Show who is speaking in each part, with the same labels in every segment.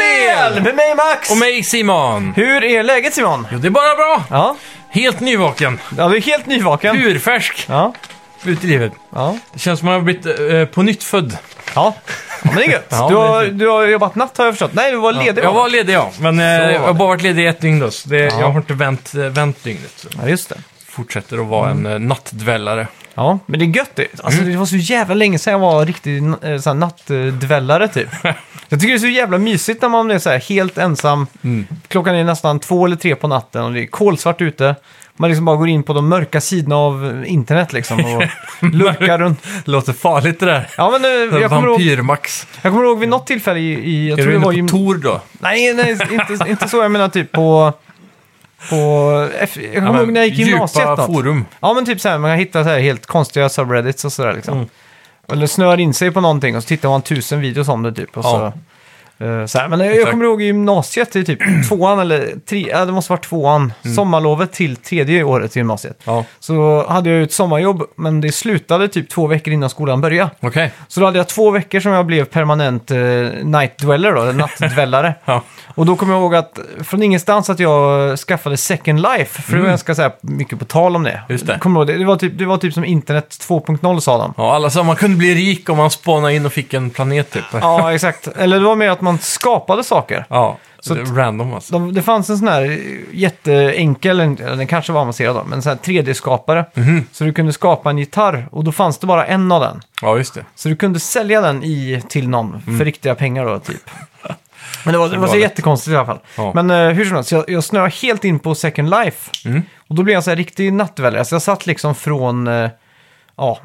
Speaker 1: Hellberg!
Speaker 2: Med mig Max!
Speaker 1: Och mig Simon.
Speaker 2: Hur är läget Simon?
Speaker 1: Jo, det är bara bra.
Speaker 2: Ja,
Speaker 1: Helt nyvaken.
Speaker 2: ja du är helt nyvaken.
Speaker 1: Urfärsk.
Speaker 2: Ja,
Speaker 1: Ut i livet.
Speaker 2: ja.
Speaker 1: Det känns som att man har blivit eh, på nytt född.
Speaker 2: Ja, ja men det är gött.
Speaker 1: Ja,
Speaker 2: du,
Speaker 1: men det är
Speaker 2: har,
Speaker 1: fint.
Speaker 2: du har jobbat natt har jag förstått. Nej, du var ledig
Speaker 1: jag
Speaker 2: va?
Speaker 1: var ledig ja, men eh,
Speaker 2: var
Speaker 1: jag har
Speaker 2: det.
Speaker 1: bara varit ledig i ett dygn då, så det,
Speaker 2: Ja.
Speaker 1: jag har inte vänt, eh, vänt dygnet. Så
Speaker 2: Ja, just det.
Speaker 1: fortsätter att vara
Speaker 2: Mm.
Speaker 1: en eh, nattdvällare.
Speaker 2: Ja, men det är gött det. Alltså
Speaker 1: Mm.
Speaker 2: det var så jävla länge sedan jag var riktig eh, sån här nattdvällare typ. jag tycker det är så jävla mysigt när man är så här helt ensam.
Speaker 1: Mm.
Speaker 2: Klockan är nästan två eller tre på natten och det är kolsvart ute. Man liksom bara går in på de mörka sidorna av eh, internet liksom och lurkar runt.
Speaker 1: Låter farligt det där.
Speaker 2: Ja, men eh, jag kommer, ihåg,
Speaker 1: Vampyrmax.
Speaker 2: jag kommer ihåg vid något tillfälle i... i jag
Speaker 1: Är
Speaker 2: tror
Speaker 1: du
Speaker 2: det
Speaker 1: inne
Speaker 2: var
Speaker 1: på
Speaker 2: gym-
Speaker 1: Tor då?
Speaker 2: Nej, nej inte, inte så. Jag menar typ på... på F, jag kommer ihåg när jag gick i gymnasiet.
Speaker 1: djupa
Speaker 2: något.
Speaker 1: forum.
Speaker 2: Ja, men typ så här, man kan hitta så här helt konstiga subreddits och sådär
Speaker 1: Mm.
Speaker 2: liksom. Eller snör in sig på någonting och så tittar man tusen videos om det typ. Och
Speaker 1: Ja.
Speaker 2: så, eh, så här. Men jag, jag
Speaker 1: Exakt.
Speaker 2: kommer ihåg i gymnasiet, det är typ tvåan eller tre, ja, det måste vara tvåan, sommarlovet till tredje året i gymnasiet.
Speaker 1: Mm. Ja,
Speaker 2: Så hade jag ju ett sommarjobb, men det slutade typ två veckor innan skolan började.
Speaker 1: okej.
Speaker 2: Så då hade jag två veckor som jag blev permanent eh, night dweller då, eller nattdvällare.
Speaker 1: Ja.
Speaker 2: Och då kommer jag ihåg att från ingenstans att jag skaffade Second Life, för det var
Speaker 1: Mm.
Speaker 2: ganska så här mycket på tal om det.
Speaker 1: Just det.
Speaker 2: Kommer du ihåg det? Det, var typ, det var typ som internet 2.0 sa de.
Speaker 1: Ja, alla sa man kunde bli rik om man spanade in och fick en planet typ.
Speaker 2: Ja, exakt. Eller det var mer att man skapade saker.
Speaker 1: Ja,
Speaker 2: Så
Speaker 1: så
Speaker 2: att-
Speaker 1: random alltså.
Speaker 2: De, det fanns en sån här jätteenkel, eller den kanske var avancerad då, men en sån här 3D-skapare.
Speaker 1: Mhm.
Speaker 2: Så du kunde skapa en gitarr och då fanns det bara en av den.
Speaker 1: Ja, just det.
Speaker 2: Så du kunde sälja den i, till någon
Speaker 1: Mm.
Speaker 2: för riktiga pengar då, typ. Men det var, det var så
Speaker 1: Galet.
Speaker 2: jättekonstigt i alla fall.
Speaker 1: Ja.
Speaker 2: Men eh, hur som helst, jag, jag snöade helt in på Second Life.
Speaker 1: Mm.
Speaker 2: Och då blev jag så här riktig nattvälare. Så jag satt liksom från, eh, ja,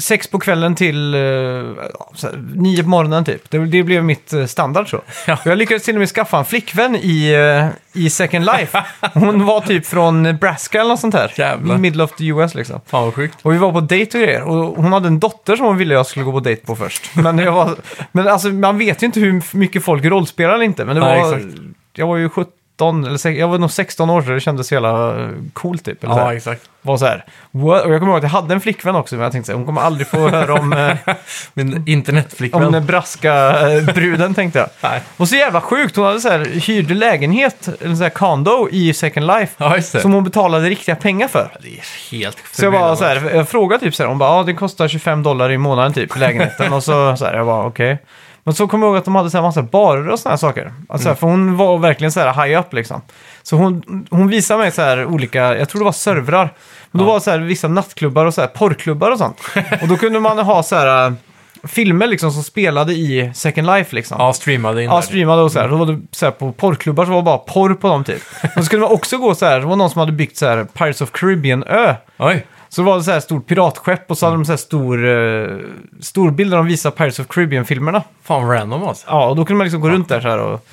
Speaker 2: sex på kvällen till eh, ja, så här, nio på morgonen typ. Det, det blev mitt eh, standard så.
Speaker 1: Ja.
Speaker 2: Och Jag lyckades till och med skaffa en flickvän i, eh, i Second Life. Hon var typ från Nebraska eller något sånt här.
Speaker 1: Jävlar.
Speaker 2: Middle of the US liksom.
Speaker 1: Fan vad sjukt.
Speaker 2: Och vi var på dejt och grejer. Och hon hade en dotter som hon ville jag skulle gå på dejt på först. Men, jag var, men alltså, man vet ju inte hur mycket folk rollspelar eller inte. Men det
Speaker 1: Nej,
Speaker 2: var,
Speaker 1: exakt.
Speaker 2: jag var ju 17, eller sex- jag var nog 16 år så det kändes så jävla eh, coolt typ. Eller så
Speaker 1: Ja,
Speaker 2: här.
Speaker 1: exakt.
Speaker 2: Var så här. "What?" Och jag kommer ihåg att jag hade en flickvän också, men jag tänkte så här, hon kommer aldrig få höra om, eh,
Speaker 1: Min
Speaker 2: om
Speaker 1: internetflickvän.
Speaker 2: Nebraska-bruden tänkte jag.
Speaker 1: Nej.
Speaker 2: Och så jävla sjukt, hon hade så här, hyrde lägenhet, eller så här condo i Second Life.
Speaker 1: Ja, just det.
Speaker 2: Som hon betalade riktiga pengar för.
Speaker 1: Det är helt
Speaker 2: Så jag bara
Speaker 1: förbjudande.
Speaker 2: så här, jag frågade typ så här, hon bara, ja det kostar 25 dollar i månaden typ, lägenheten. och så, så här, jag bara okej. Men så kom jag ihåg att de hade så här massa barer och såna här saker. Alltså, För hon var verkligen så här high up liksom. Så hon, hon visade mig så här olika, jag tror det var servrar. Men då var det så här vissa nattklubbar och så här porrklubbar och sånt. och då kunde man ha så här äh, filmer liksom som spelade i Second Life liksom.
Speaker 1: Ja, streamade in
Speaker 2: Ja,
Speaker 1: där.
Speaker 2: streamade och så här. Då var det så här på porrklubbar så var det bara porr på dem typ. Och så skulle man också gå så här, det var någon som hade byggt så här Pirates of Caribbean-ö.
Speaker 1: Oj.
Speaker 2: Så var det så här stort piratskepp och så
Speaker 1: Mm.
Speaker 2: hade de så här stor, eh, stor bild där de visar Pirates of Caribbean-filmerna.
Speaker 1: Fan vad random alltså.
Speaker 2: Ja, och då kunde man liksom gå runt där så här och...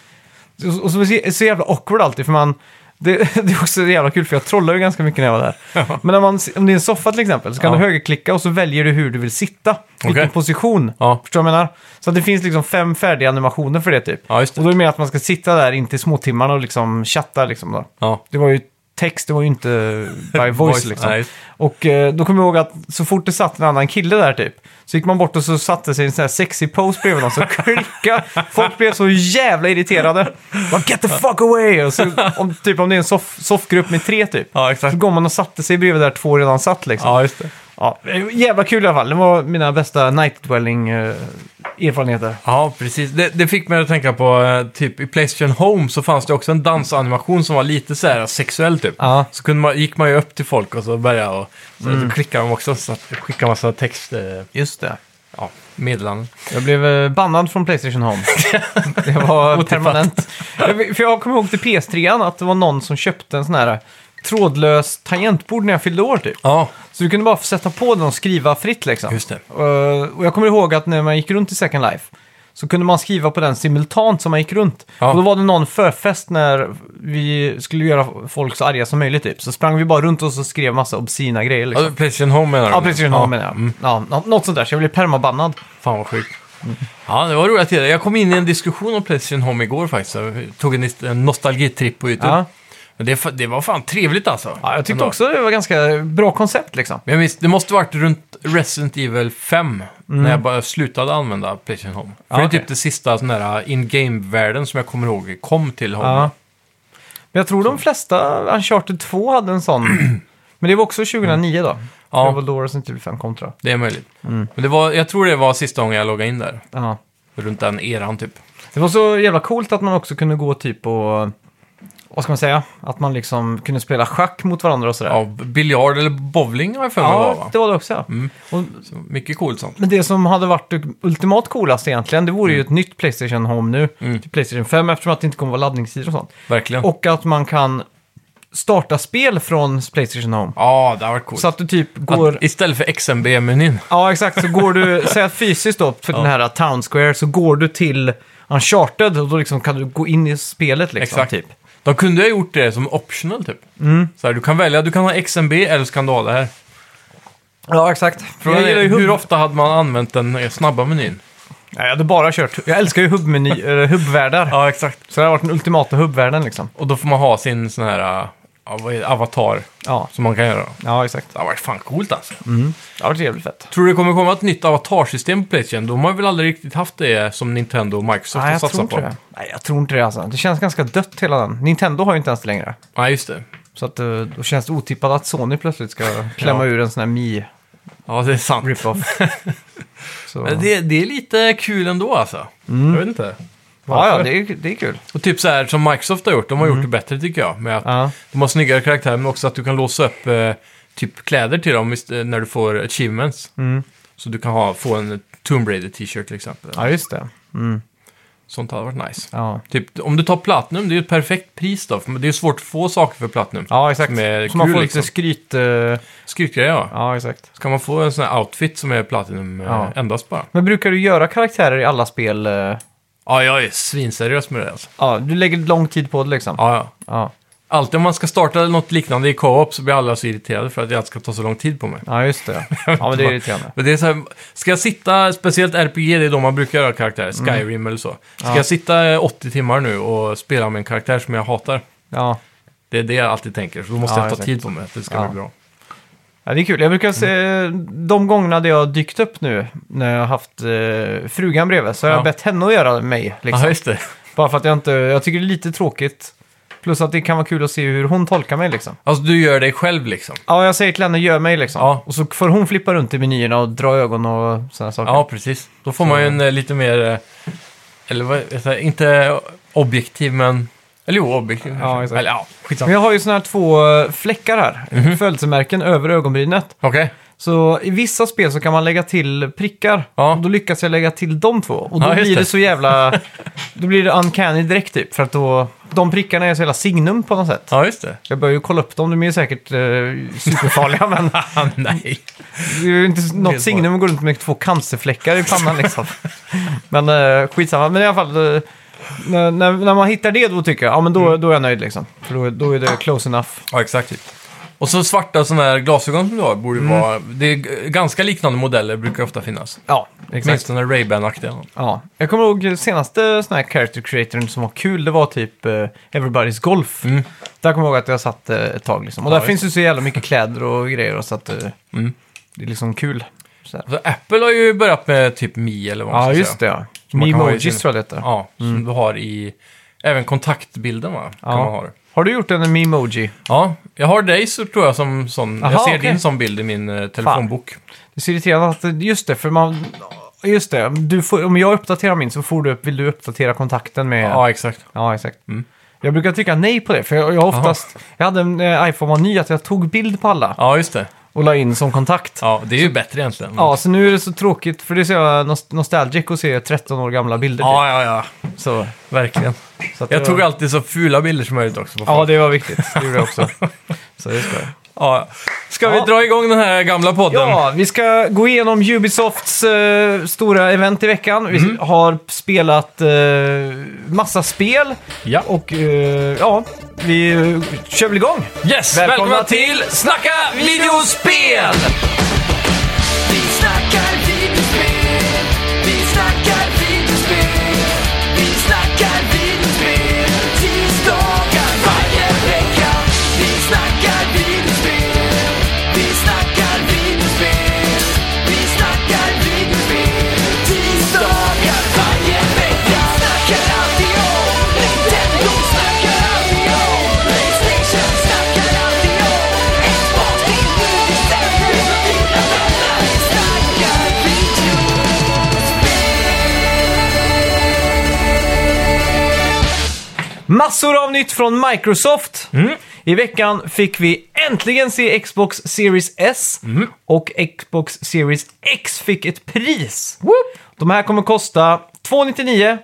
Speaker 2: Och så, så, så jävla awkward alltid, för man... Det, det är också jävla kul, för jag trollade ju ganska mycket när jag var där. Men när man, om det är en soffa till exempel, så kan
Speaker 1: Ja.
Speaker 2: du högerklicka och så väljer du hur du vill sitta. Vilken
Speaker 1: Okej.
Speaker 2: position.
Speaker 1: Ja.
Speaker 2: Förstår du vad jag menar? Så att det finns liksom fem färdiga animationer för det typ.
Speaker 1: Ja, just det.
Speaker 2: Och då är det mer att man ska sitta där in till småtimmarna och liksom chatta liksom då.
Speaker 1: Ja.
Speaker 2: Det var ju text, det var ju inte by voice
Speaker 1: Voice,
Speaker 2: liksom.
Speaker 1: nej.
Speaker 2: Och eh, då kommer jag ihåg att så fort det satt en annan kille där typ, så gick man bort och så satte sig i en sån här sexy pose bredvid någon, så klicka. Folk blev så jävla irriterade. Bara, Get the fuck away! Och så, om, typ om det är en soff- soffgrupp med tre typ,
Speaker 1: Ja,
Speaker 2: så
Speaker 1: exakt.
Speaker 2: går man och satte sig bredvid där två redan satt liksom.
Speaker 1: Ja, just det.
Speaker 2: Ja, jävla kul i alla fall. Det var mina bästa night dwelling eh, erfarenheter.
Speaker 1: Ja, precis. Det, det fick mig att tänka på, eh, typ i Playstation Home så fanns det också en dansanimation som var lite så här sexuell typ.
Speaker 2: Ja.
Speaker 1: Så kunde man, gick man ju upp till folk och så började och så mm. klickade de också så att det skickade massa text, eh,
Speaker 2: Just det.
Speaker 1: ja, meddelanden.
Speaker 2: Jag blev eh, bannad från Playstation Home. Det var
Speaker 1: Otippat.
Speaker 2: permanent. Jag- För jag kommer ihåg till PS3 att det var någon som köpte en sån här trådlös tangentbord när jag fyllde år typ.
Speaker 1: Ja,
Speaker 2: Så du kunde bara sätta på den och skriva fritt liksom.
Speaker 1: Just det.
Speaker 2: Eh, och jag kommer ihåg att när man gick runt i Second Life så kunde man skriva på den simultant som man gick runt.
Speaker 1: Ja.
Speaker 2: Och då var det någon förfest när vi skulle göra folk så arga som möjligt typ. Så sprang vi bara runt och så skrev massa obscena grejer liksom.
Speaker 1: ja Playstation Home menar du?
Speaker 2: Ja, precis. Ja, menar jag. Ja, nå- något sånt där, så jag blev permabannad.
Speaker 1: Fan vad sjukt. Ja, det var roliga tider. Jag kom in i en diskussion om Playstation Home igår faktiskt. Jag tog en, en nostalgitripp på YouTube.
Speaker 2: Ja.
Speaker 1: Men det, fa- det var fan trevligt alltså.
Speaker 2: Ja, jag tyckte
Speaker 1: Ändå.
Speaker 2: också det var ganska bra koncept liksom.
Speaker 1: Men jag minns, det måste varit runt Resident Evil 5 när jag bara slutade använda Playstation Home. För
Speaker 2: Mm. Ja,
Speaker 1: det är
Speaker 2: okej.
Speaker 1: typ det sista sån där in-game-världen som jag kommer ihåg kom till Home.
Speaker 2: Ja. Mm. Men jag tror de flesta, Uncharted 2 hade en sån. Men det var också 2009 då.
Speaker 1: Ja.
Speaker 2: Det var då Resident Evil 5 kom tror
Speaker 1: Det är möjligt.
Speaker 2: Mm.
Speaker 1: Men det var, jag tror det var sista gången jag loggade in där.
Speaker 2: jag. Ja.
Speaker 1: Runt den eran typ.
Speaker 2: Det var så jävla coolt att man också kunde gå typ och... Vad ska man säga? Att man liksom kunde spela schack mot varandra och sådär.
Speaker 1: Ja, biljard eller bowling har jag för mig var,
Speaker 2: Ja, Mm.
Speaker 1: va?
Speaker 2: det var det också. Ja. Och,
Speaker 1: Så mycket coolt sånt.
Speaker 2: men det som hade varit det ultimat coolast egentligen, det vore ju ett nytt Playstation Home nu. Till Playstation 5, eftersom att det inte kommer vara laddningssidor och sånt.
Speaker 1: Verkligen.
Speaker 2: Och att man kan starta spel från Playstation Home.
Speaker 1: Ja, det har varit coolt.
Speaker 2: Så att du typ
Speaker 1: Att
Speaker 2: går...
Speaker 1: Istället för XMB-menyn.
Speaker 2: Ja, exakt. Så går du, säg att fysiskt då, för den här Town Square, så går du till Uncharted och då liksom kan du gå in i spelet liksom.
Speaker 1: Exakt.
Speaker 2: Typ.
Speaker 1: De kunde ha gjort det som optional typ.
Speaker 2: Mm.
Speaker 1: Så här, du kan välja, du kan ha XMB eller så kan du ha det här.
Speaker 2: Ja, exakt.
Speaker 1: Frågan
Speaker 2: jag gillar
Speaker 1: är,
Speaker 2: ju
Speaker 1: hur
Speaker 2: hub.
Speaker 1: ofta hade man använt den eh, snabba menyn?
Speaker 2: Ja, jag hade bara kört. Jag älskar ju hubbmeny, eller hubbvärldar.
Speaker 1: Ja, exakt.
Speaker 2: Så det har varit den ultimata hubbvärlden liksom.
Speaker 1: Och då får man ha sin sån här eh, vad är det, avatar
Speaker 2: Ja,
Speaker 1: som man kan göra.
Speaker 2: ja exakt.
Speaker 1: Det har varit fan coolt alltså.
Speaker 2: Mm. Det har varit jävligt fett.
Speaker 1: Tror du det kommer komma ett nytt avatarsystem på Playstation? De har väl aldrig riktigt haft det som Nintendo och Microsoft
Speaker 2: Nej,
Speaker 1: har
Speaker 2: jag tror
Speaker 1: satsat
Speaker 2: inte
Speaker 1: på?
Speaker 2: det. Nej, jag tror inte det alltså. Det känns ganska dött hela den. Nintendo har ju inte ens det längre.
Speaker 1: Nej, just det.
Speaker 2: Så att, eh, då känns det otippat att Sony plötsligt ska klämma
Speaker 1: Ja.
Speaker 2: ur en sån här Mi-rip-off.
Speaker 1: Ja, det är sant.
Speaker 2: Så...
Speaker 1: Men det, det är lite kul ändå alltså.
Speaker 2: Mm.
Speaker 1: Jag vet inte.
Speaker 2: Ja, ja, det är, det är kul.
Speaker 1: Och typ så här som Microsoft har gjort, de har gjort det bättre tycker jag. Med att
Speaker 2: Mm. Ja.
Speaker 1: De har snyggare karaktärer, men också att du kan låsa upp eh, typ kläder till dem visst, eh, när du får achievements.
Speaker 2: Mm.
Speaker 1: Så du kan ha, få en Tomb Raider t-shirt till exempel.
Speaker 2: Ja, just det. Mm.
Speaker 1: Sånt hade varit nice.
Speaker 2: Ja.
Speaker 1: Typ, om du tar Platinum, det är ju ett perfekt pris då. För det är ju svårt att få saker för Platinum.
Speaker 2: ja, exakt.
Speaker 1: Som är
Speaker 2: Så man
Speaker 1: kul,
Speaker 2: får
Speaker 1: liksom.
Speaker 2: lite skryt. eh,
Speaker 1: Skrytgrejer ja.
Speaker 2: Ja, exakt.
Speaker 1: Så kan man få en sån här outfit som är Platinum eh,
Speaker 2: Ja.
Speaker 1: endast bara.
Speaker 2: Men brukar du göra karaktärer i alla spel? eh,
Speaker 1: Ja, jag är svinseriös med det alltså.
Speaker 2: Ja, du lägger lång tid på det liksom?
Speaker 1: Ja, ja.
Speaker 2: Ja,
Speaker 1: Alltid om man ska starta något liknande i co-op så blir alla så irriterade för att det alltid ska ta så lång tid på mig.
Speaker 2: ja just det. Ja, men det är irriterande.
Speaker 1: Men det är så här, ska jag sitta, speciellt RPG, det är de man brukar göra karaktärer, Skyrim eller så. Ska
Speaker 2: Ja.
Speaker 1: jag sitta eh, 80 timmar nu och spela med en karaktär som jag hatar?
Speaker 2: Ja.
Speaker 1: Det är det jag alltid tänker, så då måste
Speaker 2: Ja,
Speaker 1: jag ta
Speaker 2: exakt.
Speaker 1: tid på mig att det ska
Speaker 2: Ja.
Speaker 1: bli bra.
Speaker 2: ja, det är kul. Jag brukar se
Speaker 1: Mm.
Speaker 2: de gångerna det har dykt upp nu, när jag har haft eh, frugan bredvid, så har
Speaker 1: Ja.
Speaker 2: jag bett henne att göra mig. Liksom.
Speaker 1: Ja, just det.
Speaker 2: Bara för att jag inte, jag tycker det är lite tråkigt. Plus att det kan vara kul att se hur hon tolkar mig liksom.
Speaker 1: Alltså du gör dig själv liksom.
Speaker 2: Ja, jag säger till henne, gör mig liksom.
Speaker 1: Ja.
Speaker 2: Och så får hon flippa runt i menyerna och dra ögon och sådana saker.
Speaker 1: Ja, precis. Då får man ju en eh, lite mer, eh, eller vad jag säger, inte objektiv men, eller jo, objektiv. kanske.
Speaker 2: exakt.
Speaker 1: Eller ja,
Speaker 2: Men
Speaker 1: skitsamma. Mhm.
Speaker 2: jag har ju sådana här två eh, fläckar här, födelsemärken över ögonbrynet.
Speaker 1: Okej,
Speaker 2: Så i vissa spel så kan man lägga till prickar.
Speaker 1: Ja.
Speaker 2: Och då lyckas jag lägga till de två. Och då
Speaker 1: Ja, just
Speaker 2: blir det
Speaker 1: det.
Speaker 2: så jävla... då blir det uncanny direkt typ. För att då... De prickarna är så jävla signum på något sätt.
Speaker 1: ja just det.
Speaker 2: Jag börjar ju kolla upp dem, de är ju säkert eh, superfarliga men
Speaker 1: Ah, nej.
Speaker 2: det är ju inte
Speaker 1: Helt bra.
Speaker 2: något signum att gå runt med två cancerfläckar i pannan liksom. men eh, skitsamma, men i alla fall eh, när, när, när man hittar det då tycker jag, ja men då,
Speaker 1: Mm.
Speaker 2: då är jag nöjd liksom. För då, då är det close enough.
Speaker 1: Ja, exakt. Och så svarta sådana här glasögon som du har borde ju
Speaker 2: Mm.
Speaker 1: vara... Det är g- ganska liknande modeller brukar ofta finnas.
Speaker 2: Ja, exakt.
Speaker 1: Åtminstone Ray-Ban-aktiga.
Speaker 2: Ja. Jag kommer ihåg senaste sån här character creatorn som var kul, det var typ eh, Everybody's Golf.
Speaker 1: Mm.
Speaker 2: Där kommer jag ihåg att jag satt eh, ett tag liksom. Och
Speaker 1: Ja,
Speaker 2: där finns ju så jävla mycket kläder och grejer och så att eh,
Speaker 1: Mm.
Speaker 2: det är liksom kul. Så här.
Speaker 1: Alltså, Apple har ju börjat med typ Mi eller vad man
Speaker 2: Ja,
Speaker 1: ska
Speaker 2: just
Speaker 1: säga.
Speaker 2: det ja.
Speaker 1: man kan ha i
Speaker 2: Memojis
Speaker 1: sin-
Speaker 2: tror jag det heter.
Speaker 1: Ja, som du har i... Även kontaktbilden va? Kan
Speaker 2: Ja.
Speaker 1: man ha det.
Speaker 2: Har du gjort en memoji?
Speaker 1: Ja, jag har dig så tror jag som sån...
Speaker 2: Aha,
Speaker 1: jag ser
Speaker 2: okej.
Speaker 1: din som bild i min eh, telefonbok.
Speaker 2: Det är irriterande att, just det, för man... Just det, du får, om jag uppdaterar min så får du upp, vill du uppdatera kontakten med...
Speaker 1: Ja, Mm. exakt.
Speaker 2: Ja, exakt. Jag brukar trycka nej på det, för jag, jag har oftast... Jag hade en eh, iPhone var ny, att jag tog bild på alla
Speaker 1: Ja, just det.
Speaker 2: och la in som kontakt. Ja.
Speaker 1: Ja, det är ju bättre egentligen.
Speaker 2: så nu är det så tråkigt, för det är så jävla nost- nostalgic att se 13 år gamla bilder.
Speaker 1: ja, ja, ja.
Speaker 2: typ. så,
Speaker 1: Verkligen.
Speaker 2: så att det
Speaker 1: Jag tog
Speaker 2: var,
Speaker 1: alltid så fula bilder som möjligt också. På
Speaker 2: Ja, det var viktigt. Det gjorde jag också. så det ska jag.
Speaker 1: Ja. Ska vi
Speaker 2: Ja.
Speaker 1: dra igång den här gamla podden?
Speaker 2: Ja, vi ska gå igenom Ubisofts eh, stora event i veckan. Vi
Speaker 1: Mm.
Speaker 2: har spelat eh, massa spel
Speaker 1: Ja.
Speaker 2: och eh, ja, vi eh, kör väl igång.
Speaker 1: Yes,
Speaker 2: Välkomna
Speaker 1: välkomna, till Snacka videospel!
Speaker 3: Vi snackar videospel, vi snackar videospel, vi snackar videospel, tisdagar varje vecka. Vi snackar videospel, vi snackar videospel,
Speaker 2: Massor av nytt från Microsoft.
Speaker 1: Mm.
Speaker 2: I veckan fick vi äntligen se Xbox Series S
Speaker 1: Mm.
Speaker 2: och Xbox Series X fick ett pris. De här kommer kosta 299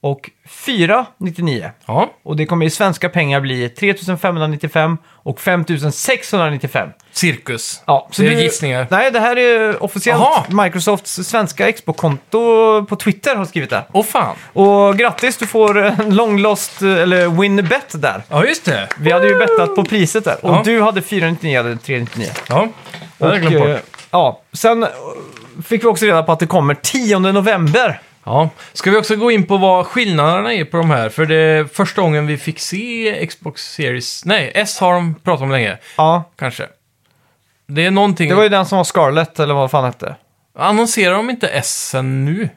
Speaker 2: och 499.
Speaker 1: Ja,
Speaker 2: Och det kommer i svenska pengar bli 3595 och 5695.
Speaker 1: cirkus.
Speaker 2: Ja, så
Speaker 1: det är
Speaker 2: du-
Speaker 1: gissningar.
Speaker 2: Nej, det här är officiellt.
Speaker 1: Aha.
Speaker 2: Microsofts svenska Xbox-konto på Twitter har skrivit det.
Speaker 1: Åh fan.
Speaker 2: Och grattis, du får en long lost, eller win bet där.
Speaker 1: Ja, just det.
Speaker 2: Vi hade ju bettat på priset där. Och
Speaker 1: Ja.
Speaker 2: du hade 499, jag hade 399.
Speaker 1: Ja, det hade jag glömt
Speaker 2: eh,
Speaker 1: bort.
Speaker 2: ja, sen eh, fick vi också reda på att det kommer 10 november.
Speaker 1: Ja. Ska vi också gå in på vad skillnaderna är på de här? För det är första gången vi fick se Xbox Series... Nej, S har de pratat om länge.
Speaker 2: Ja,
Speaker 1: Kanske. Det är någonting...
Speaker 2: det var ju den som var Scarlett, eller vad fan hette.
Speaker 1: Annonserar de inte S sen nu?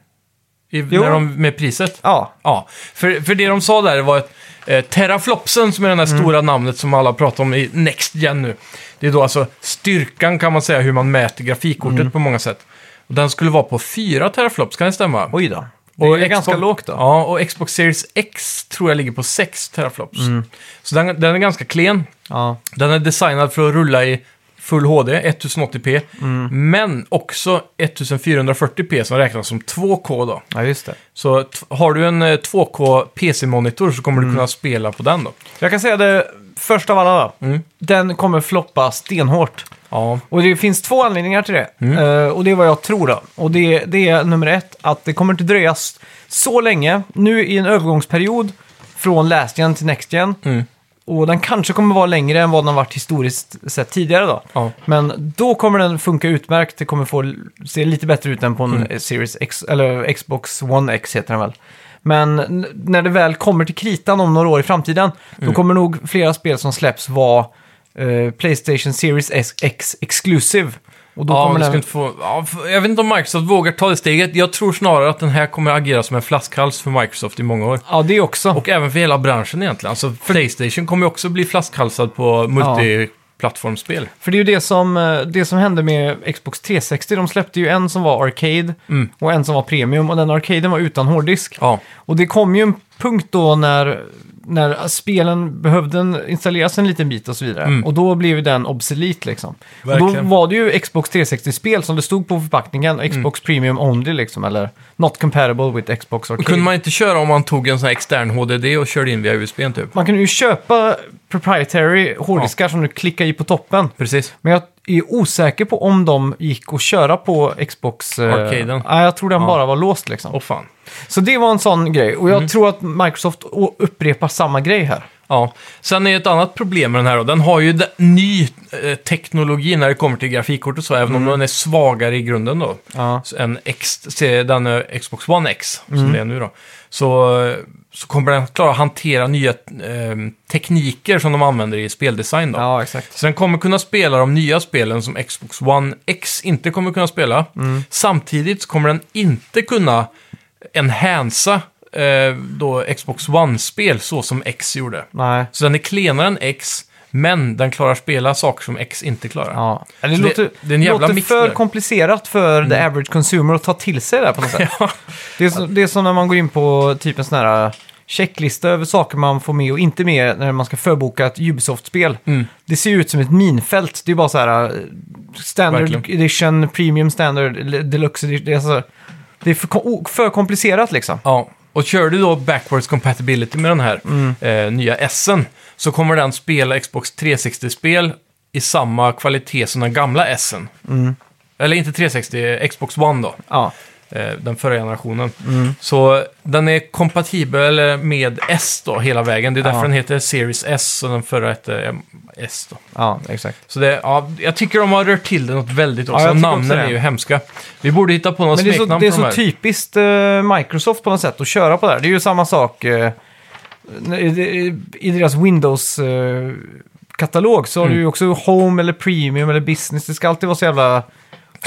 Speaker 1: I,
Speaker 2: Jo.
Speaker 1: när de, med priset?
Speaker 2: Ja,
Speaker 1: Ja, för, för det de sa där var att eh, teraflopsen, som är det här
Speaker 2: Mm.
Speaker 1: stora namnet som alla pratar om i Next Gen nu. Det är då alltså styrkan kan man säga, hur man mäter grafikkortet
Speaker 2: Mm.
Speaker 1: på många sätt. Och den skulle vara på 4 teraflops, kan det stämma?
Speaker 2: oj då. Det är
Speaker 1: Och
Speaker 2: ju ganska
Speaker 1: Xbox-
Speaker 2: lågt då.
Speaker 1: Ja, och Xbox Series X tror jag ligger på 6 teraflops.
Speaker 2: Mm.
Speaker 1: Så den, den är ganska klen.
Speaker 2: Ja.
Speaker 1: Den är designad för att rulla i full HD, 1080p,
Speaker 2: Mm.
Speaker 1: men också 1440p som räknas som 2K då.
Speaker 2: ja, just det.
Speaker 1: Så t- har du en eh, 2K PC-monitor så kommer
Speaker 2: Mm.
Speaker 1: du kunna spela på den då.
Speaker 2: Jag kan säga det först av alla. då. Den kommer floppa stenhårt.
Speaker 1: Ja,
Speaker 2: Och det finns två anledningar till det. Eh, och det är vad jag tror då. Och det, det är nummer ett, att det kommer inte dröja s- så länge. Nu i en övergångsperiod från last gen till next gen. Och den kanske kommer vara längre än vad den har varit historiskt sett tidigare då.
Speaker 1: Ja.
Speaker 2: Men då kommer den funka utmärkt. Det kommer få l- se lite bättre ut än på en
Speaker 1: Mm.
Speaker 2: eh, Series X, eller Xbox One X heter den väl. Men n- när det väl kommer till kritan om några år i framtiden,
Speaker 1: Mm.
Speaker 2: då kommer nog flera spel som släpps vara eh, Playstation Series S- X Exclusive. Och då
Speaker 1: ja men
Speaker 2: kommer
Speaker 1: du
Speaker 2: den...
Speaker 1: ska inte få... Ja, f- jag vet inte om Microsoft vågar ta det steget. Jag tror snarare att den här kommer agera som en flaskhals för Microsoft i många år.
Speaker 2: Ja, det också.
Speaker 1: Och även för hela branschen egentligen. Alltså Playstation kommer ju också bli flaskhalsad på multiplattformsspel.
Speaker 2: För det är ju det som, eh, det som hände med Xbox 360. De släppte ju en som var Arcade
Speaker 1: Mm.
Speaker 2: och en som var Premium. Och den Arcaden var utan hårddisk.
Speaker 1: Ja.
Speaker 2: Och det kom ju en punkt då när, när spelen behövde en- installeras en liten bit och så vidare. Och då blev ju den obsolet liksom. Och då
Speaker 1: Mm. Verkligen. Mm.
Speaker 2: var det ju Xbox 360-spel som det stod på förpackningen. Xbox Premium Only liksom, eller Not Comparable with Xbox Arcade.
Speaker 1: Kunde man inte köra om man tog en sån här extern HDD och körde in via USB typ?
Speaker 2: Man kan ju köpa proprietary hårddiskar som du klickar i på toppen.
Speaker 1: Precis.
Speaker 2: Men jag är osäker på om de gick att köra på Xbox... eh,
Speaker 1: Arcaden.
Speaker 2: Nej, jag tror den bara var låst liksom.
Speaker 1: Åh fan.
Speaker 2: Så det var en sån grej. Och jag
Speaker 1: Mm.
Speaker 2: tror att Microsoft å- upprepar samma grej här.
Speaker 1: Ja, sen är ett annat problem med den här då. Den har ju de- ny eh, teknologi när det kommer till grafikkort och så, även om den är svagare i grunden då.
Speaker 2: Mm. Ja. Mm.
Speaker 1: Så En X, se, den eh, Xbox One X, som det är nu då. Så, eh, så kommer den att klara att hantera nya eh, tekniker som de använder i speldesign då.
Speaker 2: Ja, exakt.
Speaker 1: Så den kommer kunna spela de nya spelen som Xbox One X inte kommer kunna spela.
Speaker 2: Mm.
Speaker 1: Samtidigt så kommer den inte kunna enhansa eh, då Xbox One-spel så som X gjorde.
Speaker 2: Nej.
Speaker 1: Så den är klenare än X, men den klarar spela saker som X inte klarar.
Speaker 2: Ja. Det,
Speaker 1: Så det-
Speaker 2: låter,
Speaker 1: det är en jävla Mm.
Speaker 2: låter
Speaker 1: mix
Speaker 2: för
Speaker 1: där.
Speaker 2: komplicerat för the average consumer att ta till sig det här på något sätt. det, är som, det är som när man går in på typ en sån här checklista över saker man får med och inte med när man ska förboka ett Ubisoft-spel.
Speaker 1: Mm.
Speaker 2: Det ser ju ut som ett minfält. Det är bara så här eh, standard
Speaker 1: Verkligen.
Speaker 2: edition, premium standard, eller deluxe edition. Det är, så, det är för, ko- o- för komplicerat liksom.
Speaker 1: Ja. Och kör du då backwards compatibility med den här
Speaker 2: Mm.
Speaker 1: eh, nya S'en så kommer den spela Xbox 360-spel i samma kvalitet som den gamla S'en.
Speaker 2: Mm.
Speaker 1: Eller inte 360, Xbox One då.
Speaker 2: Ja.
Speaker 1: eh, den förra generationen.
Speaker 2: Mm.
Speaker 1: Så den är kompatibel med S då hela vägen. Det är därför
Speaker 2: Ja.
Speaker 1: den heter Series S och den förra hette eh, S då.
Speaker 2: ja, exakt.
Speaker 1: Så det, ja, jag tycker de har rört till det något väldigt
Speaker 2: Ja,
Speaker 1: också.
Speaker 2: jag tycker också
Speaker 1: Namnen
Speaker 2: det.
Speaker 1: är ju hemska. Vi borde hitta på något
Speaker 2: Men det är så,
Speaker 1: smeknamn
Speaker 2: det är
Speaker 1: på de
Speaker 2: så
Speaker 1: här.
Speaker 2: typiskt eh, Microsoft på något sätt att köra på det här. Det är ju samma sak eh, i- i deras Windows-katalog så har
Speaker 1: Mm.
Speaker 2: du ju också Home eller Premium eller Business. Det ska alltid vara så jävla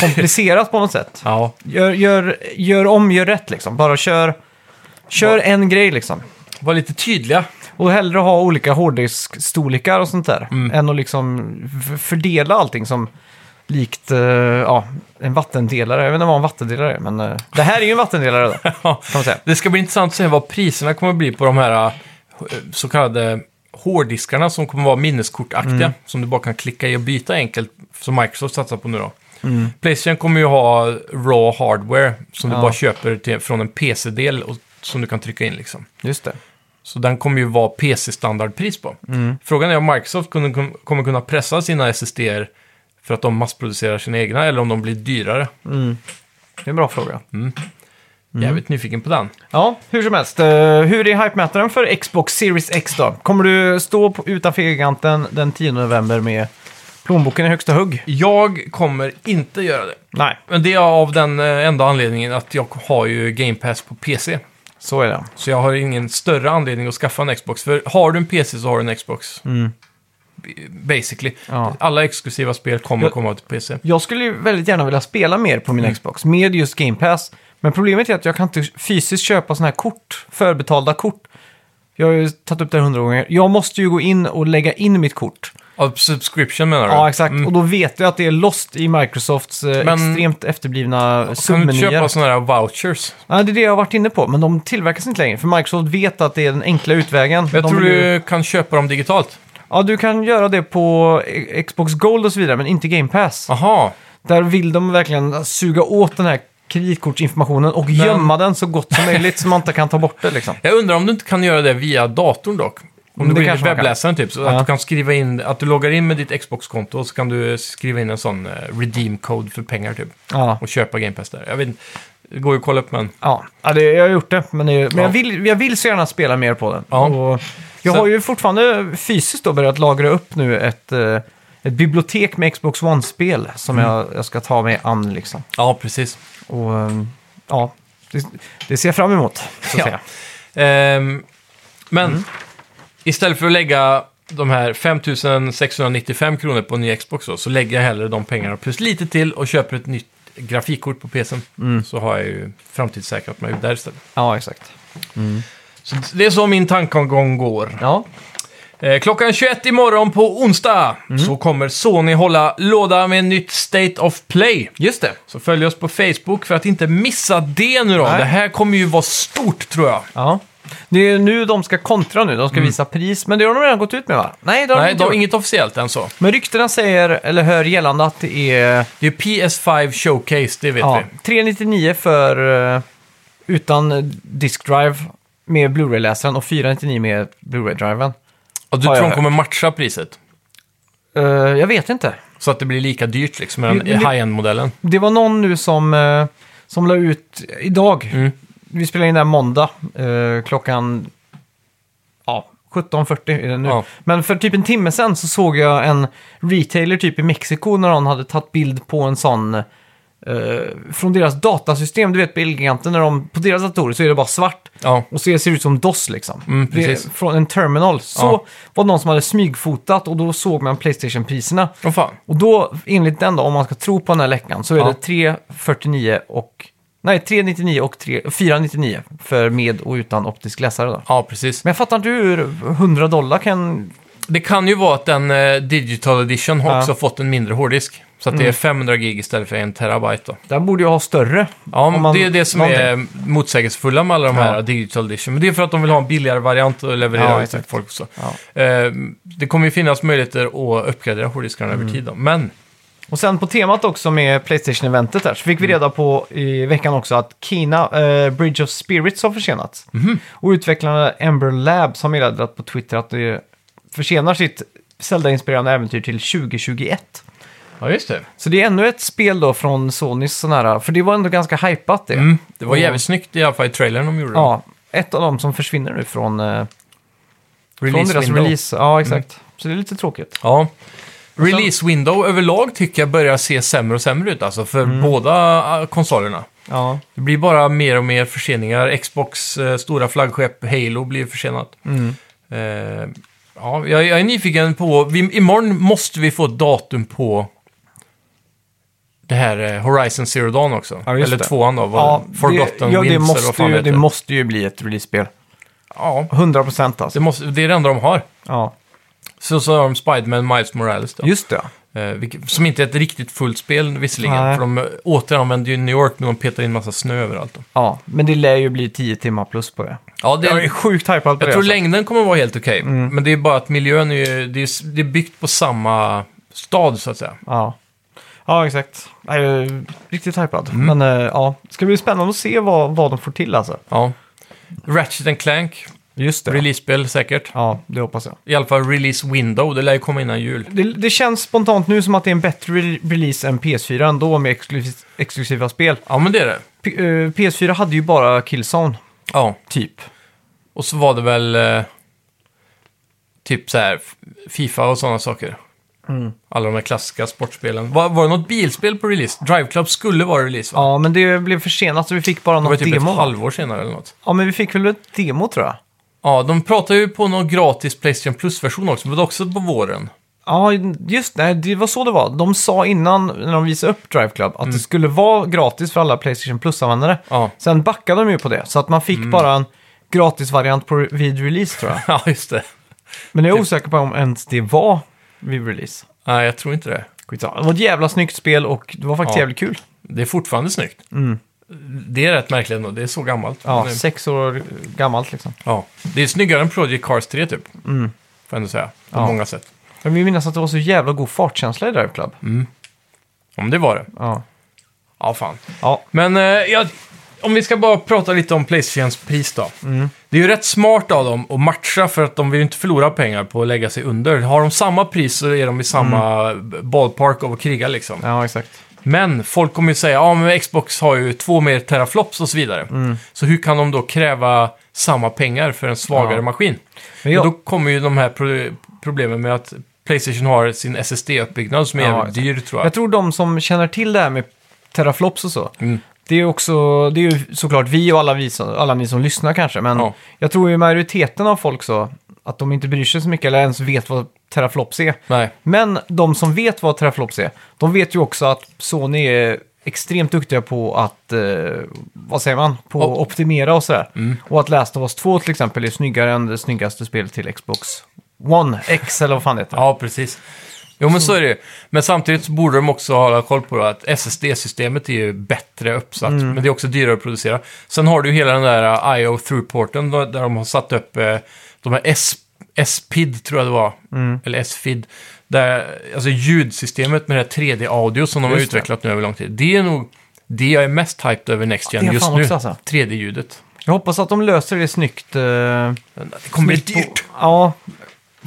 Speaker 2: komplicerat på något sätt.
Speaker 1: Ja,
Speaker 2: Gör, gör, gör om, gör rätt liksom. Bara kör, kör en grej liksom.
Speaker 1: var lite tydliga.
Speaker 2: Och hellre ha olika hårddisk-storlekar och sånt där. Än att liksom f- fördela allting som likt eh, ja, en vattendelare. Jag vet inte vad en vattendelare är, men eh, det här är ju en vattendelare då, kan man säga.
Speaker 1: Det ska bli intressant att se vad priserna kommer bli på de här eh, så kallade hårddiskarna som kommer vara minneskortaktiga.
Speaker 2: Mm.
Speaker 1: Som du bara kan klicka i och byta enkelt, som Microsoft satsar på nu då. Playstation kommer ju ha raw hardware som du
Speaker 2: Mm. Ja.
Speaker 1: bara köper till, från en PC-del och som du kan trycka in liksom.
Speaker 2: Just det.
Speaker 1: Så den kommer ju vara PC-standardpris på.
Speaker 2: Mm.
Speaker 1: Frågan är om Microsoft kunde, kommer kunna pressa sina SSD-er för att de massproducerar sina egna eller om de blir dyrare.
Speaker 2: Det är en bra fråga. Mm.
Speaker 1: Jävligt nyfiken på den.
Speaker 2: Ja, hur som helst. eh, hur är hype-mätaren för Xbox Series X då? Kommer du stå på, utanför giganten den 10 november med plånboken i högsta hugg?
Speaker 1: Jag kommer inte göra det.
Speaker 2: Nej,
Speaker 1: Men det är av den eh, enda anledningen att jag har ju Game Pass på PC.
Speaker 2: så är det.
Speaker 1: Så jag har ingen större anledning att skaffa en Xbox. För har du en PC så har du en Xbox. B- Basically.
Speaker 2: Mm. Ja.
Speaker 1: Alla exklusiva spel kommer
Speaker 2: Jag-
Speaker 1: komma till PC.
Speaker 2: Jag skulle ju väldigt gärna vilja spela mer på
Speaker 1: Mm.
Speaker 2: min Xbox med just Game Pass. Men problemet är att jag kan inte fysiskt köpa sådana här kort, förbetalda kort. Jag har ju tagit upp det här hundra gånger. Jag måste ju gå in och lägga in mitt kort.
Speaker 1: Av subscription menar du?
Speaker 2: Ja, exakt.
Speaker 1: Mm.
Speaker 2: Och då vet jag att det är lost i Microsofts eh,
Speaker 1: Men-
Speaker 2: extremt efterblivna
Speaker 1: Kan du inte köpa
Speaker 2: submenyer.
Speaker 1: sådana här vouchers?
Speaker 2: Ja, det är det jag har varit inne på, men de tillverkas inte längre. För Microsoft vet att det är den enkla utvägen.
Speaker 1: Jag
Speaker 2: de
Speaker 1: tror
Speaker 2: vill ju-
Speaker 1: du kan köpa dem digitalt.
Speaker 2: Ja, du kan göra det på eh, Xbox Gold och så vidare, men inte Game Pass.
Speaker 1: Aha.
Speaker 2: Där vill de verkligen suga åt den här kreditkortsinformationen och gömma den så gott som möjligt så man inte kan ta bort det liksom.
Speaker 1: Jag undrar om du inte kan göra det via datorn dock. Om
Speaker 2: Det
Speaker 1: du går in i
Speaker 2: kanske man kan.
Speaker 1: webbläsaren typ, så
Speaker 2: Ja.
Speaker 1: att du kan skriva in, att du loggar in med ditt Xbox-konto och så kan du skriva in en sån eh, redeem code för pengar typ.
Speaker 2: Ja,
Speaker 1: Och köpa Game Pass där. Jag vet inte, det går ju att kolla upp men.
Speaker 2: ja. ja det, jag har gjort det, men, det, men
Speaker 1: Ja.
Speaker 2: jag, vill, jag vill så gärna spela mer på den.
Speaker 1: Ja.
Speaker 2: Och jag
Speaker 1: Så-
Speaker 2: har ju fortfarande fysiskt då börjat lagra upp nu ett, eh, ett bibliotek med Xbox One-spel som jag, jag ska ta mig an liksom.
Speaker 1: Ja, precis.
Speaker 2: Och ehm, ja, det, det ser jag fram emot. Så att
Speaker 1: Ja.
Speaker 2: säga.
Speaker 1: Ehm, men istället för att lägga de här 5695 kronor på en ny Xbox då, så lägger jag hellre de pengarna plus lite till och köper ett nytt grafikkort på PCn. Så har jag ju framtidssäkrat mig där istället.
Speaker 2: ja, exakt.
Speaker 1: Så det är så min tankegång går.
Speaker 2: Ja,
Speaker 1: Eh, Klockan 21 imorgon på onsdag så kommer Sony hålla låda med nytt State of Play.
Speaker 2: just det.
Speaker 1: Så följ oss på Facebook för att inte missa det nu då.
Speaker 2: Nej.
Speaker 1: Det här kommer ju vara stort tror jag.
Speaker 2: Ja. Det är nu de ska kontra nu, de ska visa pris, men det har de redan gått ut med va? Mm. Nej, det har de
Speaker 1: Nej,
Speaker 2: inte
Speaker 1: det är
Speaker 2: gjort.
Speaker 1: inget officiellt än så.
Speaker 2: Men ryktena säger, eller hör gällande att det är
Speaker 1: Det är PS5 Showcase, det vet
Speaker 2: ja,
Speaker 1: vi.
Speaker 2: 399 för eh, utan eh, disk drive med Blu-ray-läsaren och 499 med Blu-ray-driven.
Speaker 1: Och du
Speaker 2: Har jag
Speaker 1: tror de
Speaker 2: hört.
Speaker 1: kommer matcha priset?
Speaker 2: Eh, jag vet inte.
Speaker 1: Så att det blir lika dyrt liksom med den
Speaker 2: Men det-
Speaker 1: high-end-modellen.
Speaker 2: Det var någon nu som, eh, som la ut idag.
Speaker 1: Mm.
Speaker 2: Vi spelar in det här måndag eh, klockan ja, 17.40 är det nu.
Speaker 1: Ja.
Speaker 2: Men för typ en timme sedan så såg jag en retailer typ i Mexiko när någon hade tagit bild på en sån eh, från deras datasystem. Du vet på Elgiganten, när de, på deras datorer så är det bara svart.
Speaker 1: Ja.
Speaker 2: Och så ser det ut som DOS liksom.
Speaker 1: Mm,
Speaker 2: Det är
Speaker 1: precis.
Speaker 2: från en terminal. Så
Speaker 1: Ja.
Speaker 2: var det någon som hade smygfotat och då såg man Playstation-priserna.
Speaker 1: Åh fan.
Speaker 2: Och då, enligt den då, om man ska tro på den här läckan, så är
Speaker 1: Ja.
Speaker 2: det 349 och... Nej, 399 och 3, 499 för med och utan optisk läsare då.
Speaker 1: Ja, precis.
Speaker 2: Men jag fattar inte hur 100 dollar kan...
Speaker 1: Det kan ju vara att den eh, Digital Edition har
Speaker 2: Ja.
Speaker 1: också fått en mindre hårddisk. Så att det är 500 gig istället för en terabyte då.
Speaker 2: Den borde ju ha större.
Speaker 1: Ja,
Speaker 2: Om
Speaker 1: men
Speaker 2: man-
Speaker 1: det är det som
Speaker 2: någonting.
Speaker 1: är motsägelsefulla med alla de här
Speaker 2: Ja.
Speaker 1: Digital Edition. Men det är för att de vill ha en billigare variant och leverera
Speaker 2: Ja,
Speaker 1: ut till
Speaker 2: exakt.
Speaker 1: folk också.
Speaker 2: Ja.
Speaker 1: Eh, det kommer ju finnas möjligheter att uppgradera hårddiskarna över tid då. Men,
Speaker 2: Och sen på temat också med Playstation-eventet där, så fick
Speaker 1: Mm.
Speaker 2: vi reda på i veckan också att Kina, eh, Bridge of Spirits, har försenats.
Speaker 1: Mhm.
Speaker 2: Och utvecklarna Ember Labs har meddelat på Twitter att det försenar sitt Zelda-inspirerande äventyr till 2021.
Speaker 1: ja just det.
Speaker 2: Så det är ännu ett spel då från Sonys sån här, för det var ändå ganska hypat det.
Speaker 1: Mm, det var
Speaker 2: Och-
Speaker 1: jävligt snyggt i alla fall i trailern de gjorde.
Speaker 2: Ja, ett av dem som försvinner nu från, eh, från
Speaker 1: Release
Speaker 2: deras
Speaker 1: window. Mm.
Speaker 2: release. Alltså- Ja, exakt. Så det är lite tråkigt.
Speaker 1: Ja. Release window överlag tycker jag börjar se sämre och sämre ut alltså för
Speaker 2: Mm.
Speaker 1: båda eh, konsolerna.
Speaker 2: Ja,
Speaker 1: Det blir bara mer och mer förseningar. Xbox eh, stora flaggskepp Halo blir försenat.
Speaker 2: Mm.
Speaker 1: Eh, ja, jag, jag är nyfiken på... Vi, imorgon måste vi få ett datum på det här eh, Horizon Zero Dawn också.
Speaker 2: Ja, just
Speaker 1: Eller
Speaker 2: det.
Speaker 1: tvåan då. Vad,
Speaker 2: ja
Speaker 1: Forgotten
Speaker 2: det, ja,
Speaker 1: Winds
Speaker 2: det,
Speaker 1: eller vad
Speaker 2: måste
Speaker 1: fan
Speaker 2: ju,
Speaker 1: heter.
Speaker 2: det måste ju bli ett release-spel.
Speaker 1: Ja,
Speaker 2: 100 procent
Speaker 1: det,
Speaker 2: alltså.
Speaker 1: måste, det är det enda de har.
Speaker 2: Ja,
Speaker 1: Så, så har de Spiderman Miles Morales då.
Speaker 2: just det.
Speaker 1: Eh, vilket, som inte är ett riktigt fullt spel visserligen.
Speaker 2: Nej.
Speaker 1: För de eh, återanvänder ju New York när de petar in massa snö överallt. Då.
Speaker 2: Ja, men det lär ju bli 10 timmar plus på det.
Speaker 1: Ja, det
Speaker 2: Jag är
Speaker 1: är,
Speaker 2: sjukt hypad på
Speaker 1: jag
Speaker 2: det.
Speaker 1: tror
Speaker 2: alltså.
Speaker 1: längden kommer vara helt okej. Men det är bara att miljön är, ju- det är, det är byggt på samma stad så att säga.
Speaker 2: Ja. ja, exakt. Jag är riktigt hypad.
Speaker 1: Mm.
Speaker 2: Men eh, ja, det ska bli spännande att se vad, vad de får till alltså.
Speaker 1: Ja. Ratchet and Clank,
Speaker 2: Just
Speaker 1: release-spel säkert.
Speaker 2: Ja, det hoppas jag.
Speaker 1: I alla fall release window, det lär ju komma innan jul.
Speaker 2: Det, det känns spontant nu som att det är en bättre re- release än PS4 ändå med exklusiv, exklusiva spel.
Speaker 1: Ja, men det är det.
Speaker 2: P- eh, PS4 hade ju bara Killzone,
Speaker 1: Ja.
Speaker 2: typ.
Speaker 1: Och så var det väl eh, typ så här F- Fifa och sådana saker.
Speaker 2: Mm.
Speaker 1: Alla de här klassiska sportspelen. Var, var det något bilspel på release? Drive Club skulle vara release va?
Speaker 2: Ja, men det blev försenat så vi fick bara
Speaker 1: det var
Speaker 2: något
Speaker 1: typ
Speaker 2: demo.
Speaker 1: ett halvår senare eller något.
Speaker 2: Ja, men vi fick väl ett demo tror jag.
Speaker 1: Ja, de pratar ju på någon gratis Playstation Plus-version också, men det var också på våren.
Speaker 2: Ja, just det. Det var så det var. De sa innan, när de visade upp Drive Club, att det skulle vara gratis för alla Playstation Plus-användare.
Speaker 1: Mm. Ja, Mm.
Speaker 2: Sen backade de ju på det, så att man fick bara en gratisvariant på vid release tror jag.
Speaker 1: ja just det.
Speaker 2: Men
Speaker 1: Typ.
Speaker 2: jag är osäker på om ens det var vid release.
Speaker 1: Nej, jag tror inte det.
Speaker 2: Skitsamma. Det var ett jävla snyggt spel och det var faktiskt
Speaker 1: Ja.
Speaker 2: jävligt kul.
Speaker 1: Det är fortfarande snyggt. Det är rätt märkligt ändå, det är så gammalt.
Speaker 2: Mm. Ja,
Speaker 1: Men det,
Speaker 2: sex år gammalt liksom.
Speaker 1: ja. det är snyggare än Project Cars 3 typ. Mm. Får jag ändå säga, på
Speaker 2: Ja.
Speaker 1: många sätt.
Speaker 2: Jag vill minnas att det var så jävla god fartkänsla i Drive Club.
Speaker 1: Om det var det.
Speaker 2: Ja.
Speaker 1: Ja, fan.
Speaker 2: ja.
Speaker 1: Men eh, jag, om vi ska bara prata lite om Playstations pris då.
Speaker 2: Mm.
Speaker 1: Det är ju rätt smart av dem att matcha för att de vill ju inte förlora pengar på att lägga sig under. Har de samma pris så är de i samma ballpark av att kriga liksom.
Speaker 2: Mm. Ja, exakt.
Speaker 1: Men folk kommer ju säga ja men Xbox har ju två mer teraflops och så vidare.
Speaker 2: Mm.
Speaker 1: Så hur kan de då kräva samma pengar för en svagare
Speaker 2: Ja.
Speaker 1: maskin?
Speaker 2: Men
Speaker 1: Och
Speaker 2: jag,
Speaker 1: då kommer ju de här pro- problemen med att Playstation har sin SSD-uppbyggnad som är
Speaker 2: Ja,
Speaker 1: jävligt
Speaker 2: exakt.
Speaker 1: dyr tror jag.
Speaker 2: jag tror de som känner till det här med teraflops och så,
Speaker 1: Mm.
Speaker 2: det är, också, det är ju såklart vi och alla, vi som, alla ni som lyssnar kanske, men
Speaker 1: Ja.
Speaker 2: jag tror ju majoriteten av folk så, att de inte bryr sig så mycket eller ens vet vad teraflops är.
Speaker 1: Nej.
Speaker 2: Men de som vet vad teraflops är, de vet ju också att Sony är extremt duktiga på att, eh, vad säger man, på att
Speaker 1: Op-
Speaker 2: optimera och sådär. Och att Last of Us 2 till exempel är snyggare än det snyggaste spelet till Xbox One X eller vad fan det heter.
Speaker 1: Ja, precis. Jo, men så är det ju. Men samtidigt så borde de också hålla koll på det, att SSD-systemet är ju bättre uppsatt,
Speaker 2: Mm.
Speaker 1: men det är också dyrare att producera. Sen har du ju hela den där IO throughporten då- där de har satt upp eh, de här S- S-PID, tror jag det var,
Speaker 2: Mm.
Speaker 1: eller S-FID, där, alltså ljudsystemet med det här 3D-audio som de har
Speaker 2: Just det.
Speaker 1: utvecklat nu över lång tid. Det är nog det jag är mest hyped över Next Gen
Speaker 2: det är
Speaker 1: just
Speaker 2: fan
Speaker 1: nu,
Speaker 2: också, alltså.
Speaker 1: 3D-ljudet.
Speaker 2: Jag hoppas att de löser det snyggt. Eh,
Speaker 1: Det kommer bli
Speaker 2: snyggt på-
Speaker 1: dyrt.
Speaker 2: Ja.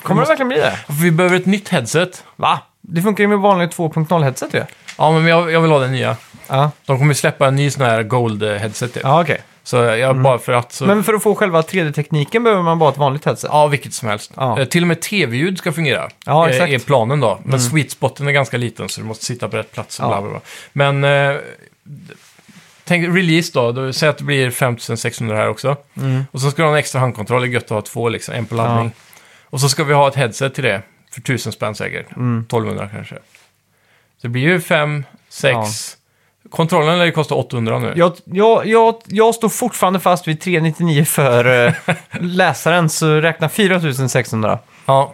Speaker 2: Kommer det verkligen bli det?
Speaker 1: Vi behöver ett nytt headset.
Speaker 2: Va? Det funkar ju med vanligt 2.0-headset ju.
Speaker 1: Ja, men jag, jag vill ha den nya.
Speaker 2: Ja,
Speaker 1: De kommer ju släppa en ny sån här gold-headset. typ.
Speaker 2: ja okej.
Speaker 1: Så jag bara för att... Så,
Speaker 2: Men för att få själva 3D-tekniken behöver man bara ett vanligt headset.
Speaker 1: Ja, vilket som helst.
Speaker 2: Ja.
Speaker 1: Eh, till och med tv-ljud ska fungera.
Speaker 2: Ja,
Speaker 1: eh,
Speaker 2: exakt. Mm.
Speaker 1: Är planen då. Men sweet spoten är ganska liten så du måste sitta på rätt plats. Och
Speaker 2: Ja.
Speaker 1: bla, bla, bla. Men... Eh, tänk release då. då. Säg att det blir 5600 här också.
Speaker 2: Mm.
Speaker 1: Och så ska du ha en extra handkontroll. Det är gött att ha två liksom. En på laddning. Och så ska vi ha ett headset till det. För 1000 spänn säkert.
Speaker 2: Mm.
Speaker 1: 1200 kanske. Så det blir ju 5, 6... Kontrollen lär ju kosta 800 nu.
Speaker 2: Jag, jag, jag, jag står fortfarande fast vid 399 för eh, läsaren, så räkna 4600.
Speaker 1: Ja.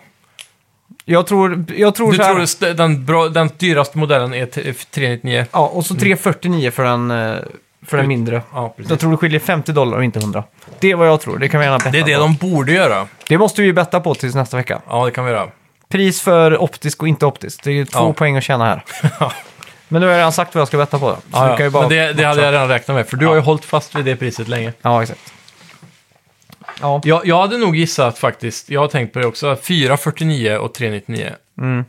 Speaker 2: Jag tror... Jag tror,
Speaker 1: Du
Speaker 2: så här,
Speaker 1: tror det st- den, bra, den dyraste modellen är t- 399?
Speaker 2: Ja, och så 349 för den, eh, för den mindre.
Speaker 1: Ja, precis.
Speaker 2: Jag tror det skiljer 50 dollar och inte 100. Det är vad jag tror, det kan vi gärna betta
Speaker 1: Det är det
Speaker 2: på.
Speaker 1: de borde göra.
Speaker 2: Det måste vi ju betta på tills nästa vecka.
Speaker 1: Ja, det kan vi göra.
Speaker 2: Pris för optisk och inte optisk. Det är ju två
Speaker 1: Ja.
Speaker 2: poäng att tjäna här. Men nu har jag redan sagt vad jag ska betta på. då. Så
Speaker 1: Ja,
Speaker 2: vi
Speaker 1: ja.
Speaker 2: kan ju bara
Speaker 1: Men det, det hade jag redan räknat med, för du har ju hållit fast vid det priset länge.
Speaker 2: Ja, exakt. Ja,
Speaker 1: Jag, jag hade nog gissat faktiskt, jag har tänkt på det också, 449 och 399.
Speaker 2: Mm.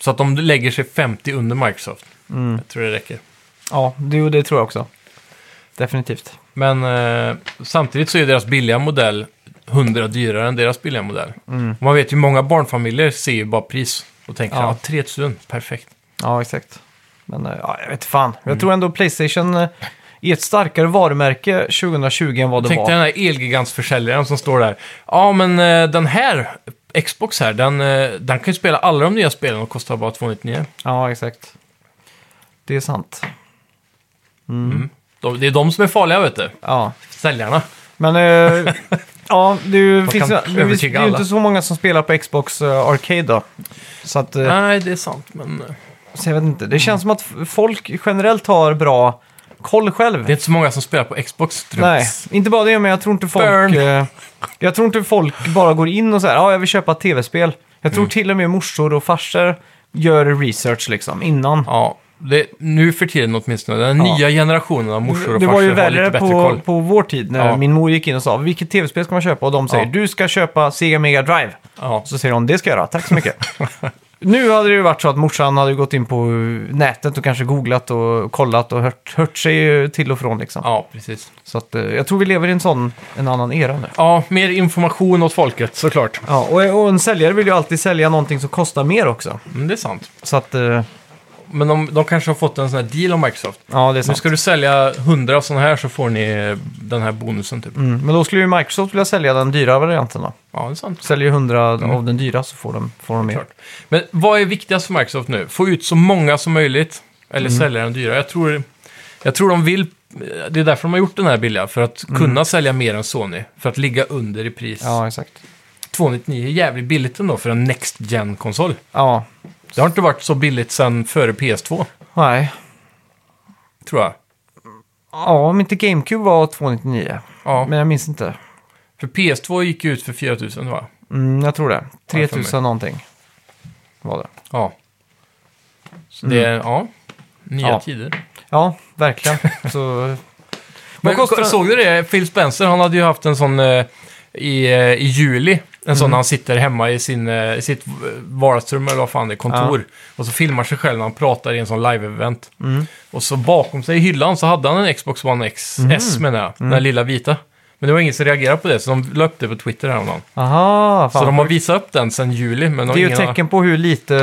Speaker 1: Så att de lägger sig 50 under Microsoft.
Speaker 2: Mm.
Speaker 1: Jag tror det räcker.
Speaker 2: ja det, det tror jag också. Definitivt.
Speaker 1: Men eh, samtidigt så är deras billiga modell 100 dyrare än deras billiga modell. Och Man vet ju, många barnfamiljer ser ju bara pris och tänker
Speaker 2: Mm. Ja.
Speaker 1: ja. ah, 3000, perfekt.
Speaker 2: Ja, exakt. Men eh, ja, jag vet fan. Jag tror ändå Playstation eh, är ett starkare varumärke 2020 än vad det
Speaker 1: Tänk dig
Speaker 2: var.
Speaker 1: den här elgigantsförsäljaren som står där. Ja, men eh, den här Xbox här, den, eh, den kan ju spela alla de nya spelen och kostar bara 299.
Speaker 2: Ja, exakt. Det är sant.
Speaker 1: De, det är de som är farliga, vet du.
Speaker 2: Ja.
Speaker 1: Säljarna.
Speaker 2: Men eh, Ja, det finns
Speaker 1: kan
Speaker 2: ju- men visst, det
Speaker 1: övertyga
Speaker 2: är ju
Speaker 1: alla.
Speaker 2: inte så många som spelar på Xbox eh, Arcade då. Så, att, eh,
Speaker 1: Nej, det är sant, men... eh,
Speaker 2: så jag vet inte. Det känns som att f- folk generellt har bra koll själv.
Speaker 1: Det är inte så många som spelar på Xbox, tror jag.
Speaker 2: Nej, inte bara det, men jag tror inte folk...
Speaker 1: Burn.
Speaker 2: Eh, jag tror inte folk bara går in och säger ja, jag vill köpa ett tv-spel. Jag
Speaker 1: Mm.
Speaker 2: tror till och med morsor och farsor gör research liksom innan.
Speaker 1: Ja, det, nu för tiden åtminstone. Den
Speaker 2: Ja.
Speaker 1: nya generationen av morsor och
Speaker 2: det var
Speaker 1: farsor
Speaker 2: ju
Speaker 1: har lite
Speaker 2: värre
Speaker 1: bättre
Speaker 2: på,
Speaker 1: koll.
Speaker 2: på vår tid när
Speaker 1: Ja.
Speaker 2: min mor gick in och sa vilket tv-spel ska man köpa? Och de säger
Speaker 1: Ja.
Speaker 2: du ska köpa Sega Mega Drive.
Speaker 1: Ja.
Speaker 2: Så säger hon det ska jag göra, tack så mycket. nu hade det ju varit så att morsan hade gått in på nätet och kanske googlat och kollat och hört, hört sig till och från liksom.
Speaker 1: ja, precis.
Speaker 2: Så att, eh, jag tror vi lever i en sån, en annan era nu.
Speaker 1: Ja, mer information åt folket såklart.
Speaker 2: Ja, och, och en säljare vill ju alltid sälja någonting som kostar mer också.
Speaker 1: Mm, det är sant.
Speaker 2: Så att, eh,
Speaker 1: Men de, de kanske har fått en sån här deal av Microsoft.
Speaker 2: ja det är
Speaker 1: Nu
Speaker 2: sant.
Speaker 1: ska du sälja 100 av sådana här så får ni eh, den här bonusen typ.
Speaker 2: Mm, men då skulle ju Microsoft vilja sälja den dyra varianten då.
Speaker 1: Ja, det är sant.
Speaker 2: Säljer 100 av den dyra så får de, får de mer.
Speaker 1: Mm. Klart. Men vad är viktigast för Microsoft nu? Få ut så många som möjligt eller
Speaker 2: Mm.
Speaker 1: sälja den dyra? Jag tror, jag tror de vill... Det är därför de har gjort den här billiga, för att kunna sälja mer än Sony. För att ligga under i pris.
Speaker 2: Mm. Ja, exakt.
Speaker 1: 299 är jävligt billigt ändå för en Next Gen-konsol.
Speaker 2: Ja,
Speaker 1: Det har inte varit så billigt sedan före PS2,
Speaker 2: nej.
Speaker 1: tror jag.
Speaker 2: Ja, om inte GameCube var 299.
Speaker 1: Ja,
Speaker 2: Men jag minns inte.
Speaker 1: för PS2 gick ju ut för 4000 va?
Speaker 2: Mm, jag tror det.
Speaker 1: mig.
Speaker 2: 3000 någonting var det.
Speaker 1: Ja. Så det är, ja, nya
Speaker 2: Mm. Ja.
Speaker 1: tider.
Speaker 2: Ja, verkligen. så...
Speaker 1: Men
Speaker 2: Vad kostar-
Speaker 1: såg du det? Phil Spencer, han hade ju haft en sån eh, i, eh, i juli. En
Speaker 2: Mm.
Speaker 1: sån när han sitter hemma i, sin, eh, i sitt eh, vardagsrum eller vad fan det är, kontor. Och så filmar sig själv när han pratar i en sån live-event.
Speaker 2: Mm.
Speaker 1: Och så bakom sig i hyllan så hade han en Xbox One X, S
Speaker 2: Mm.
Speaker 1: menar jag, den här lilla vita. Men det var ingen som reagerade på det, så de la upp det på Twitter häromdagen.
Speaker 2: Aha, fan.
Speaker 1: Så de har visat upp den sedan juli, men
Speaker 2: Det är ju
Speaker 1: ingen
Speaker 2: ett
Speaker 1: har-
Speaker 2: tecken på hur lite...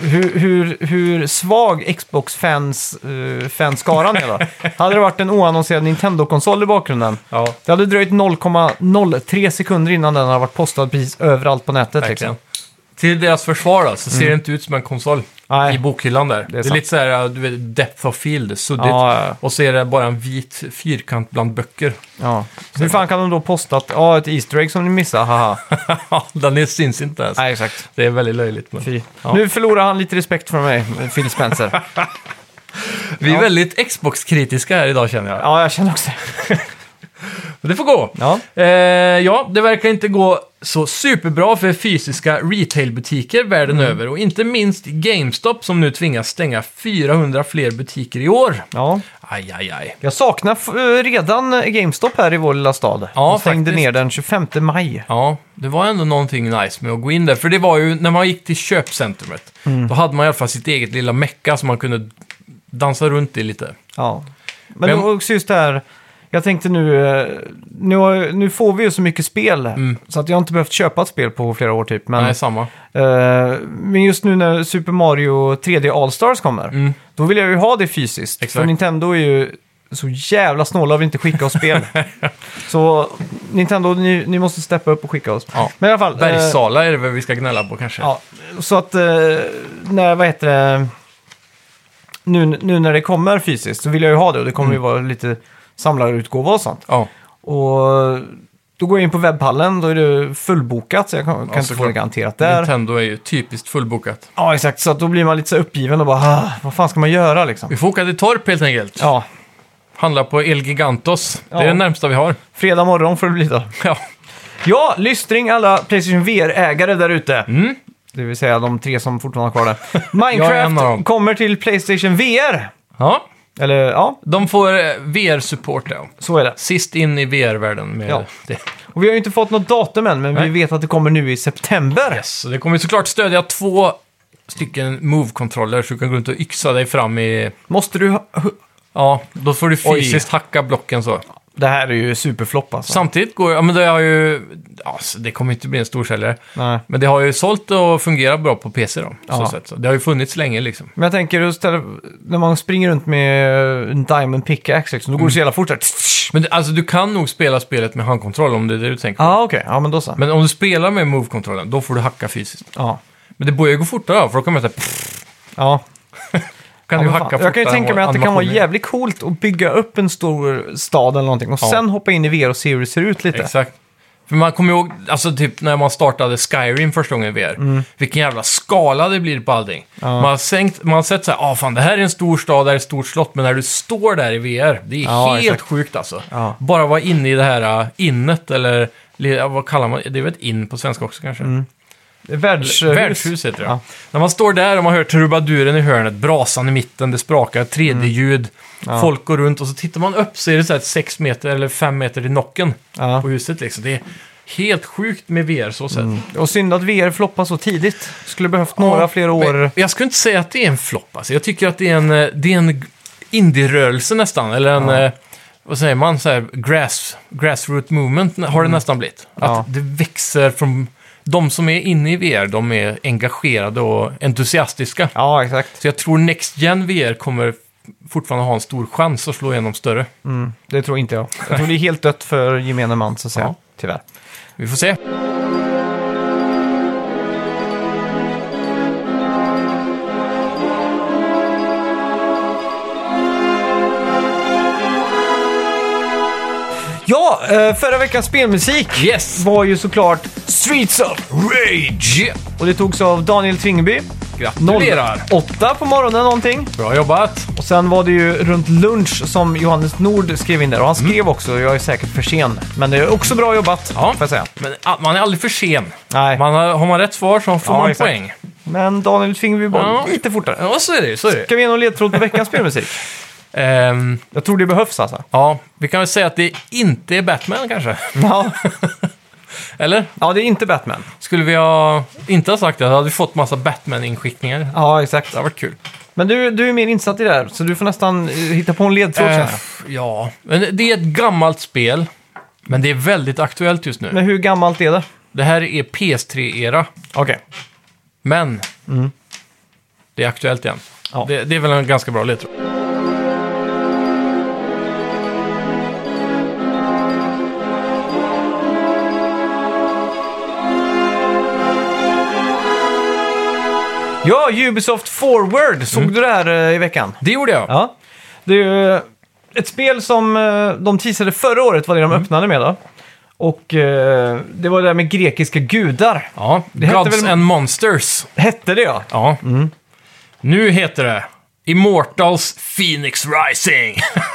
Speaker 2: Hur, hur, hur svag Xbox-fans eh, fanskaran är då. Hade det varit en oannonserad Nintendo-konsol i bakgrunden.
Speaker 1: Ja,
Speaker 2: Det hade dröjt 0,03 sekunder innan den hade varit postad precis överallt på nätet.
Speaker 1: verkligen.
Speaker 2: Liksom.
Speaker 1: Till deras försvar då, så
Speaker 2: Mm.
Speaker 1: ser det inte ut som en konsol
Speaker 2: Nej.
Speaker 1: i bokhyllan där. Det är,
Speaker 2: sant.
Speaker 1: lite så här, du vet, depth of field, suddigt.
Speaker 2: Ja, ja,
Speaker 1: Och så är det bara en vit fyrkant bland böcker.
Speaker 2: ja. Så Hur fan kan de då posta att ja, ett Easter egg som ni missade, haha.
Speaker 1: Den är, syns inte ens.
Speaker 2: Nej, exakt.
Speaker 1: Det är väldigt löjligt. Men...
Speaker 2: Fy.
Speaker 1: Ja.
Speaker 2: Nu förlorar han lite respekt från mig, Phil Spencer.
Speaker 1: Vi är
Speaker 2: Ja.
Speaker 1: väldigt Xbox-kritiska här idag känner jag.
Speaker 2: ja, jag känner också
Speaker 1: Men det får gå.
Speaker 2: Ja.
Speaker 1: Eh, ja, det verkar inte gå så superbra för fysiska retailbutiker världen
Speaker 2: Mm.
Speaker 1: över. Och inte minst GameStop som nu tvingas stänga 400 fler butiker i år.
Speaker 2: ja.
Speaker 1: Aj, aj, aj.
Speaker 2: Jag saknar f- eh, redan eh, GameStop här i vår lilla stad.
Speaker 1: Ja,
Speaker 2: De stängde
Speaker 1: faktiskt.
Speaker 2: ner den 25 maj.
Speaker 1: Ja, det var ändå någonting nice med att gå in där. För det var ju, när man gick till köpcentrumet,
Speaker 2: Mm.
Speaker 1: då hade man i alla fall sitt eget lilla mecka som man kunde dansa runt i lite.
Speaker 2: Ja. Men,
Speaker 1: Men-
Speaker 2: det var också just det här, jag tänkte nu, eh, nu, har- nu får vi ju så mycket spel. Så att jag har inte behövt köpa ett spel på flera år typ. Men,
Speaker 1: Mm. Nej, samma.
Speaker 2: eh, men just nu när Super Mario 3D All-Stars kommer, då vill jag ju ha det fysiskt.
Speaker 1: Mm. Exakt.
Speaker 2: För Nintendo är ju så jävla snåla och vill inte skicka oss spel. så Nintendo, ni, ni måste steppa upp och skicka oss.
Speaker 1: Ja.
Speaker 2: Men i alla fall. eh,
Speaker 1: Bergsala är det väl vi ska gnälla på kanske.
Speaker 2: Ja, så att eh, när, vad heter det, nu, nu när det kommer fysiskt så vill jag ju ha det och det kommer ju
Speaker 1: Mm.
Speaker 2: vara lite samlarutgåva och sånt.
Speaker 1: Ja,
Speaker 2: Och då går jag in på webbhallen, då är det fullbokat så jag kan, kan inte få det
Speaker 1: såklart.
Speaker 2: garanterat där.
Speaker 1: Nintendo är ju typiskt fullbokat.
Speaker 2: Ja, exakt. Så att då blir man lite så här uppgiven och bara, "Ah, vad fan ska man göra liksom?
Speaker 1: Vi får åka till Torp helt enkelt.
Speaker 2: Ja,
Speaker 1: Handla på El Gigantos. Det
Speaker 2: Ja.
Speaker 1: är det närmsta vi har.
Speaker 2: fredag morgon får det bli då.
Speaker 1: Ja,
Speaker 2: Ja, lystring alla Playstation VR-ägare där ute. Det vill säga de tre som fortfarande har kvar det.
Speaker 1: Mm. Jag är en av dem.
Speaker 2: Minecraft kommer till Playstation VR.
Speaker 1: ja.
Speaker 2: Eller ja,
Speaker 1: de får eh, VR-support. Ja.
Speaker 2: så är det.
Speaker 1: Sist in i VR-världen med
Speaker 2: Ja.
Speaker 1: det.
Speaker 2: Och vi har ju inte fått något datum än, men
Speaker 1: Nej.
Speaker 2: vi vet att det kommer nu i september.
Speaker 1: Så det kommer ju såklart stödja två stycken Move-kontroller så du kan gå runt och yxa dig fram i...
Speaker 2: Måste du... ha- hu-
Speaker 1: Ja, då får du
Speaker 2: Oj.
Speaker 1: fysiskt hacka blocken så.
Speaker 2: Det här är ju superflopp alltså.
Speaker 1: Samtidigt går ja, men det har ju... Ja, så det kommer inte bli en storsäljare.
Speaker 2: Nej.
Speaker 1: Men det har ju sålt och fungerat bra på PC då. Så
Speaker 2: Ja.
Speaker 1: sätt. Så det har ju funnits länge liksom.
Speaker 2: Men jag tänker, just där, när man springer runt med eh, en Diamond Pickaxe, liksom, då
Speaker 1: Mm.
Speaker 2: går det så jävla fort. Ja,
Speaker 1: Men det, alltså du kan nog spela spelet med handkontroll om det är det du tänker.
Speaker 2: ah, okej. Ja, men då så.
Speaker 1: Men om du spelar med move-kontrollen, då får du hacka fysiskt.
Speaker 2: Ja.
Speaker 1: Men det börjar ju gå fortare då, för då kommer jag säga,
Speaker 2: Ja.
Speaker 1: kan
Speaker 2: Ja,
Speaker 1: du
Speaker 2: men
Speaker 1: hacka
Speaker 2: fan.
Speaker 1: fortare
Speaker 2: jag kan ju
Speaker 1: än
Speaker 2: tänka
Speaker 1: vad
Speaker 2: mig att det kan vara
Speaker 1: animationen är.
Speaker 2: jävligt coolt att bygga upp en stor stad eller någonting och
Speaker 1: Ja.
Speaker 2: sen hoppa in i VR och se hur det ser ut lite.
Speaker 1: Exakt. För man kommer ihåg, alltså typ när man startade Skyrim första gången i VR.
Speaker 2: Mm.
Speaker 1: Vilken jävla skala det blir på allting. Man, har sänkt, man har sett så här, ah fan det här är en stor stad, det här är ett stort slott. Men när du står där i VR, det är
Speaker 2: Ja,
Speaker 1: helt
Speaker 2: exakt.
Speaker 1: sjukt alltså.
Speaker 2: Ja.
Speaker 1: Bara vara inne i det här äh, innet eller, li- ja, vad kallar man det? Det är väl ett in på svenska också kanske?
Speaker 2: Mm. Världshus.
Speaker 1: Värdshus heter det.
Speaker 2: Ja.
Speaker 1: När man står där och man hör trubaduren i hörnet, brasan i mitten, det sprakar, 3D-ljud,
Speaker 2: Mm.
Speaker 1: folk går runt och så tittar man upp så är det så här 6 meter eller 5 meter till nocken
Speaker 2: Ja. Mm.
Speaker 1: på huset liksom. Det är helt sjukt med VR så sett.
Speaker 2: Och synd att VR floppar så tidigt. Skulle behövt
Speaker 1: Ja,
Speaker 2: några fler år.
Speaker 1: men Jag skulle inte säga att det är en flopp alltså. Jag tycker att det är en, eh, det är en indie-rörelse nästan, eller en... eh, Vad säger man? Så här, grass, grassroot movement har det nästan blivit. Att
Speaker 2: Mm. Ja.
Speaker 1: det växer från... De som är inne i VR, de är engagerade och entusiastiska.
Speaker 2: Ja, exakt.
Speaker 1: Så jag tror Next Gen VR kommer fortfarande ha en stor chans att slå igenom större.
Speaker 2: Mm, det tror inte jag. Jag tror det är helt dött för gemene man, så att säga.
Speaker 1: Ja.
Speaker 2: Tyvärr.
Speaker 1: Vi får se.
Speaker 2: Ja, eh, förra veckans spelmusik
Speaker 1: Yes!
Speaker 2: var ju såklart Streets of
Speaker 1: Rage!
Speaker 2: och det togs av Daniel Tvingby.
Speaker 1: Gratulerar!
Speaker 2: 08 på morgonen någonting.
Speaker 1: Bra jobbat!
Speaker 2: Och sen var det ju runt lunch som Johannes Nord skrev in där. Och han skrev också, jag är säkert för sen. Men det är också bra jobbat,
Speaker 1: Ja.
Speaker 2: får jag säga.
Speaker 1: Men ah, man är aldrig för sen.
Speaker 2: Nej.
Speaker 1: Man har, har man rätt svar så får
Speaker 2: Ja,
Speaker 1: man
Speaker 2: exakt.
Speaker 1: poäng.
Speaker 2: Men Daniel Tvingby var
Speaker 1: Ja.
Speaker 2: lite fortare.
Speaker 1: Ja, så är det ju, så är det ju.
Speaker 2: Ska vi ge någon ledtråd på veckans spelmusik?
Speaker 1: Ehm,
Speaker 2: Jag tror det behövs alltså.
Speaker 1: Ja, vi kan väl säga att det inte är Batman kanske.
Speaker 2: Ja,
Speaker 1: Eller?
Speaker 2: ja det är inte Batman.
Speaker 1: Skulle vi ha inte ha sagt det, då hade vi fått massa Batman-inskickningar. Det
Speaker 2: Ja, exakt.
Speaker 1: hade varit kul.
Speaker 2: Men du, du är mer insatt i det här, så du får nästan eh, hitta på en ledtråd
Speaker 1: Eh,
Speaker 2: känner jag.
Speaker 1: ja, men det är ett gammalt spel. Men det är väldigt aktuellt just nu.
Speaker 2: Men hur gammalt är det?
Speaker 1: Det här är PS3-era,
Speaker 2: Okej.
Speaker 1: men det är aktuellt igen.
Speaker 2: Mm. Ja.
Speaker 1: Det, det är väl en ganska bra ledtråd.
Speaker 2: Ja, Ubisoft Forward. Såg
Speaker 1: Mm.
Speaker 2: du det här eh, i veckan?
Speaker 1: Det gjorde jag.
Speaker 2: Ja. Det är ju eh, ett spel som eh, de teasade förra året, var det
Speaker 1: Mm.
Speaker 2: de öppnade med då. Och eh, det var det där med grekiska gudar.
Speaker 1: Ja,
Speaker 2: Det hette
Speaker 1: Gods
Speaker 2: väl-
Speaker 1: and Monsters.
Speaker 2: Hette det ja?
Speaker 1: Ja. Nu heter det Immortals Phoenix Rising.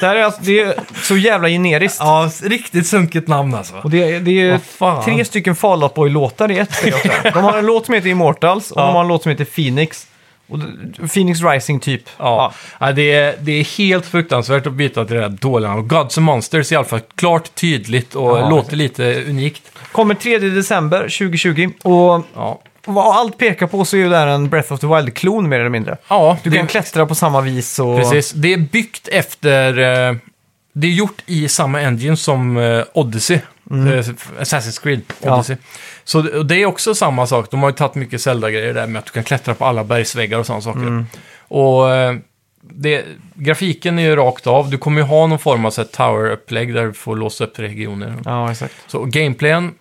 Speaker 2: Det, här är alltså, det är så jävla generiskt.
Speaker 1: ja, riktigt sunkigt namn alltså.
Speaker 2: Och det, är- det är
Speaker 1: Vad fan.
Speaker 2: tre stycken Fall Out Boy-låtar i ett spel också. De har en låt som heter Immortals och de har en låt som heter Phoenix. Och d- Phoenix Rising typ.
Speaker 1: Ja, ja det, är, det är helt fruktansvärt att byta till det där dåliga namnet. Gods and Monsters är i alla fall klart tydligt och
Speaker 2: Ja,
Speaker 1: låter lite unikt.
Speaker 2: Kommer 3 december 2020 och
Speaker 1: Ja,
Speaker 2: vad allt pekar på så är ju det här en Breath of the Wild-klon mer eller mindre.
Speaker 1: ja
Speaker 2: Du
Speaker 1: det,
Speaker 2: kan klättra på samma vis och...
Speaker 1: precis. Det är byggt efter... eh, Det är gjort i samma engine som eh, Odyssey. Eh, Assassin's Creed
Speaker 2: Mm. Ja.
Speaker 1: Odyssey. Så det- och det är också samma sak. De har ju tagit mycket Zelda-grejer där med att du kan klättra på alla bergsväggar och sådana saker.
Speaker 2: Mm.
Speaker 1: Och eh, det, grafiken är ju rakt av. Du kommer ju ha någon form av så här tower-upplägg där du får låsa upp regioner.
Speaker 2: Ja, exakt.
Speaker 1: Så gameplayen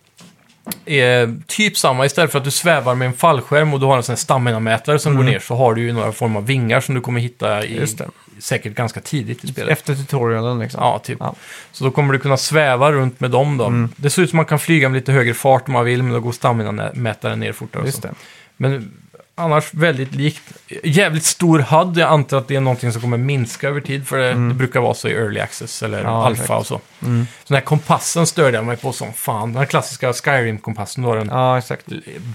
Speaker 1: är typ samma. Istället för att du svävar med en fallskärm och du har en sån här stamina-mätare som går ner så har du ju några form av vingar som du kommer hitta i,
Speaker 2: Mm. Just det.
Speaker 1: säkert ganska tidigt i spelet.
Speaker 2: Efter tutorialen liksom.
Speaker 1: Ja, typ.
Speaker 2: Ja. Mm.
Speaker 1: Så då kommer du kunna sväva runt med dem då. Det ser ut som man kan flyga med lite högre fart om man vill, men då går stamina-mätaren ner fortare. och
Speaker 2: Just
Speaker 1: så.
Speaker 2: det.
Speaker 1: Men annars väldigt likt. Jävligt stor HUD, jag antar att det är någonting som kommer minska över tid, för det, det brukar vara så i early access eller
Speaker 2: Mm. Ja,
Speaker 1: alfa
Speaker 2: exakt. Mm.
Speaker 1: och så. Så den här kompassen störde jag mig på som fan. Den här klassiska Skyrim-kompassen, då har den
Speaker 2: Ja, exakt.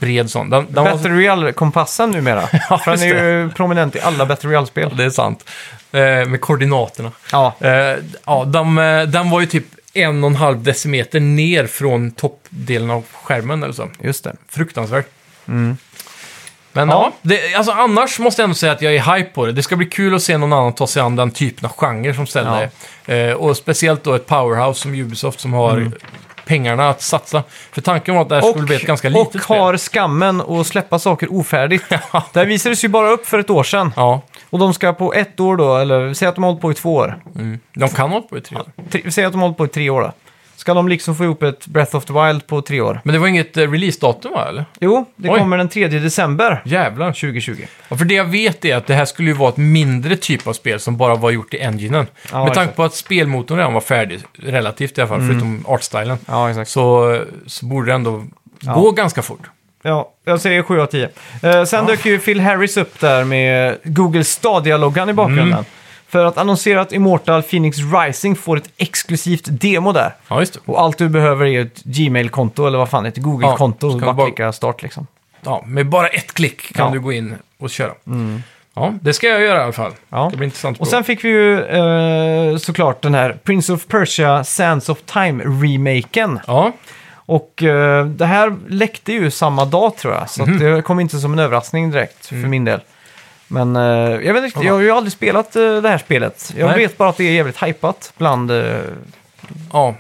Speaker 1: bred sån. Den, den var,
Speaker 2: Battle Royale-kompassen numera.
Speaker 1: Ja,
Speaker 2: För den
Speaker 1: just
Speaker 2: är ju prominent i alla Battle Royale-spel.
Speaker 1: det är sant. Eh, med koordinaterna.
Speaker 2: Ja,
Speaker 1: Eh, ja, de, eh, den var ju typ en och en halv decimeter ner från toppdelen av skärmen eller så.
Speaker 2: just det.
Speaker 1: Fruktansvärt. Men
Speaker 2: Mm. Ja.
Speaker 1: ja, det, alltså annars måste jag ändå säga att jag är hype på det. Det ska bli kul att se någon annan ta sig an den typen av genre som Zelda
Speaker 2: Ja. Mm.
Speaker 1: är. Eh, och speciellt då ett powerhouse som Ubisoft som har pengarna att satsa. För tanken var att det här skulle bli ett ganska litet
Speaker 2: och har skammen att släppa saker ofärdigt.
Speaker 1: Ja.
Speaker 2: det här visades ju bara upp för ett år sedan.
Speaker 1: spel. Ja,
Speaker 2: Och de ska på ett år då, eller säg att de har hållit på i två år.
Speaker 1: de kan hålla på i tre år.
Speaker 2: Tre, säg att de har hållit på i tre år då. Ska de liksom få ihop ett Breath of the Wild på tre år?
Speaker 1: Men det var inget eh, releasedatum va, eller?
Speaker 2: Jo, det
Speaker 1: Oj.
Speaker 2: kommer den 3 december
Speaker 1: Jävlar.
Speaker 2: 2020.
Speaker 1: Ja, för det jag vet är att det här skulle ju vara ett mindre typ av spel som bara var gjort i enginen.
Speaker 2: Ja,
Speaker 1: Med tanke
Speaker 2: exakt. Mm.
Speaker 1: på att spelmotorn redan var färdig, relativt i alla fall, förutom artstylen.
Speaker 2: Ja, exakt.
Speaker 1: Så, så borde det ändå gå ganska fort.
Speaker 2: Ja, jag säger 7 av 10. Eh, sen dök ju Phil Harris upp där med Google Stadia-loggan i bakgrunden. För att annonsera att Immortal Phoenix Rising får ett exklusivt demo där.
Speaker 1: Ja, just det.
Speaker 2: Och allt du behöver är ett Gmail-konto eller vad fan, ett Google-konto.
Speaker 1: Ja,
Speaker 2: och
Speaker 1: ska
Speaker 2: bara
Speaker 1: bara-
Speaker 2: klicka start liksom.
Speaker 1: Ja, med bara ett klick kan
Speaker 2: Ja. Mm.
Speaker 1: du gå in och köra. Ja, det ska jag göra i alla fall.
Speaker 2: Ja.
Speaker 1: Det blir intressant.
Speaker 2: Och
Speaker 1: att
Speaker 2: sen fick vi ju eh, såklart den här Prince of Persia Sands of Time-remaken.
Speaker 1: prova. Ja,
Speaker 2: Och eh, det här läckte ju samma dag tror jag, så
Speaker 1: Mhm.
Speaker 2: att det kom inte som en överraskning direkt
Speaker 1: Mm.
Speaker 2: för min del. Men eh, jag vet inte, jag har ju aldrig spelat eh, det här spelet. Jag
Speaker 1: Nej.
Speaker 2: vet bara att det är jävligt hypat bland... eh,
Speaker 1: ja.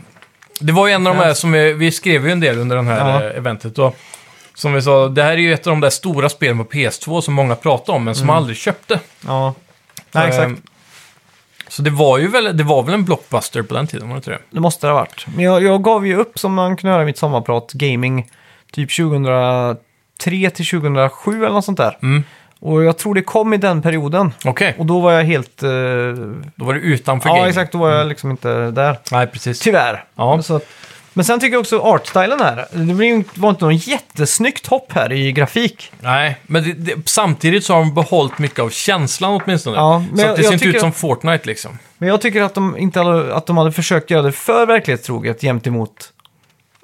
Speaker 1: Det var ju en av de här som vi, vi skrev ju en del under det här
Speaker 2: Ja.
Speaker 1: eh, eventet. Och som vi sa, det här är ju ett av de där stora spelen på PS2 som många pratar om, men som
Speaker 2: Mm.
Speaker 1: aldrig köpte.
Speaker 2: ja, nej exakt.
Speaker 1: Ehm, Så det var ju väl, det var väl en blockbuster på den tiden, var det inte det?
Speaker 2: Det måste det ha varit. Men jag, jag gav ju upp, som man kunde höra i mitt sommarprat, gaming typ 2003 till 2007 eller något sånt där.
Speaker 1: Mm.
Speaker 2: Och jag tror det kom i den perioden.
Speaker 1: Okej,
Speaker 2: Och då var jag helt... eh,
Speaker 1: då var det utanför
Speaker 2: ja,
Speaker 1: gaming. Mm.
Speaker 2: exakt. Typ. Då var jag liksom inte där.
Speaker 1: Nej, precis.
Speaker 2: Tyvärr.
Speaker 1: Ja.
Speaker 2: Men Så att, men sen tycker jag också artstylen här. Det blir ju- var inte någon jättesnyggt hopp här i grafik.
Speaker 1: Nej, men det, det, samtidigt så har de behållit mycket av känslan åtminstone.
Speaker 2: Ja, men
Speaker 1: så
Speaker 2: jag-
Speaker 1: att det
Speaker 2: jag
Speaker 1: ser inte
Speaker 2: tycker-
Speaker 1: ut som Fortnite liksom.
Speaker 2: Men jag tycker att de, inte hade, att de hade försökt göra det för verklighetstroget jämt emot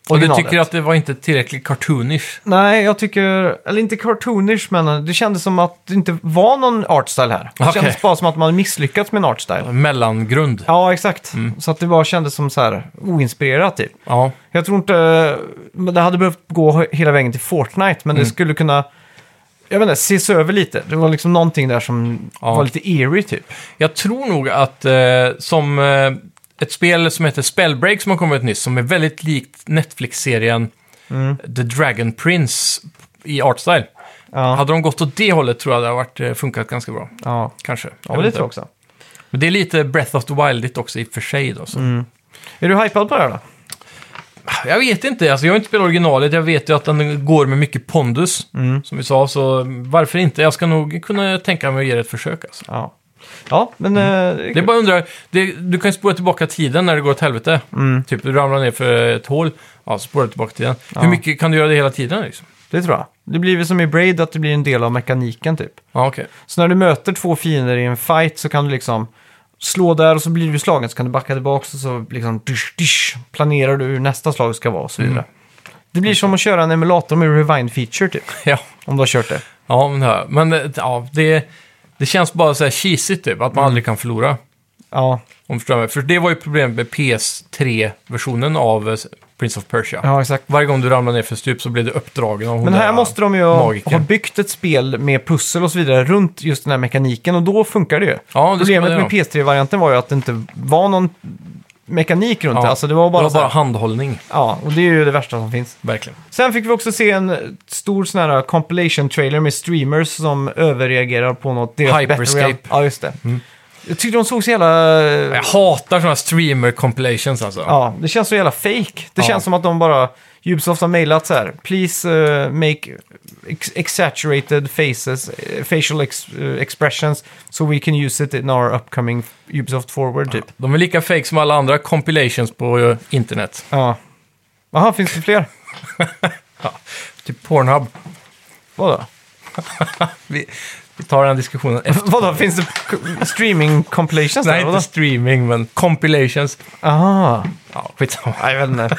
Speaker 1: Och du
Speaker 2: originalet.
Speaker 1: tycker att det var inte tillräckligt cartoonish?
Speaker 2: Nej, jag tycker... Eller inte cartoonish, men det kändes som att det inte var någon artstyle här. Det
Speaker 1: Okej.
Speaker 2: kändes bara som att man hade misslyckats med en artstyle.
Speaker 1: Mellangrund? Ja.
Speaker 2: Ja, exakt.
Speaker 1: Mm.
Speaker 2: Så att det bara kändes som så här oinspirerat typ.
Speaker 1: ja.
Speaker 2: Jag tror inte... Men det hade behövt gå hela vägen till Fortnite, men det
Speaker 1: Mm.
Speaker 2: skulle kunna... Jag vet inte, ses över lite. Det var liksom någonting där som
Speaker 1: Ja.
Speaker 2: var lite eerie typ.
Speaker 1: Jag tror nog att eh, som eh, ett spel som heter Spellbreak som har kommit nyss, som är väldigt likt Netflix-serien
Speaker 2: Mm.
Speaker 1: The Dragon Prince i artstyle.
Speaker 2: Ja,
Speaker 1: Hade de gått åt det hållet tror jag det hade varit, eh, funkat ganska bra.
Speaker 2: ja.
Speaker 1: Kanske.
Speaker 2: ja
Speaker 1: Jag
Speaker 2: men
Speaker 1: vet
Speaker 2: det
Speaker 1: inte.
Speaker 2: tror jag också.
Speaker 1: Men det är lite Breath of the Wild också i och för sig. Då, så.
Speaker 2: Mm. Är du hypad på det här då?
Speaker 1: Jag vet inte, alltså, jag har inte spelat originalet. Jag vet ju att den går med mycket pondus,
Speaker 2: Mm.
Speaker 1: som vi sa. Så varför inte? Jag ska nog kunna tänka mig att ge det ett försök. Alltså.
Speaker 2: Ja. Ja, men... eh, det är
Speaker 1: Mm. Det är
Speaker 2: kul.
Speaker 1: bara att undra, det, du kan ju spola tillbaka tiden när det går åt helvete.
Speaker 2: Mm.
Speaker 1: Typ du ramlar ner för ett hål, ja, spola tillbaka tiden. Hur mycket kan du göra det hela tiden? Liksom?
Speaker 2: det tror jag. Det blir väl som i Braid, att det blir en del av mekaniken typ.
Speaker 1: Ja, okej.
Speaker 2: Så när du möter två fiender i en fight så kan du liksom slå där och så blir du slagen så kan du backa tillbaka och så liksom dysch, dysch, planerar du hur nästa slag ska vara och
Speaker 1: Mm.
Speaker 2: så vidare. Det blir som att köra en emulator med rewind-feature typ,
Speaker 1: Ja,
Speaker 2: om du har kört det.
Speaker 1: ja, men, det här- men eh, ja, det, det känns bara så här cheesigt typ,
Speaker 2: Mm.
Speaker 1: att man aldrig kan förlora.
Speaker 2: Ja,
Speaker 1: Om du förstår mig. För det var ju problemet med PS3-versionen av eh, Prince of Persia.
Speaker 2: ja exakt.
Speaker 1: Varje gång du ramlade ner för stup så blev du uppdragen av hon
Speaker 2: Men här
Speaker 1: där,
Speaker 2: måste de ju
Speaker 1: magiker.
Speaker 2: ha byggt ett spel med pussel och så vidare runt just den här mekaniken och då funkar det ju.
Speaker 1: Ja, det
Speaker 2: Problemet med
Speaker 1: P3
Speaker 2: PS3-varianten var ju att det inte var någon mekanik runt
Speaker 1: ja.
Speaker 2: det. Alltså det var bara,
Speaker 1: det var
Speaker 2: så
Speaker 1: bara
Speaker 2: här,
Speaker 1: handhållning,
Speaker 2: Ja, och det är ju det värsta som finns.
Speaker 1: verkligen.
Speaker 2: Sen fick vi också se en stor sån här compilation trailer med streamers som överreagerar på något. deras
Speaker 1: Hyperscape. Mm.
Speaker 2: battle royale. Ja, just det. Jag tyckte de såg så jävla...
Speaker 1: Jag hatar sådana streamer-compilations alltså.
Speaker 2: Ja, det känns så jävla fake. Det
Speaker 1: Ja.
Speaker 2: känns som att de bara... Ubisoft har mejlat så här. Please eh, make ex- exaggerated faces, eh, facial ex- eh, expressions so we can use it in our upcoming Ubisoft Forward typ.
Speaker 1: De är lika fake som alla andra compilations på eh, internet.
Speaker 2: Ja. Jaha, finns det fler?
Speaker 1: Typ Pornhub.
Speaker 2: Vadå?
Speaker 1: Vi, vi tar den diskussionen efter.
Speaker 2: Vadå, finns det k- streaming compilations
Speaker 1: Nej,
Speaker 2: där? Vadå?
Speaker 1: inte streaming, men compilations.
Speaker 2: Aha.
Speaker 1: Ja, skitsamma.
Speaker 2: Nej, jag vet inte.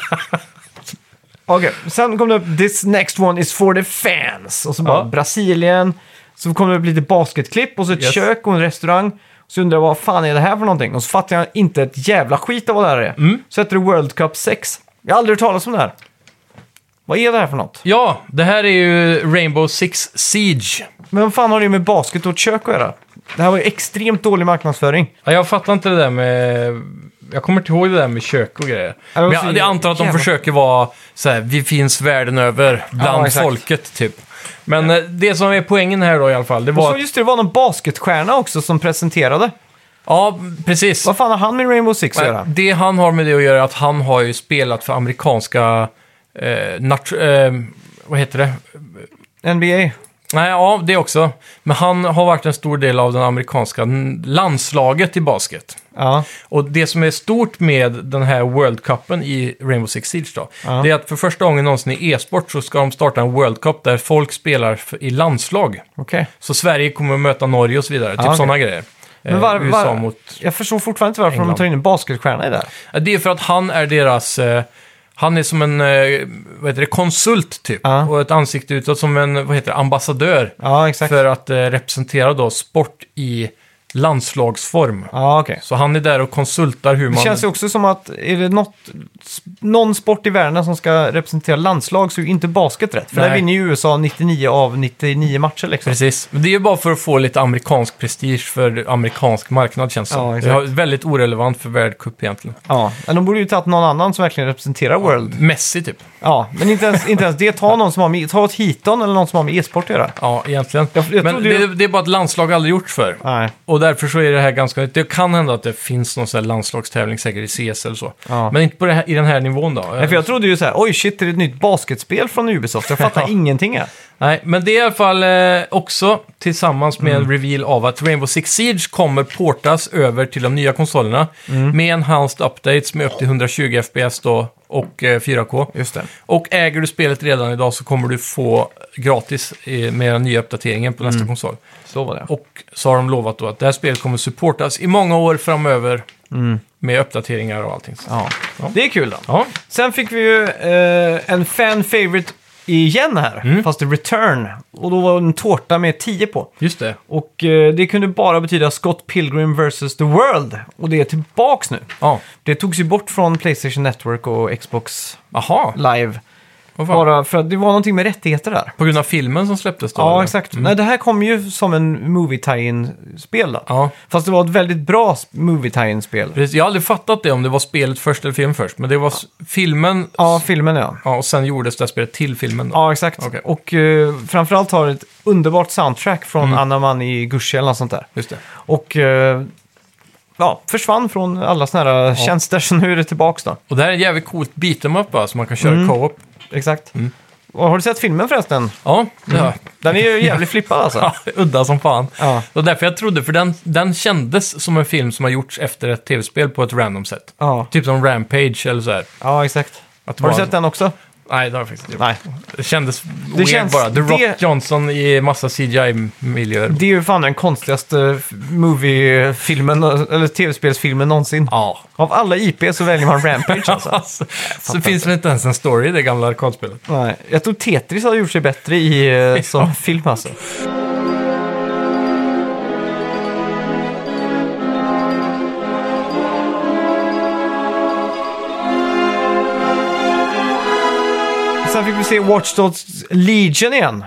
Speaker 2: Okej, sen kom det upp “This next one is for the fans” och så bara
Speaker 1: Ja.
Speaker 2: Brasilien. Så kom det upp lite basketklipp och så ett
Speaker 1: Yes.
Speaker 2: kök och en restaurang. Så undrar jag vad fan är det här för någonting? Och så fattar jag inte ett jävla skit av vad det här är.
Speaker 1: Mm.
Speaker 2: Så heter det World Cup 6. Jag har aldrig hört talas om det här. Vad är det här för något?
Speaker 1: Ja, det här är ju Rainbow Six Siege.
Speaker 2: Men vad fan har det med basket och ett kök att göra? Det här var ju extremt dålig marknadsföring.
Speaker 1: Ja, jag fattar inte det där med... Jag kommer inte ihåg det där med kök och grejer.
Speaker 2: Ja,
Speaker 1: Men
Speaker 2: det var
Speaker 1: jag,
Speaker 2: så
Speaker 1: jag antar att de
Speaker 2: jävla-
Speaker 1: försöker vara så här, vi finns världen över, bland
Speaker 2: Ja, exakt.
Speaker 1: folket typ. Men eh, det som är poängen här då i alla fall, det
Speaker 2: Och
Speaker 1: var...
Speaker 2: så just det, det var någon basketstjärna också som presenterade.
Speaker 1: Ja, precis.
Speaker 2: Vad fan har han med Rainbow Six att
Speaker 1: Nej,
Speaker 2: göra?
Speaker 1: Det han har med det att göra är att han har ju spelat för amerikanska... Eh, nat- eh, vad heter det?
Speaker 2: NBA?
Speaker 1: Nej, ja, det också. Men han har varit en stor del av den amerikanska n- landslaget i basket.
Speaker 2: Ja.
Speaker 1: Och det som är stort med den här World Cupen i Rainbow Six Siege då,
Speaker 2: Ja.
Speaker 1: det är att för första gången någonsin i e-sport så ska de starta en World Cup där folk spelar f- i landslag.
Speaker 2: Okej.
Speaker 1: Så Sverige kommer att möta Norge och så vidare, typ
Speaker 2: okej.
Speaker 1: sådana grejer.
Speaker 2: Men var-
Speaker 1: eh, USA
Speaker 2: var-
Speaker 1: mot...
Speaker 2: Jag förstår fortfarande inte varför de
Speaker 1: England.
Speaker 2: tar in en basketstjärna i det här.
Speaker 1: Ja, Det är för att han är deras... Eh, han är som en eh, vad heter det, konsult typ.
Speaker 2: Ja.
Speaker 1: Och ett ansikte utåt som en vad heter det, ambassadör.
Speaker 2: Ja, exakt.
Speaker 1: För att eh, representera då sport i landslagsform.
Speaker 2: Ja, okej.
Speaker 1: Så han är där och konsultar hur
Speaker 2: Det
Speaker 1: man...
Speaker 2: känns ju också som att är det något, s- någon sport i världen som ska representera landslag så är ju inte basket rätt. För där
Speaker 1: Nej.
Speaker 2: vinner ju USA 99 av 99 matcher liksom.
Speaker 1: Precis. Men det är ju bara för att få lite amerikansk prestige för amerikansk marknad känns det
Speaker 2: Ja,
Speaker 1: som.
Speaker 2: exakt.
Speaker 1: det är väldigt orelevant för världscup egentligen.
Speaker 2: Ja, men de borde ju tagit någon annan som verkligen representerar World.
Speaker 1: Messi typ.
Speaker 2: Ja, men inte ens, inte ens det. Ta någon som har med, ta ett hiton eller någon som har med e-sport att göra.
Speaker 1: Ja, egentligen.
Speaker 2: Jag- jag
Speaker 1: Men
Speaker 2: trodde
Speaker 1: det,
Speaker 2: ju-
Speaker 1: det är bara ett landslag aldrig gjort för.
Speaker 2: Nej.
Speaker 1: Och därför så är det här ganska nytt. Det kan hända att det finns någon sån här landslagstävling säkert i CS eller så.
Speaker 2: Ja.
Speaker 1: Men inte på det här, i den här nivån då.
Speaker 2: Nej, för jag trodde ju så här, oj shit, det är ett nytt basketspel från Ubisoft. Jag fattar ingenting här.
Speaker 1: Nej, men det är i alla fall eh, också tillsammans med
Speaker 2: Mm.
Speaker 1: en reveal av att Rainbow Six Siege kommer portas över till de nya konsolerna
Speaker 2: Mm.
Speaker 1: med enhanced updates med upp till 120 FPS då och eh, 4K.
Speaker 2: Just det.
Speaker 1: Och äger du spelet redan idag så kommer du få gratis eh, med den nya uppdateringen på nästa
Speaker 2: Mm.
Speaker 1: konsol.
Speaker 2: Så var det.
Speaker 1: Och så har de lovat då att det här spelet kommer supportas i många år framöver
Speaker 2: Mm.
Speaker 1: med uppdateringar och allting.
Speaker 2: Ja. Det är kul då.
Speaker 1: Ja,
Speaker 2: Sen fick vi ju eh, en fan favorite igen här,
Speaker 1: Mm.
Speaker 2: fast i return. Och då var det en tårta med 10 på.
Speaker 1: just det.
Speaker 2: Och eh, det kunde bara betyda Scott Pilgrim vs. The World. Och det är tillbaks nu.
Speaker 1: Ja,
Speaker 2: Det togs ju bort från Playstation Network och Xbox
Speaker 1: aha.
Speaker 2: Live.
Speaker 1: Vad fan.
Speaker 2: Bara för att det var någonting med rättigheter där.
Speaker 1: På grund av filmen som släpptes då?
Speaker 2: Ja,
Speaker 1: eller?
Speaker 2: exakt. Nej, det här kom ju som en movie tie-in-spel då.
Speaker 1: Ja.
Speaker 2: Fast det var ett väldigt bra sp- movie tie-in-spel.
Speaker 1: Precis. Jag har aldrig fattat det om det var spelet först eller filmen först. Men det var s- filmen
Speaker 2: Ja, filmen ja.
Speaker 1: ja, och sen gjordes det här spelet till filmen. Då.
Speaker 2: Ja, exakt.
Speaker 1: Okej.
Speaker 2: Och eh, framförallt har det ett underbart soundtrack från
Speaker 1: Mm.
Speaker 2: Anamani Gushi eller något sånt där.
Speaker 1: Just det.
Speaker 2: Och eh, ja, försvann från alla såna här eh, tjänster, så nu är det tillbaks då.
Speaker 1: Och det här är en jävligt coolt beat'em up va, som man kan köra
Speaker 2: Mm.
Speaker 1: co-op.
Speaker 2: Exakt.
Speaker 1: Mm.
Speaker 2: Och har du sett filmen förresten?
Speaker 1: Ja, det har jag.
Speaker 2: Den är ju jävligt flippad alltså.
Speaker 1: Ja, udda som fan.
Speaker 2: Ja.
Speaker 1: Det var därför jag trodde, för den, den kändes som en film som har gjorts efter ett tv-spel på ett random sätt.
Speaker 2: Ja,
Speaker 1: Typ som Rampage eller så här.
Speaker 2: ja exakt.
Speaker 1: Att
Speaker 2: Har du
Speaker 1: bara-
Speaker 2: sett den också?
Speaker 1: Nej, det har jag faktiskt inte gjort.
Speaker 2: Nej.
Speaker 1: Det kändes weird
Speaker 2: känns-
Speaker 1: bara. The Rock
Speaker 2: det-
Speaker 1: Johnson i massa CGI-miljöer.
Speaker 2: Det är ju fan den konstigaste eh, movie-filmen, eh, eller tv-spelsfilmen någonsin.
Speaker 1: Ja.
Speaker 2: Av alla IP så väljer man Rampage alltså.
Speaker 1: Alltså, så finns väl inte ens en story i det gamla arkadspelet.
Speaker 2: Nej, jag tror Tetris har gjort sig bättre i, eh, som film alltså. Sen fick vi se Watch Dogs Legion igen.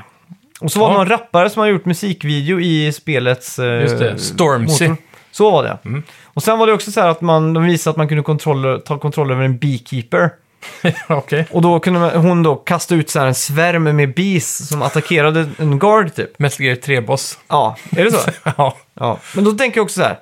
Speaker 2: Och så var det
Speaker 1: Ja.
Speaker 2: någon rappare som har gjort musikvideo i spelets... eh,
Speaker 1: Just det, Stormzy. Mm.
Speaker 2: motor. Så var det. Och sen var det också så här att man, de visade att man kunde kontroll, ta kontroll över en beekeeper.
Speaker 1: Okej.
Speaker 2: Och då kunde man- hon då kasta ut så här en svärm med bis som attackerade en guard typ.
Speaker 1: Metal Gear 3-boss.
Speaker 2: Ja, är det så?
Speaker 1: ja.
Speaker 2: Ja. Men då tänker jag också så här.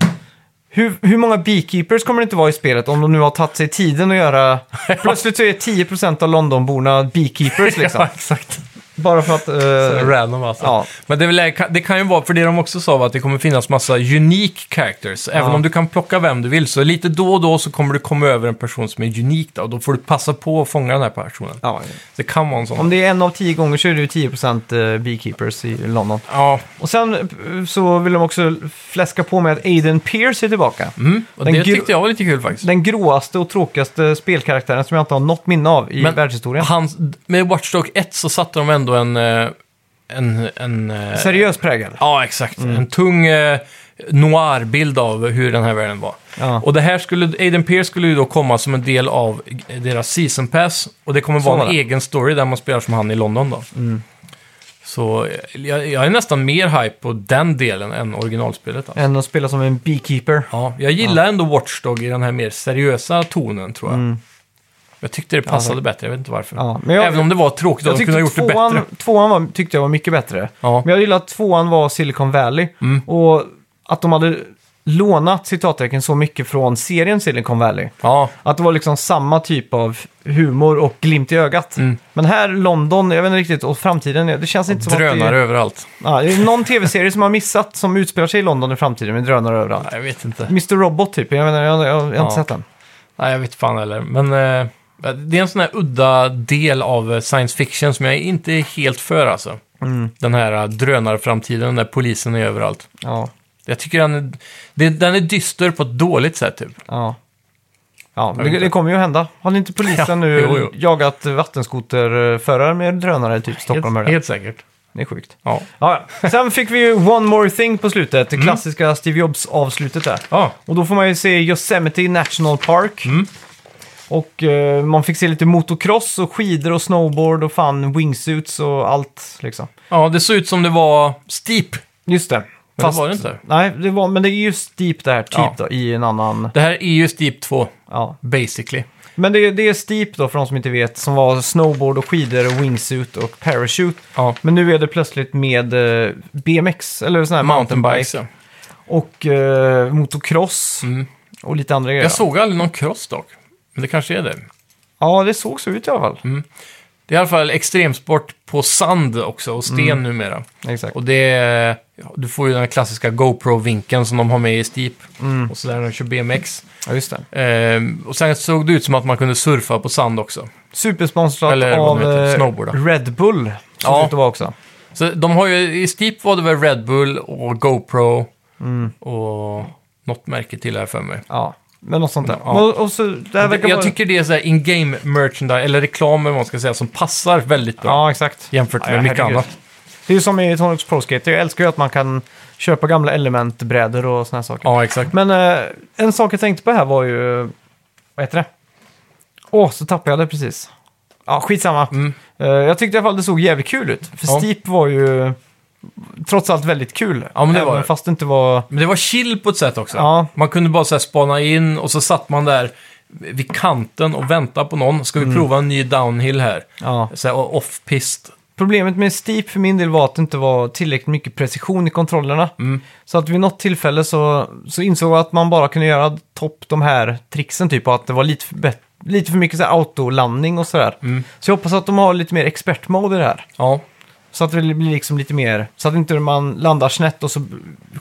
Speaker 2: Hur, hur många beekeepers kommer det inte vara i spelet om de nu har tagit sig tiden att göra... Plötsligt så är 10% av Londonborna beekeepers liksom.
Speaker 1: ja, exakt.
Speaker 2: Bara för att... eh,
Speaker 1: Random alltså.
Speaker 2: ja.
Speaker 1: Men det, är väl, det kan ju vara, för det de också sa var att det kommer finnas massa unique characters. Även
Speaker 2: Ja.
Speaker 1: om du kan plocka vem du vill, så lite då och då så kommer du komma över en person som är unik. Då, och då får du passa på att fånga den här personen.
Speaker 2: ja.
Speaker 1: Det kan vara en sån.
Speaker 2: Om det är en av tio gånger så är det ju 10% eh, beekeepers i London.
Speaker 1: Ja,
Speaker 2: Och sen eh, så vill de också fläska på med att Aiden Pierce är tillbaka.
Speaker 1: mm. och
Speaker 2: Den
Speaker 1: det
Speaker 2: gru-
Speaker 1: tyckte jag var lite kul faktiskt.
Speaker 2: Den gråaste och tråkigaste spelkaraktären som jag inte har något minne av i
Speaker 1: Men-
Speaker 2: världshistorien.
Speaker 1: Hans, med Watch Dogs 1 så satte de ändå en... eh, en, en eh,
Speaker 2: Seriös prägel.
Speaker 1: Ja, exakt.
Speaker 2: Mm.
Speaker 1: En tung eh, noir-bild av hur den här världen var.
Speaker 2: Ja.
Speaker 1: Och det här skulle, Aiden Pierce skulle ju då komma som en del av deras season pass. Och det kommer
Speaker 2: Så
Speaker 1: vara
Speaker 2: var
Speaker 1: en
Speaker 2: det. Mm.
Speaker 1: egen story där man spelar som han i London då. Så eh, jag, jag är nästan mer hype på den delen än originalspelet. Alltså.
Speaker 2: Än att spela som en beekeeper.
Speaker 1: Ja, jag gillar ändå Watchdog i den här mer seriösa tonen tror jag. Jag tyckte det passade bättre, jag vet inte varför.
Speaker 2: Mm. Ja, men jag-
Speaker 1: Även om det var tråkigt,
Speaker 2: Jag
Speaker 1: de kunde
Speaker 2: tyckte
Speaker 1: ha gjort det
Speaker 2: tvåan,
Speaker 1: bättre.
Speaker 2: tvåan var, tyckte jag var mycket bättre.
Speaker 1: Ja. Mm.
Speaker 2: Men jag gillade att tvåan var Silicon Valley. Och att de hade lånat citattecken så mycket från serien Silicon Valley.
Speaker 1: Ja,
Speaker 2: Att det var liksom samma typ av humor och glimt i ögat.
Speaker 1: Mm.
Speaker 2: Men här, London, jag vet inte riktigt, och framtiden, det känns inte som att det
Speaker 1: drönare
Speaker 2: är...
Speaker 1: överallt.
Speaker 2: Ja, det är någon tv-serie som har missat som utspelar sig i London i framtiden med drönare överallt.
Speaker 1: Nej, jag vet inte.
Speaker 2: Mr. Robot typ, jag, menar, jag, jag, jag har inte
Speaker 1: Ja.
Speaker 2: sett den.
Speaker 1: Nej, jag vet fan heller. Men eh, det är en sån här udda del av eh, science fiction som jag inte är helt för alltså. Den här eh, drönarframtiden där polisen är överallt.
Speaker 2: Ja,
Speaker 1: Jag tycker den är, det- den är dyster på ett dåligt sätt typ.
Speaker 2: ja. Ja,
Speaker 1: vet
Speaker 2: det,
Speaker 1: inte.
Speaker 2: det kommer ju hända. Har ni inte polisen
Speaker 1: Ja,
Speaker 2: nu
Speaker 1: jo, jo.
Speaker 2: jagat vattenskoterförare med drönare typ Stockholm?
Speaker 1: Helt,
Speaker 2: eller?
Speaker 1: helt säkert.
Speaker 2: Det är sjukt.
Speaker 1: Ja.
Speaker 2: Ja, ja. Sen fick vi ju One More Thing på slutet,
Speaker 1: Mm.
Speaker 2: det klassiska Steve Jobs-avslutet där.
Speaker 1: Ja,
Speaker 2: Och då får man ju se Yosemite National Park.
Speaker 1: Mm.
Speaker 2: Och eh, man fick se lite motocross och skidor och snowboard och fan wingsuits och allt liksom.
Speaker 1: ja det såg ut som det var steep.
Speaker 2: Just det.
Speaker 1: det var det inte.
Speaker 2: Nej, det var, men det är ju Steep det här, typ
Speaker 1: Ja.
Speaker 2: då, i en annan...
Speaker 1: Det här är ju steep 2,
Speaker 2: Ja.
Speaker 1: basically.
Speaker 2: Men det, det är Steep då, för de som inte vet, som var snowboard och skidor och wingsuit och parachute.
Speaker 1: Ja.
Speaker 2: Men nu är det plötsligt med eh, BMX, eller sån här
Speaker 1: Mountainbikes, ja.
Speaker 2: Och eh, motocross
Speaker 1: Mm.
Speaker 2: och lite andra grejer.
Speaker 1: Jag såg aldrig någon cross dock. Men det kanske är det.
Speaker 2: Ja, det såg så ut i alla fall.
Speaker 1: Mm. Det är i alla fall extremsport på sand också och sten numera.
Speaker 2: Exakt.
Speaker 1: Och det är, ja, du får ju den här klassiska GoPro-vinkeln som de har med i Steep.
Speaker 2: Mm.
Speaker 1: Och sådär när de kör BMX.
Speaker 2: Ja, just det.
Speaker 1: Ehm, och sen såg det ut som att man kunde surfa på sand också.
Speaker 2: Supersponsrat
Speaker 1: Eller vad
Speaker 2: av
Speaker 1: de heter,
Speaker 2: eh,
Speaker 1: snowboarda.
Speaker 2: Red Bull. Såg
Speaker 1: Ja.
Speaker 2: ut att vara också.
Speaker 1: Så de har ju, i Steep var det väl Red Bull och GoPro
Speaker 2: Mm.
Speaker 1: och något märke till här för mig.
Speaker 2: Ja, men något sånt där.
Speaker 1: Ja.
Speaker 2: Och, och så, det här verkar
Speaker 1: Jag
Speaker 2: vara-
Speaker 1: tycker det är så här in-game merchandise, eller reklam eller vad man ska säga, som passar väldigt bra.
Speaker 2: Ja, exakt.
Speaker 1: Jämfört med
Speaker 2: Ja,
Speaker 1: mycket
Speaker 2: herregud.
Speaker 1: annat.
Speaker 2: Det är ju som i Tony Hawk's Pro Skater. Jag älskar ju att man kan köpa gamla elementbrädor och såna här saker.
Speaker 1: Ja, exakt.
Speaker 2: Men eh, en sak jag tänkte på här var ju... Vad heter det? Åh, så tappade jag det precis. Ja, skitsamma.
Speaker 1: Mm.
Speaker 2: Eh, jag tyckte i alla fall det såg jävligt kul ut. För
Speaker 1: Ja.
Speaker 2: Steep var ju trots allt väldigt kul.
Speaker 1: Ja, men det
Speaker 2: även
Speaker 1: var det.
Speaker 2: fast det inte var...
Speaker 1: Men det var chill på ett sätt också.
Speaker 2: Ja.
Speaker 1: Man kunde bara så här spana in och så satt man där vid kanten och väntade på någon. Ska vi
Speaker 2: Mm.
Speaker 1: prova en ny downhill här?
Speaker 2: Ja.
Speaker 1: Så här off-pist.
Speaker 2: Problemet med Steep för min del var att det inte var tillräckligt mycket precision i kontrollerna.
Speaker 1: Mm.
Speaker 2: Så att vid något tillfälle så, så insåg jag att man bara kunde göra topp de här tricksen typ och att det var lite för, bet- lite för mycket så här autolandning och sådär.
Speaker 1: Mm.
Speaker 2: Så jag hoppas att de har lite mer expertmode i det här.
Speaker 1: Ja.
Speaker 2: Så att det blir liksom lite mer, så att inte man landar snett och så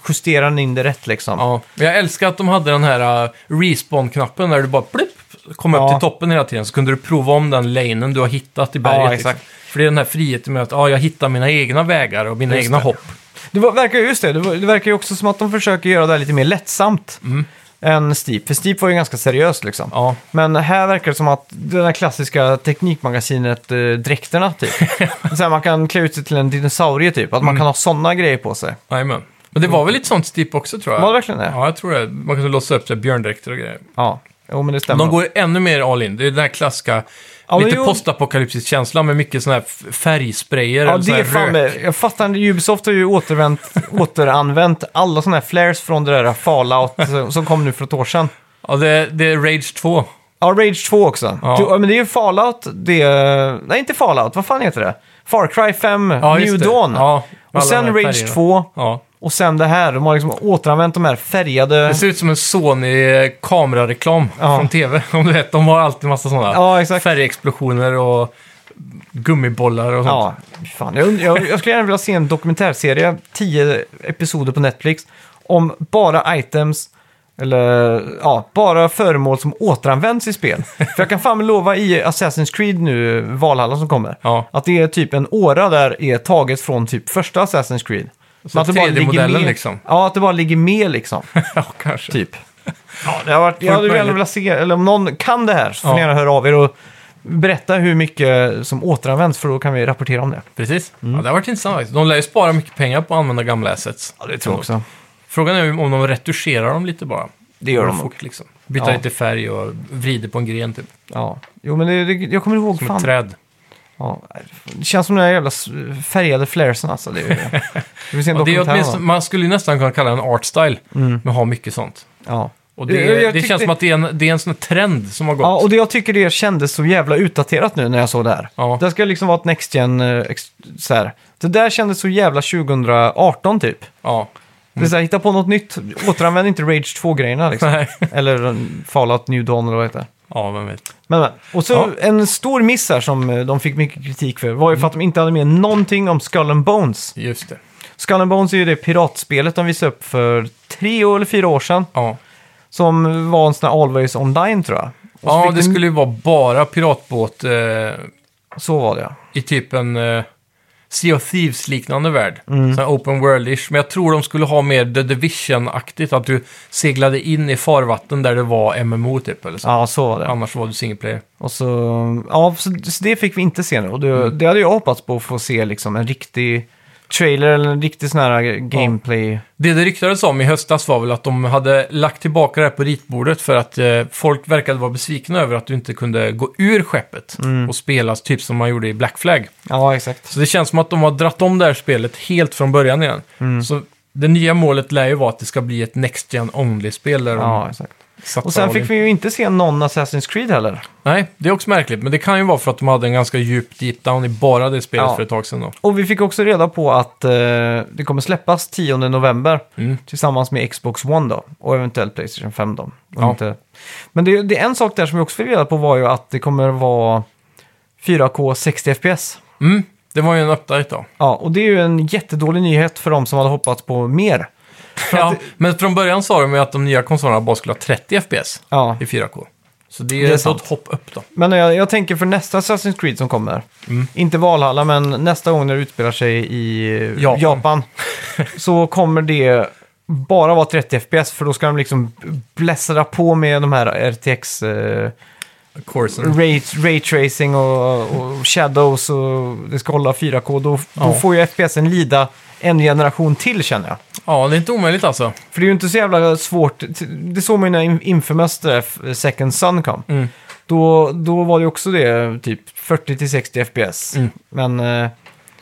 Speaker 2: justerar den in det rätt liksom.
Speaker 1: ja. Men Jag älskar att de hade den här uh, respawn-knappen där du bara plipp, kom upp
Speaker 2: Ja.
Speaker 1: till toppen hela tiden. Så kunde du prova om den lanen du har hittat i berget. liksom.
Speaker 2: exakt.
Speaker 1: För det är den här friheten med att ja, jag hittar mina egna vägar och mina
Speaker 2: Just
Speaker 1: egna
Speaker 2: det.
Speaker 1: hopp.
Speaker 2: Det var, verkar ju just det, det, var, det verkar ju också som att de försöker göra det här lite mer lättsamt än Steep. För Steep var ju ganska seriöst liksom.
Speaker 1: Mm. Ja.
Speaker 2: Men här verkar det som att det där klassiska teknikmagasinet, eh, dräkterna typ. så här, man kan klä ut sig till en dinosaurie typ,
Speaker 1: Mm.
Speaker 2: att man kan ha sådana grejer på sig.
Speaker 1: Jajamän. Men det var väl lite sånt Steep också tror jag.
Speaker 2: Var det verkligen det?
Speaker 1: Ja, jag tror det. Man kunde låsa upp sig björndräkter och grejer.
Speaker 2: Ja, jo men det stämmer.
Speaker 1: De går ännu mer all in. Det är den här klassiska,
Speaker 2: Ja, men
Speaker 1: lite
Speaker 2: jo.
Speaker 1: postapokalyptisk känsla med mycket sådana här f- färgsprayer.
Speaker 2: Ja,
Speaker 1: eller sån
Speaker 2: det är
Speaker 1: här
Speaker 2: fan
Speaker 1: rök.
Speaker 2: med. Jag fattar Ubisoft har ju återvänt, återanvänt alla sådana här flares från det där Fallout som- som kom nu för ett år sedan.
Speaker 1: Ja, det, det är Rage 2.
Speaker 2: Ja, Rage 2 också.
Speaker 1: Ja.
Speaker 2: Du, ja, men det är ju Fallout, det... Nej, inte Fallout, vad fan heter det? Far Cry 5,
Speaker 1: Ja,
Speaker 2: New
Speaker 1: just det.
Speaker 2: Dawn.
Speaker 1: Ja, alla
Speaker 2: och
Speaker 1: de
Speaker 2: sen
Speaker 1: här
Speaker 2: Rage
Speaker 1: färgerna.
Speaker 2: 2
Speaker 1: Ja.
Speaker 2: och sen det här. De har liksom återanvänt de här färgade...
Speaker 1: Det ser ut som en Sony-kamerareklam
Speaker 2: Ja.
Speaker 1: från tv. Om du vet, de har alltid massa sådana.
Speaker 2: Ja, exakt.
Speaker 1: Färgexplosioner och gummibollar och
Speaker 2: Ja,
Speaker 1: sånt.
Speaker 2: fan. Jag, und- jag, jag skulle gärna vilja se en dokumentärserie, tio episoder på Netflix, om bara items, eller ja, bara föremål som återanvänds i spel. För jag kan fan lova i Assassin's Creed nu, Valhalla som kommer,
Speaker 1: Ja.
Speaker 2: att det är typ en åra där är taget från typ första Assassin's Creed.
Speaker 1: Så
Speaker 2: Men att det bara ligger
Speaker 1: 3D-modellen
Speaker 2: med-
Speaker 1: liksom.
Speaker 2: Ja, att det bara ligger med liksom,
Speaker 1: Ja, kanske.
Speaker 2: typ. Ja, det har varit, jag hade
Speaker 1: möjligt.
Speaker 2: gärna velat se, eller om någon kan det här så får
Speaker 1: Ja.
Speaker 2: ni gärna höra av er och berätta hur mycket som återanvänds för då kan vi rapportera om det.
Speaker 1: Precis.
Speaker 2: Mm.
Speaker 1: Ja, det har varit intressant faktiskt. De lär ju spara mycket pengar på att använda gamla assets.
Speaker 2: Ja, det tror jag också.
Speaker 1: Frågan är om de retuscherar dem lite bara.
Speaker 2: Det gör de nog.
Speaker 1: fort, liksom. Byta
Speaker 2: Ja.
Speaker 1: lite färg och vrider på en gren typ.
Speaker 2: Ja. Jo, men det, det, jag kommer ihåg
Speaker 1: Som
Speaker 2: fan.
Speaker 1: ett träd.
Speaker 2: Ja, det känns som de där jävla s- färgade flaresen alltså. Det, är ju- det finns en
Speaker 1: Ja, det är
Speaker 2: dokumentär.
Speaker 1: åtminstone,
Speaker 2: va?
Speaker 1: man skulle ju nästan kunna kalla det en art style, men ha mycket sånt.
Speaker 2: ja.
Speaker 1: Och det,
Speaker 2: Jag- jag
Speaker 1: det
Speaker 2: tyckte-
Speaker 1: känns som att det är, en, det är en sån här trend som har gått.
Speaker 2: ja, och det jag tycker det kändes så jävla utdaterat nu när jag såg det här.
Speaker 1: Ja.
Speaker 2: Det ska liksom vara ett Next Gen, eh, ex, så här. Det där kändes så jävla 2018 typ.
Speaker 1: Ja.
Speaker 2: Det är så här, hitta på något nytt. Återanvänd inte Rage 2-grejerna liksom.
Speaker 1: Mm. Nej.
Speaker 2: Eller um, Fallout New Dawn eller vad det heter.
Speaker 1: Ja, vem vet.
Speaker 2: Men, men. Och så
Speaker 1: Ja.
Speaker 2: en stor miss här som eh, de fick mycket kritik för var ju för att de inte hade med någonting om Skull and Bones.
Speaker 1: Just det.
Speaker 2: Skull and Bones är ju det piratspelet de visade upp för tre år eller fyra år sedan.
Speaker 1: Ja,
Speaker 2: Som var en sån här Always Online tror jag. Och så
Speaker 1: ja
Speaker 2: fick
Speaker 1: det skulle ju vara bara piratbåt eh,
Speaker 2: Så var det ja.
Speaker 1: i typ en eh, Sea of Thieves-liknande värld.
Speaker 2: Mm.
Speaker 1: Sån här open world-ish. Men jag tror de skulle ha mer The Division-aktigt. Att du seglade in i farvatten där det var MMO typ. Eller så.
Speaker 2: Ja, så var det.
Speaker 1: Annars var du single player.
Speaker 2: Och så, ja, så, så det fick vi inte se nu. Och det, det hade jag hoppats på att få se liksom en riktig trailer eller en riktig sån här eh, gameplay.
Speaker 1: Det det ryktades om i höstas var väl att de hade lagt tillbaka det här på ritbordet för att eh, folk verkade vara besvikna över att du inte kunde gå ur skeppet
Speaker 2: Mm.
Speaker 1: och spela typ som man gjorde i Black Flag.
Speaker 2: Ja, exakt.
Speaker 1: Så det känns som att de har dratt om det här spelet helt från början igen.
Speaker 2: Mm.
Speaker 1: Så det nya målet lär ju vara att det ska bli ett Next Gen Only-spel där
Speaker 2: Ja,
Speaker 1: de
Speaker 2: exakt.
Speaker 1: satsar
Speaker 2: Och sen
Speaker 1: all in.
Speaker 2: fick vi ju inte se någon Assassin's Creed heller.
Speaker 1: Nej, det är också märkligt. Men det kan ju vara för att de hade en ganska djup deep down i bara det spelet
Speaker 2: Ja.
Speaker 1: för ett tag sedan då.
Speaker 2: Och vi fick också reda på att eh, det kommer släppas 10 november
Speaker 1: Mm.
Speaker 2: tillsammans med Xbox One då och eventuellt Playstation 5 då. Om
Speaker 1: Ja.
Speaker 2: Inte... Men det, det är en sak där som jag också fick reda på var ju att det kommer vara 4K 60 FPS.
Speaker 1: Mm, det var ju en update då.
Speaker 2: Ja, och det är ju en jättedålig nyhet för de som hade hoppats på mer.
Speaker 1: Ja, men från början sa de ju att de nya konsolerna bara skulle ha 30 FPS.
Speaker 2: Ja.
Speaker 1: i 4K. Så det
Speaker 2: är
Speaker 1: är, det
Speaker 2: sant.
Speaker 1: ett hopp upp då.
Speaker 2: Men jag, jag tänker för nästa Assassin's Creed som kommer.
Speaker 1: Mm.
Speaker 2: Inte Valhalla, men nästa gång när det utspelar sig i Japan.
Speaker 1: Japan.
Speaker 2: så kommer det bara vara 30 FPS, för då ska de liksom blästra på med de här RTX, eh,
Speaker 1: Corsen.
Speaker 2: ray, ray tracing och, och shadows och det ska hålla 4K. Då, då
Speaker 1: Ja.
Speaker 2: får ju FPSen lida en generation till känner jag.
Speaker 1: Ja, det är inte omöjligt alltså.
Speaker 2: För det är ju inte så jävla svårt. Det såg man ju när In- Infamous det där F- Second Sun kom.
Speaker 1: Mm.
Speaker 2: Då, då var det också det, typ 40-60 FPS.
Speaker 1: Mm.
Speaker 2: Men eh,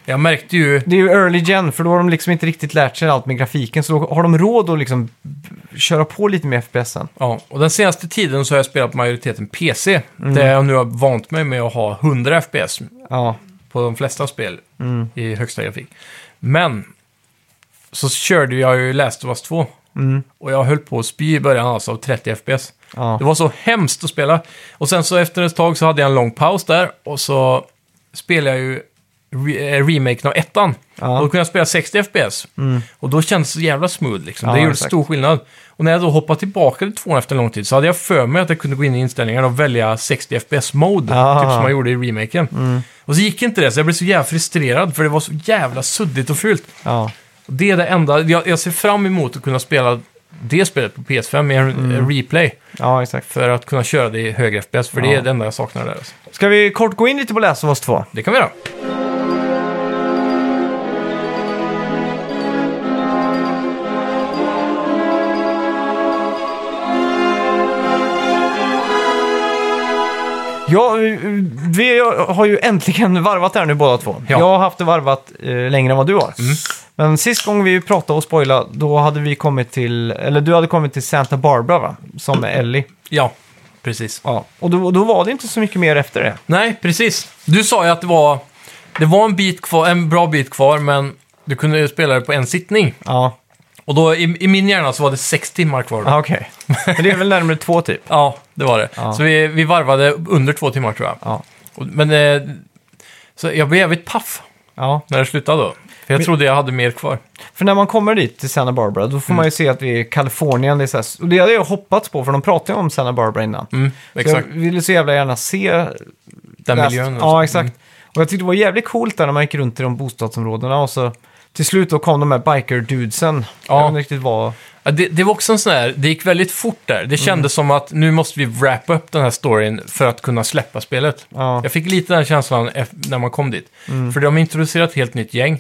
Speaker 1: Jag märkte ju...
Speaker 2: det är ju early gen, för då har de liksom inte riktigt lärt sig allt med grafiken. Så då har de råd att liksom b- köra på lite med FPSen.
Speaker 1: Ja, och den senaste tiden så har jag spelat majoriteten PC. Där jag nu har vant mig med att ha 100 FPS
Speaker 2: Ja,
Speaker 1: på de flesta spel
Speaker 2: Mm.
Speaker 1: i högsta grafik. Men så körde jag ju Last of Us 2. Och jag höll på att spy i början alltså av 30 FPS.
Speaker 2: Mm. ja.
Speaker 1: Det var så hemskt att spela. Och sen så efter ett tag så hade jag en lång paus där och så spelade jag ju re- eh, remaken av ettan.
Speaker 2: Ja. Mm.
Speaker 1: Och då kunde jag spela 60 FPS. Och då kändes det så jävla smooth liksom.
Speaker 2: Ja,
Speaker 1: det gjorde
Speaker 2: exakt.
Speaker 1: stor skillnad. Och när jag då hoppade tillbaka till tvåan efter en lång tid så hade jag för mig att jag kunde gå in i inställningarna och välja 60 FPS-mode.
Speaker 2: Ah.
Speaker 1: Typ som jag gjorde i remaken. Och så gick inte det, så jag blev så jävla frustrerad för det var så jävla suddigt och fult.
Speaker 2: ja.
Speaker 1: Och det är det enda, jag, jag ser fram emot att kunna spela det spelet på PS5 med en en replay.
Speaker 2: ja exakt.
Speaker 1: För att kunna köra det i högre FPS, för det
Speaker 2: Ja.
Speaker 1: är det enda jag saknar där. Alltså.
Speaker 2: Ska vi kort gå in lite på Last of Us 2?
Speaker 1: Det kan vi göra.
Speaker 2: Ja, eh, vi har ju äntligen varvat här nu båda två.
Speaker 1: Ja.
Speaker 2: Jag har haft det varvat eh, längre än vad du har. Men sist gång vi pratade och spoilade, då hade vi kommit till, eller du hade kommit till Santa Barbara va? Som är Ellie.
Speaker 1: Ja, precis.
Speaker 2: Ja. Och då, då var det inte så mycket mer efter det.
Speaker 1: Nej, precis. Du sa ju att det var, det var en, bit kvar, en bra bit kvar, men du kunde ju spela det på en sittning.
Speaker 2: Ja,
Speaker 1: Och då i, i min hjärna så var det sex timmar kvar. Då.
Speaker 2: ah, okej. Men det är väl närmare två typ.
Speaker 1: Ja, det var det.
Speaker 2: Ja.
Speaker 1: Så vi, vi varvade under två timmar tror jag.
Speaker 2: Ja.
Speaker 1: Och- Men eh, så jag blev jävligt paff
Speaker 2: ja.
Speaker 1: när det slutade då. För jag
Speaker 2: Men-
Speaker 1: trodde jag hade mer kvar.
Speaker 2: För när man kommer dit till Santa Barbara, då får man ju se att vi är i Kalifornien. Det är så här, och det hade jag hoppats på, för de pratade ju om Santa Barbara innan.
Speaker 1: Mm,
Speaker 2: Så jag
Speaker 1: exakt,
Speaker 2: ville så jävla gärna se
Speaker 1: den
Speaker 2: Last-
Speaker 1: miljön. och så. Mm.
Speaker 2: Ja, exakt. Och jag tyckte det var jävligt coolt där när man gick runt i de bostadsområdena och så till slut då kom de här biker-dudesen.
Speaker 1: Ja.
Speaker 2: Jag vet inte riktigt vad...
Speaker 1: Ja, det, det var också en sån här, det gick väldigt fort där.
Speaker 2: Mm.
Speaker 1: Det kändes som att nu måste vi wrap upp den här storyn för att kunna släppa spelet.
Speaker 2: Ja. Mm.
Speaker 1: Jag fick lite den känslan eff- när man kom dit. För de har introducerat ett helt nytt gäng,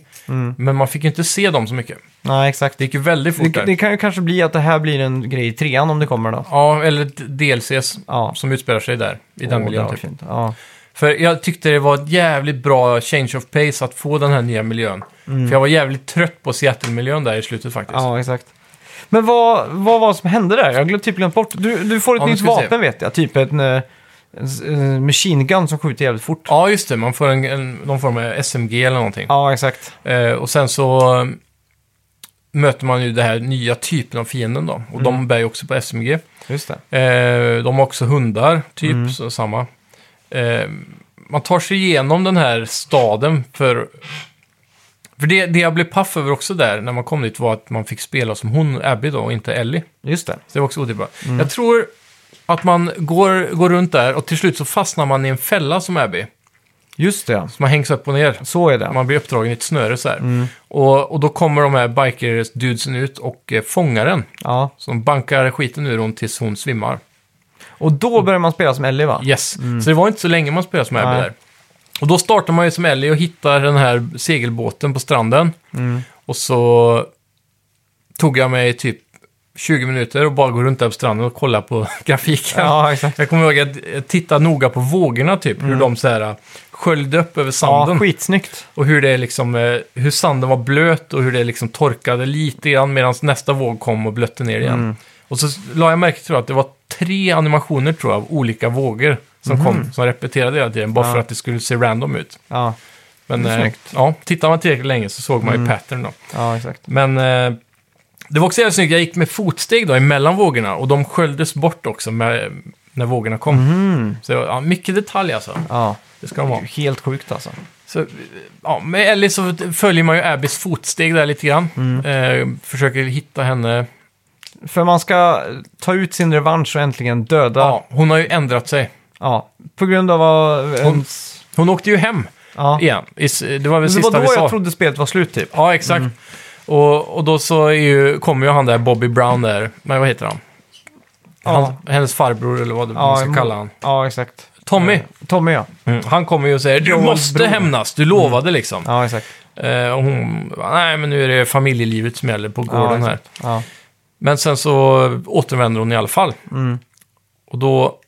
Speaker 1: men man fick ju inte se dem så mycket.
Speaker 2: Nej, exakt.
Speaker 1: Det
Speaker 2: Det,
Speaker 1: gick ju väldigt fort
Speaker 2: det,
Speaker 1: där.
Speaker 2: kan ju kanske bli att det här blir en grej i trean om det kommer då.
Speaker 1: Ja, eller ett DLCs
Speaker 2: Ja.
Speaker 1: som utspelar sig där, i den
Speaker 2: Åh, det
Speaker 1: miljön.
Speaker 2: var
Speaker 1: Typ.
Speaker 2: fint. Ja.
Speaker 1: För jag tyckte det var ett jävligt bra change of pace att få den här nya miljön. För jag var jävligt trött på Seattle-miljön där i slutet faktiskt.
Speaker 2: ja, exakt. Men vad, vad var det som hände där? Jag glömde typ glömt bort. Du, du får ett
Speaker 1: Ja, nu
Speaker 2: nytt
Speaker 1: ska vi se.
Speaker 2: vapen vet jag. Typ en, eh, en, s- en machine gun som skjuter jävligt fort.
Speaker 1: Ja, just det. Man får en, en, någon form av SMG eller någonting.
Speaker 2: Ja, exakt.
Speaker 1: Eh, och sen så eh, mm, möter man ju den här nya typen av fienden då. Och de bär ju också på SMG.
Speaker 2: Just det.
Speaker 1: Eh, de har också hundar, typ, så samma. Eh, man tar sig igenom den här staden för... För det, det jag blev paff över också där, när man kom dit, var att man fick spela som hon, Abby då, och inte Ellie.
Speaker 2: Just det.
Speaker 1: Så det var också otippat.
Speaker 2: Mm.
Speaker 1: Jag tror att man går, går runt där och till slut så fastnar man i en fälla som Abby.
Speaker 2: Just det, ja.
Speaker 1: Så man hängs upp och ner.
Speaker 2: Så är det.
Speaker 1: Man blir uppdragen i ett snöre så här.
Speaker 2: Mm.
Speaker 1: Och, och då kommer de här biker-dudesen ut och eh, fångar den.
Speaker 2: Ja.
Speaker 1: Som bankar skiten ur hon tills hon svimmar.
Speaker 2: Och då börjar man spela som Ellie, va?
Speaker 1: Yes, så det var inte så länge man spelade som Abby
Speaker 2: Mm. Nej.
Speaker 1: där. Och då startar man ju som Ellie och hittar den här segelbåten på stranden.
Speaker 2: Mm.
Speaker 1: Och så tog jag mig typ 20 minuter och bara gå runt där på stranden och kolla på grafiken.
Speaker 2: Ja, exakt.
Speaker 1: Jag kommer ihåg att jag tittade noga på vågorna typ, hur de så här sköljde upp över
Speaker 2: Mm. Ja,
Speaker 1: sanden.
Speaker 2: skitsnyggt.
Speaker 1: och hur det liksom, eh, hur sanden var blöt och hur det liksom torkade lite grann medan nästa våg kom och blötte ner igen.
Speaker 2: Mm.
Speaker 1: Och så la jag märke till att det var tre animationer tror jag av olika vågor som kom, som repeterade hela tiden, bara
Speaker 2: Mhm. Ja.
Speaker 1: för att det skulle se random ut.
Speaker 2: Ja,
Speaker 1: Men
Speaker 2: Det är
Speaker 1: eh,
Speaker 2: snyggt. Mm.
Speaker 1: ja, tittar man tillräckligt länge så såg man ju pattern då.
Speaker 2: ja exakt.
Speaker 1: Men eh, det var också jävligt snyggt, jag gick med fotsteg då emellan vågorna och de sköljdes bort också med, när vågorna kom.
Speaker 2: Mhm.
Speaker 1: Så ja, mycket detalj alltså,
Speaker 2: Ja.
Speaker 1: det ska de
Speaker 2: Det är
Speaker 1: ha.
Speaker 2: ju helt sjukt alltså.
Speaker 1: Så, ja, med Ellie så följer man ju Abbys fotsteg där lite grann.
Speaker 2: Mm.
Speaker 1: Eh, försöker hitta henne.
Speaker 2: För man ska ta ut sin revansch och äntligen döda. Ja.
Speaker 1: Ja, hon har ju ändrat sig.
Speaker 2: På grund av vad... eh, ens-
Speaker 1: Hon åkte ju hem
Speaker 2: Ja.
Speaker 1: igen. I s- Det var väl
Speaker 2: Det
Speaker 1: sista
Speaker 2: var då
Speaker 1: vi sa.
Speaker 2: jag trodde spelet var slut typ.
Speaker 1: Ja, exakt. Och, och då så är ju, kommer ju han där, Bobby Brown där. Men vad heter han?
Speaker 2: Ja.
Speaker 1: han hennes farbror eller vad man
Speaker 2: Ja,
Speaker 1: ska
Speaker 2: mo-
Speaker 1: kalla han.
Speaker 2: Ja, exakt.
Speaker 1: Tommy.
Speaker 2: Tommy ja.
Speaker 1: Mm. Han kommer ju och säger du
Speaker 2: Joel
Speaker 1: måste
Speaker 2: Bror. Mm.
Speaker 1: hämnas, du lovade liksom.
Speaker 2: Ja, exakt.
Speaker 1: Eh, och hon bara, nej men nu är det familjelivet som gäller på
Speaker 2: Ja,
Speaker 1: gården här.
Speaker 2: exakt. Ja.
Speaker 1: Men sen så återvänder hon i alla fall.
Speaker 2: Mm.
Speaker 1: Och då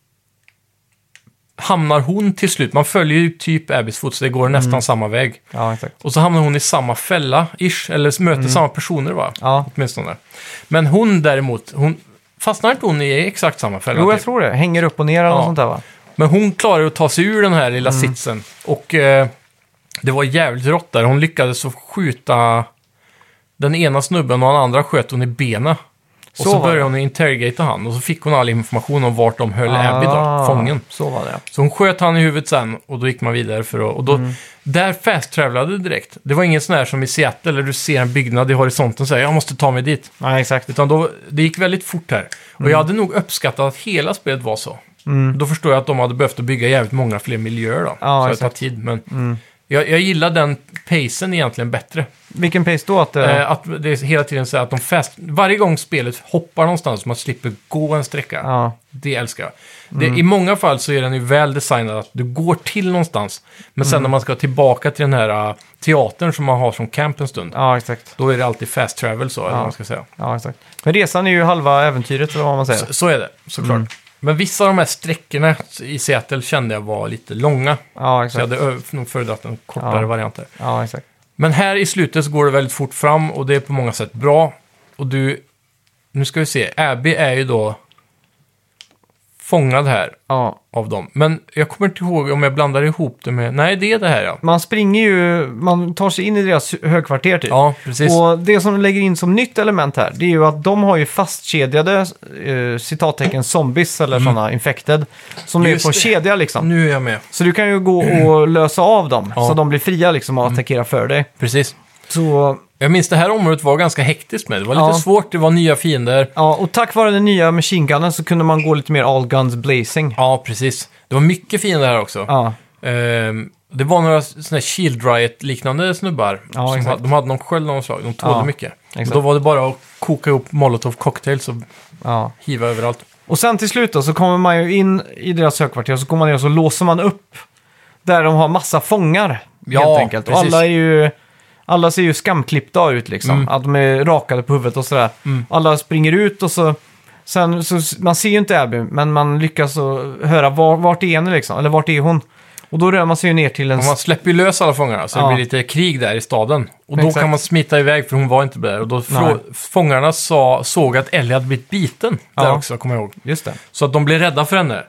Speaker 1: hamnar hon till slut, man följer ju typ Abbys fotsteg, det går nästan
Speaker 2: Mm.
Speaker 1: samma väg.
Speaker 2: ja, exakt.
Speaker 1: Och så hamnar hon i samma fälla, ish, eller möter samma personer va?
Speaker 2: Mm. Ja.
Speaker 1: Åtminstone. Men hon däremot, hon fastnar inte hon i exakt samma fälla?
Speaker 2: Jo, jag
Speaker 1: typ?
Speaker 2: tror det. Hänger upp och ner eller
Speaker 1: Ja.
Speaker 2: något sånt där va?
Speaker 1: Men hon klarade att ta sig ur den här lilla
Speaker 2: Mm.
Speaker 1: sitsen. Och eh, det var jävligt rått där. Hon lyckades så skjuta den ena snubben och den andra sköt hon i benen. Och
Speaker 2: Så
Speaker 1: så
Speaker 2: var det.
Speaker 1: började hon interrogata han och så fick hon all information om vart de höll Abby då,
Speaker 2: Ah,
Speaker 1: fången.
Speaker 2: Så var det ja.
Speaker 1: Så hon sköt han i huvudet sen och då gick man vidare för att... Och då,
Speaker 2: Mm.
Speaker 1: Där fast-travelade direkt. Det var ingen sån här som i Seattle där du ser en byggnad i horisonten och säger jag måste ta mig dit.
Speaker 2: Nej, exakt.
Speaker 1: Utan då, det gick väldigt fort här. Och
Speaker 2: Mm.
Speaker 1: jag hade nog uppskattat att hela spelet var så. Då förstår jag att de hade behövt att bygga jävligt många fler miljöer då.
Speaker 2: Ja,
Speaker 1: så det tar
Speaker 2: exakt. Mm.
Speaker 1: tid. Men jag, jag gillar den pacen egentligen bättre.
Speaker 2: Vilken pace då? Att, eh,
Speaker 1: Eh, att det är hela tiden så här att de fast... Varje gång spelet hoppar någonstans så man slipper gå en sträcka.
Speaker 2: ja. Mm.
Speaker 1: Det älskar jag. Det, I många fall så är den ju väl designad att du går till någonstans. Men
Speaker 2: Mm.
Speaker 1: sen när man ska tillbaka till den här eh, teatern som man har som camp en stund.
Speaker 2: ja, exakt.
Speaker 1: Då är det alltid fast travel så, eller vad man ska säga.
Speaker 2: Ja, exakt. Men resan är ju halva äventyret eller vad man säger.
Speaker 1: Så, så är det, såklart. Men vissa av de här sträckorna i Seattle kände jag var lite långa.
Speaker 2: Ja,
Speaker 1: Så jag
Speaker 2: exakt.
Speaker 1: hade ö- nog föredragit en kortare
Speaker 2: Ja.
Speaker 1: variant där.
Speaker 2: Ja, exakt.
Speaker 1: Men här i slutet så går det väldigt fort fram och det är på många sätt bra. Och du, nu ska vi se, Abby är ju då fångad här
Speaker 2: Ja.
Speaker 1: av dem. Men jag kommer inte ihåg om jag blandar ihop det med, nej det är det här ja.
Speaker 2: Man springer ju, man tar sig in i deras högkvarter typ.
Speaker 1: Ja, precis.
Speaker 2: Och det som de lägger in som nytt element här, det är ju att de har ju fastkedjade eh, citattecken zombies eller
Speaker 1: Mm.
Speaker 2: sådana infected. Som
Speaker 1: Just
Speaker 2: är på
Speaker 1: det.
Speaker 2: kedja liksom.
Speaker 1: Nu är jag med.
Speaker 2: Så du kan ju gå och lösa av dem
Speaker 1: Mm. Ja. Mm.
Speaker 2: så de blir fria liksom och attackera för dig.
Speaker 1: Precis.
Speaker 2: Så,
Speaker 1: Jag minns det här området var ganska hektiskt med. Det var lite
Speaker 2: Ja.
Speaker 1: svårt, det var nya fiender.
Speaker 2: ja, och tack vare den nya machine gunnen så kunde man gå lite mer all guns blazing.
Speaker 1: Ja, precis. Det var mycket fiender här också.
Speaker 2: Ja,
Speaker 1: Ehm, det var några sådana här Shield Riot-liknande snubbar.
Speaker 2: Ja,
Speaker 1: som
Speaker 2: exakt.
Speaker 1: hade, de hade någon sköld av något slag, de tålde
Speaker 2: Ja,
Speaker 1: mycket. Och
Speaker 2: exakt.
Speaker 1: då var det bara att koka ihop molotov cocktails och
Speaker 2: ja.
Speaker 1: hiva överallt.
Speaker 2: Och sen till slut då, så kommer man ju in i deras högkvarter och så går man ner och så låser man upp. Där de har massa fångar,
Speaker 1: Ja,
Speaker 2: helt enkelt. Och
Speaker 1: precis. Mm.
Speaker 2: alla är ju... Alla ser ju skamklippta ut liksom. Att de är rakade på huvudet och sådär. Alla springer ut och så... Sen så, man ser ju inte Abby, men man lyckas så höra var, vart är henne liksom, eller vart är hon? Och då rör man sig ju ner till en...
Speaker 1: Och man släpper ju lös alla fångarna så
Speaker 2: Ja.
Speaker 1: det blir lite krig där i staden. Och då
Speaker 2: Exakt.
Speaker 1: kan man smita iväg för hon var inte där. Och då frå- fångarna sa, såg att Ellie hade blivit biten där
Speaker 2: Ja.
Speaker 1: också, kommer jag ihåg.
Speaker 2: Just det.
Speaker 1: Så att de blev rädda för henne.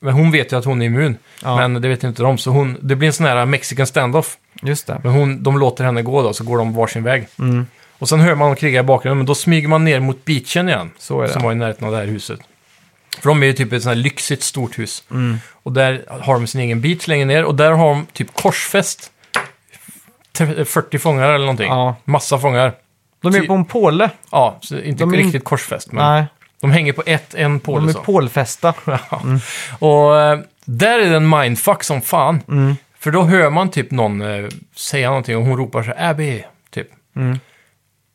Speaker 1: Men hon vet ju att hon är immun.
Speaker 2: Ja.
Speaker 1: Men det vet ju inte de. Så hon, det blir en sån här mexican standoff.
Speaker 2: Just det.
Speaker 1: Men hon, de låter henne gå då, så går de varsin väg. Och sen hör man dem kriga i bakgrunden, men då smyger man ner mot beachen igen.
Speaker 2: Så är det.
Speaker 1: Som var i närheten av det här huset. För de är ju typ ett sånt här lyxigt stort hus.
Speaker 2: Mm.
Speaker 1: Och där har de sin egen beach längre ner och där har de typ korsfäst. t- 40 fångar eller någonting.
Speaker 2: Ja.
Speaker 1: Massa fångar.
Speaker 2: De är på en påle.
Speaker 1: Ja, så inte
Speaker 2: De är in-
Speaker 1: riktigt korsfäst, men
Speaker 2: Nej,
Speaker 1: de hänger på ett, en
Speaker 2: de
Speaker 1: påle.
Speaker 2: är
Speaker 1: så.
Speaker 2: pålfästa.
Speaker 1: Ja. Och eh, där är det en mindfuck som fan.
Speaker 2: Mm.
Speaker 1: För då hör man typ någon eh, säga någonting och hon ropar så här Abby, typ.
Speaker 2: Mm.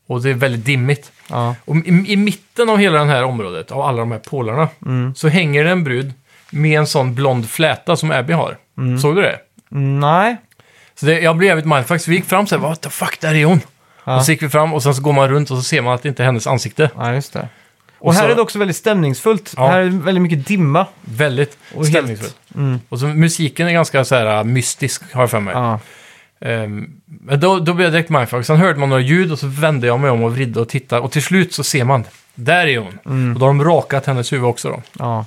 Speaker 1: Och det är väldigt dimmigt.
Speaker 2: Ja.
Speaker 1: Och i, I mitten av hela det här området, av alla de här pålarna,
Speaker 2: Mm,
Speaker 1: så hänger det en brud med en sån blond fläta som Abby har.
Speaker 2: Mm.
Speaker 1: Såg du det?
Speaker 2: Nej,
Speaker 1: Så det, jag blev jävligt mindfuck, så vi gick fram så här, what the fuck, där är hon!
Speaker 2: Ja.
Speaker 1: Och så gick vi fram och sen så går man runt och så ser man att det inte är hennes ansikte.
Speaker 2: nej just det. Och,
Speaker 1: Och
Speaker 2: här
Speaker 1: så-
Speaker 2: är det också väldigt stämningsfullt.
Speaker 1: Ja.
Speaker 2: Här är det väldigt mycket dimma.
Speaker 1: Väldigt
Speaker 2: Och helt- Mm.
Speaker 1: stämningsfullt. Och så musiken är ganska så här eh, mystisk, har jag för mig.
Speaker 2: Ja.
Speaker 1: Ehm, Men då, då blev jag direkt mindfuck. Sen hörde man några ljud och så vände jag mig om och vridde och tittade. Och till slut så ser man, där är hon. Och då har de rakat hennes huvud också då.
Speaker 2: mm, Ja.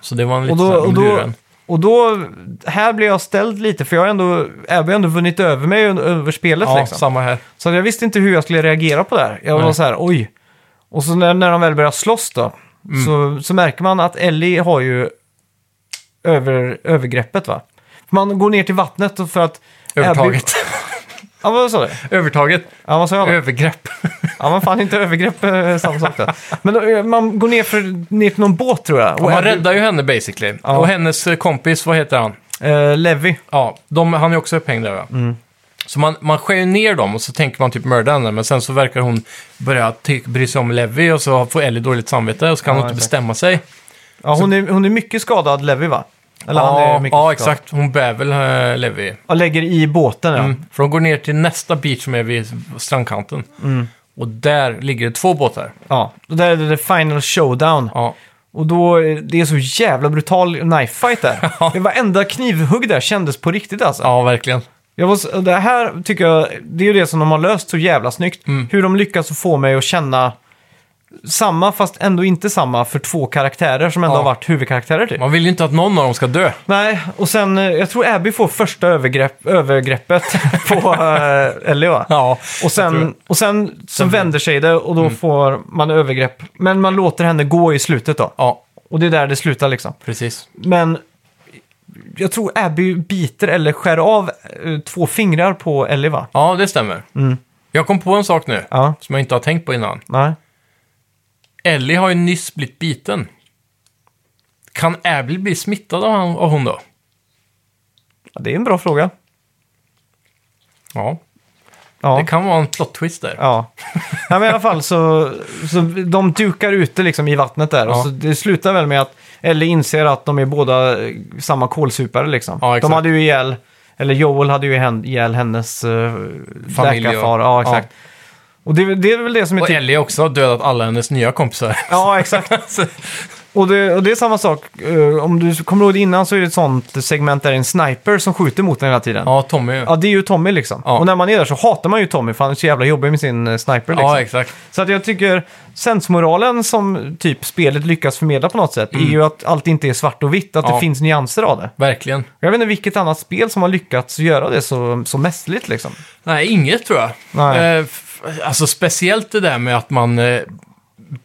Speaker 1: Så det var en
Speaker 2: Och
Speaker 1: liten
Speaker 2: då, och, då,
Speaker 1: luren.
Speaker 2: och då, här blir jag ställd lite för jag har ändå, Abby har ändå vunnit över mig un- över spelet
Speaker 1: Ja,
Speaker 2: liksom.
Speaker 1: samma här.
Speaker 2: Så jag visste inte hur jag skulle reagera på det här. Jag var
Speaker 1: Nej.
Speaker 2: så här, oj. Och så när, när de väl börjar slåss då,
Speaker 1: Mm.
Speaker 2: så, så märker man att Ellie har ju över, övergreppet va. Man går ner till vattnet och för att...
Speaker 1: Övertaget.
Speaker 2: Abby, ja, vad sa du?
Speaker 1: Övertaget.
Speaker 2: Ja, vad sa jag? då?
Speaker 1: Övergrepp.
Speaker 2: Ja, men fan inte övergrepp eh, samma sak då. Men eh, man går ner, för, ner till någon båt tror jag.
Speaker 1: Och man
Speaker 2: Abby-
Speaker 1: räddar ju henne basically.
Speaker 2: Ja.
Speaker 1: Och hennes eh, kompis, vad heter han?
Speaker 2: eh, Levi.
Speaker 1: Ja, de, han är också upphängd där va?
Speaker 2: Mm.
Speaker 1: Så man, man skär ju ner dem och så tänker man typ mörda henne, men sen så verkar hon börja ty- bry sig om Levi och så får Ellie dåligt samvete och så kan
Speaker 2: Ja,
Speaker 1: hon inte
Speaker 2: exakt.
Speaker 1: bestämma sig.
Speaker 2: Ja, hon, är, hon är mycket skadad, Levi va? Eller han är
Speaker 1: ja,
Speaker 2: mycket
Speaker 1: ja,
Speaker 2: skadad.
Speaker 1: exakt. Hon bär väl eh, Levi.
Speaker 2: Och lägger i båten ja.
Speaker 1: Mm. För de går ner till nästa beach som är vid strandkanten.
Speaker 2: Mm.
Speaker 1: Och där ligger det två båtar.
Speaker 2: ja. Och där är det the final showdown.
Speaker 1: Ja,
Speaker 2: Och då, eh, det är så jävla brutal knife fight där.
Speaker 1: Ja.
Speaker 2: Det varenda knivhugg där kändes på riktigt alltså.
Speaker 1: ja verkligen.
Speaker 2: Jag var, så- det här tycker jag, det är ju det som de har löst så jävla snyggt.
Speaker 1: Mm.
Speaker 2: Hur de lyckas att få mig att känna samma, fast ändå inte samma, för två karaktärer som ändå
Speaker 1: Ja.
Speaker 2: har varit huvudkaraktärer typ.
Speaker 1: Man vill ju inte att någon av dem ska dö.
Speaker 2: Nej, och sen, eh, jag tror Abby får första övergrepp, övergreppet på eh, Ellie va?
Speaker 1: Ja,
Speaker 2: Och
Speaker 1: tror Mm.
Speaker 2: sen, och sen så vänder sig det och då får man övergrepp. Men man låter henne gå i slutet då.
Speaker 1: ja
Speaker 2: Och det är där det slutar liksom.
Speaker 1: precis.
Speaker 2: Men jag tror Abby biter eller skär av eh, två fingrar på Ellie va?
Speaker 1: Ja, det stämmer. Jag kom på en sak nu
Speaker 2: Mm. Ja.
Speaker 1: som jag inte har tänkt på innan.
Speaker 2: Nej.
Speaker 1: Ellie har ju nyss blivit biten. Kan Abby bli smittad av, han, av hon då?
Speaker 2: Ja, det är en bra fråga.
Speaker 1: Ja,
Speaker 2: Ja.
Speaker 1: det kan vara en plot twist där.
Speaker 2: Ja. ja, men i alla fall så, så de dukar ute liksom i vattnet där. Och
Speaker 1: Ja.
Speaker 2: så det slutar väl med att Ellie inser att de är båda eh, samma kålsupare liksom.
Speaker 1: Ja, exakt.
Speaker 2: de hade ju ihjäl, eller Joel hade ju hen- ihjäl hennes uh,
Speaker 1: Familj och-
Speaker 2: läkarfar. Ja, exakt. Och det, det är väl det som är
Speaker 1: Och
Speaker 2: typ...
Speaker 1: Ellie också har dödat alla hennes nya kompisar.
Speaker 2: Ja, exakt.
Speaker 1: Så-
Speaker 2: Och det, och det är samma sak, eh, om du kommer ihåg det innan så är det ett sånt segment där det är en sniper som skjuter mot den hela tiden. Ja.
Speaker 1: ja, Tommy. Ja,
Speaker 2: det är ju Tommy liksom.
Speaker 1: Ja.
Speaker 2: Och när man är där så hatar man ju Tommy för han är så jävla jobbig med sin eh, sniper liksom.
Speaker 1: exakt.
Speaker 2: Så att jag tycker sensmoralen som typ spelet lyckas förmedla på något sätt är ju att allt inte är svart och vitt, att det
Speaker 1: Mm. Ja.
Speaker 2: finns nyanser av det.
Speaker 1: Verkligen.
Speaker 2: Jag vet inte vilket annat spel som har lyckats göra det så, så mästerligt liksom.
Speaker 1: Nej, inget tror jag.
Speaker 2: Nej.
Speaker 1: Eh, f- alltså speciellt det där med att man eh,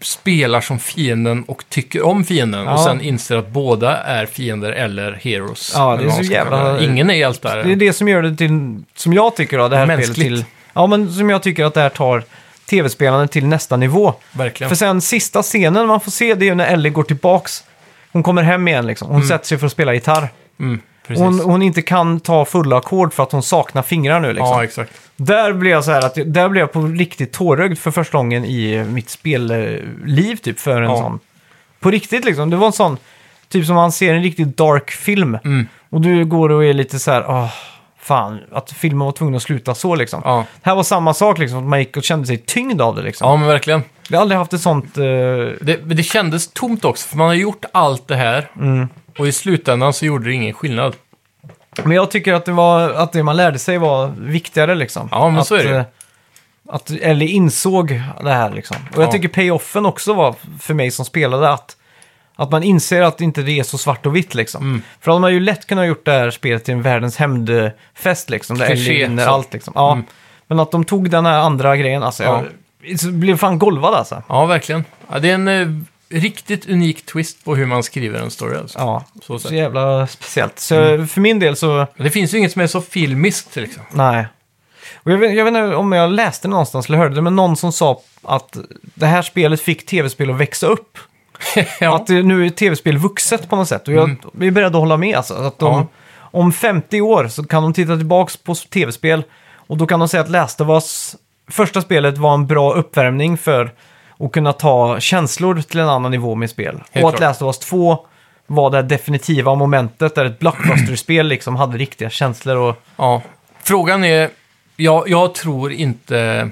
Speaker 1: spelar som fienden och tycker om fienden och
Speaker 2: Ja.
Speaker 1: sen inser att båda är fiender eller heroes.
Speaker 2: Ja, det
Speaker 1: eller
Speaker 2: är
Speaker 1: vad
Speaker 2: så
Speaker 1: man ska
Speaker 2: jävla-
Speaker 1: kalla det. Ingen är hjältar.
Speaker 2: Det är det som gör det till, som jag tycker då, det här
Speaker 1: Mänskligt.
Speaker 2: spelet till... Ja, men som jag tycker att det här tar tv-spelandet till nästa nivå.
Speaker 1: Verkligen.
Speaker 2: För sen sista scenen man får se, det är ju när Ellie går tillbaks. Hon kommer hem igen liksom. Hon sätter sig för att spela gitarr.
Speaker 1: Mm, precis.
Speaker 2: Hon, hon inte kan ta fulla ackord för att hon saknar fingrar nu liksom.
Speaker 1: Ja, exakt.
Speaker 2: Där blev jag så här att där blev jag på riktigt tårögd för första gången i mitt spelliv typ för en
Speaker 1: Ja.
Speaker 2: sån. På riktigt liksom. Det var en sån, typ som man ser en riktigt dark film.
Speaker 1: Mm.
Speaker 2: Och du går och är lite så här, åh, fan, att filmen var tvungen att sluta så liksom.
Speaker 1: Ja.
Speaker 2: Här var samma sak liksom, att man gick och kände sig tyngd av det liksom.
Speaker 1: ja, men verkligen.
Speaker 2: Jag har aldrig haft ett sånt, eh,
Speaker 1: Det, men det kändes tomt också, för man har gjort allt det här
Speaker 2: Mm.
Speaker 1: och i slutändan så gjorde det ingen skillnad.
Speaker 2: men jag tycker att det, var, att det man lärde sig var viktigare liksom.
Speaker 1: Ja, men
Speaker 2: att,
Speaker 1: så är det ju.
Speaker 2: eh, Att Ellie insåg det här liksom. Och jag
Speaker 1: Ja.
Speaker 2: tycker payoffen också var för mig som spelade att, att man inser att inte det är så svart och vitt liksom.
Speaker 1: Mm.
Speaker 2: För de har ju lätt kunnat gjort det här spelet till en världens hämndfest liksom. Där
Speaker 1: Kliché,
Speaker 2: Ellie vinner
Speaker 1: så.
Speaker 2: allt liksom. Ja.
Speaker 1: Mm.
Speaker 2: Men att de tog den här andra grejen, alltså.
Speaker 1: Ja.
Speaker 2: Jag så blev fan golvad alltså.
Speaker 1: Ja, verkligen. Ja, det är en eh, riktigt unik twist på hur man skriver en story. Alltså.
Speaker 2: Ja,
Speaker 1: Så
Speaker 2: så
Speaker 1: sett.
Speaker 2: jävla speciellt. Så
Speaker 1: Mm.
Speaker 2: för min del så,
Speaker 1: Men Det finns ju inget som är så filmiskt liksom.
Speaker 2: nej. Och jag, vet, jag vet inte om jag läste det någonstans eller hörde det, men någon som sa att det här spelet fick tv-spel att växa upp.
Speaker 1: ja. Mm.
Speaker 2: Att det, nu är tv-spel vuxet på något sätt. Och jag är beredd att hålla med. Alltså, att de,
Speaker 1: Ja.
Speaker 2: Om 50 år så kan de titta tillbaka på tv-spel och då kan de säga att Last of Us, första spelet var en bra uppvärmning för att kunna ta känslor till en annan nivå med spel.
Speaker 1: Helt
Speaker 2: och att
Speaker 1: klart.
Speaker 2: Last of Us 2 var det här definitiva momentet där ett blockbuster-spel liksom hade riktiga känslor och...
Speaker 1: Ja. Frågan är, jag, jag tror inte...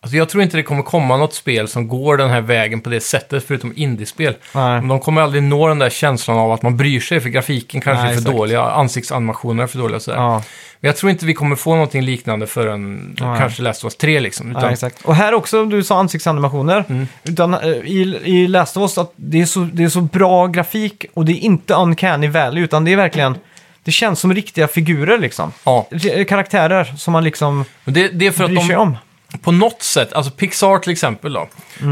Speaker 1: Alltså jag tror inte det kommer komma något spel som går den här vägen på det sättet, förutom indiespel.
Speaker 2: Nej.
Speaker 1: Men De kommer aldrig nå den där känslan av att man bryr sig, för grafiken kanske
Speaker 2: Nej,
Speaker 1: är för
Speaker 2: exakt.
Speaker 1: dåliga, ansiktsanimationerna är för dåliga och sådär.
Speaker 2: Ja,
Speaker 1: Men jag tror inte vi kommer få någonting liknande förrän
Speaker 2: Nej.
Speaker 1: kanske Last of Us 3 liksom. Utan, Mm.
Speaker 2: ja, exakt. Och här också, du sa ansiktsanimationer. Utan, eh, i, I Last of Us, att det, är så, det är så bra grafik och det är inte uncanny valley, utan det är verkligen... Det känns som riktiga figurer liksom.
Speaker 1: ja.
Speaker 2: Re- Karaktärer som man liksom
Speaker 1: Men det, det är för att
Speaker 2: bryr sig
Speaker 1: de
Speaker 2: om.
Speaker 1: på något sätt, alltså Pixar till exempel då,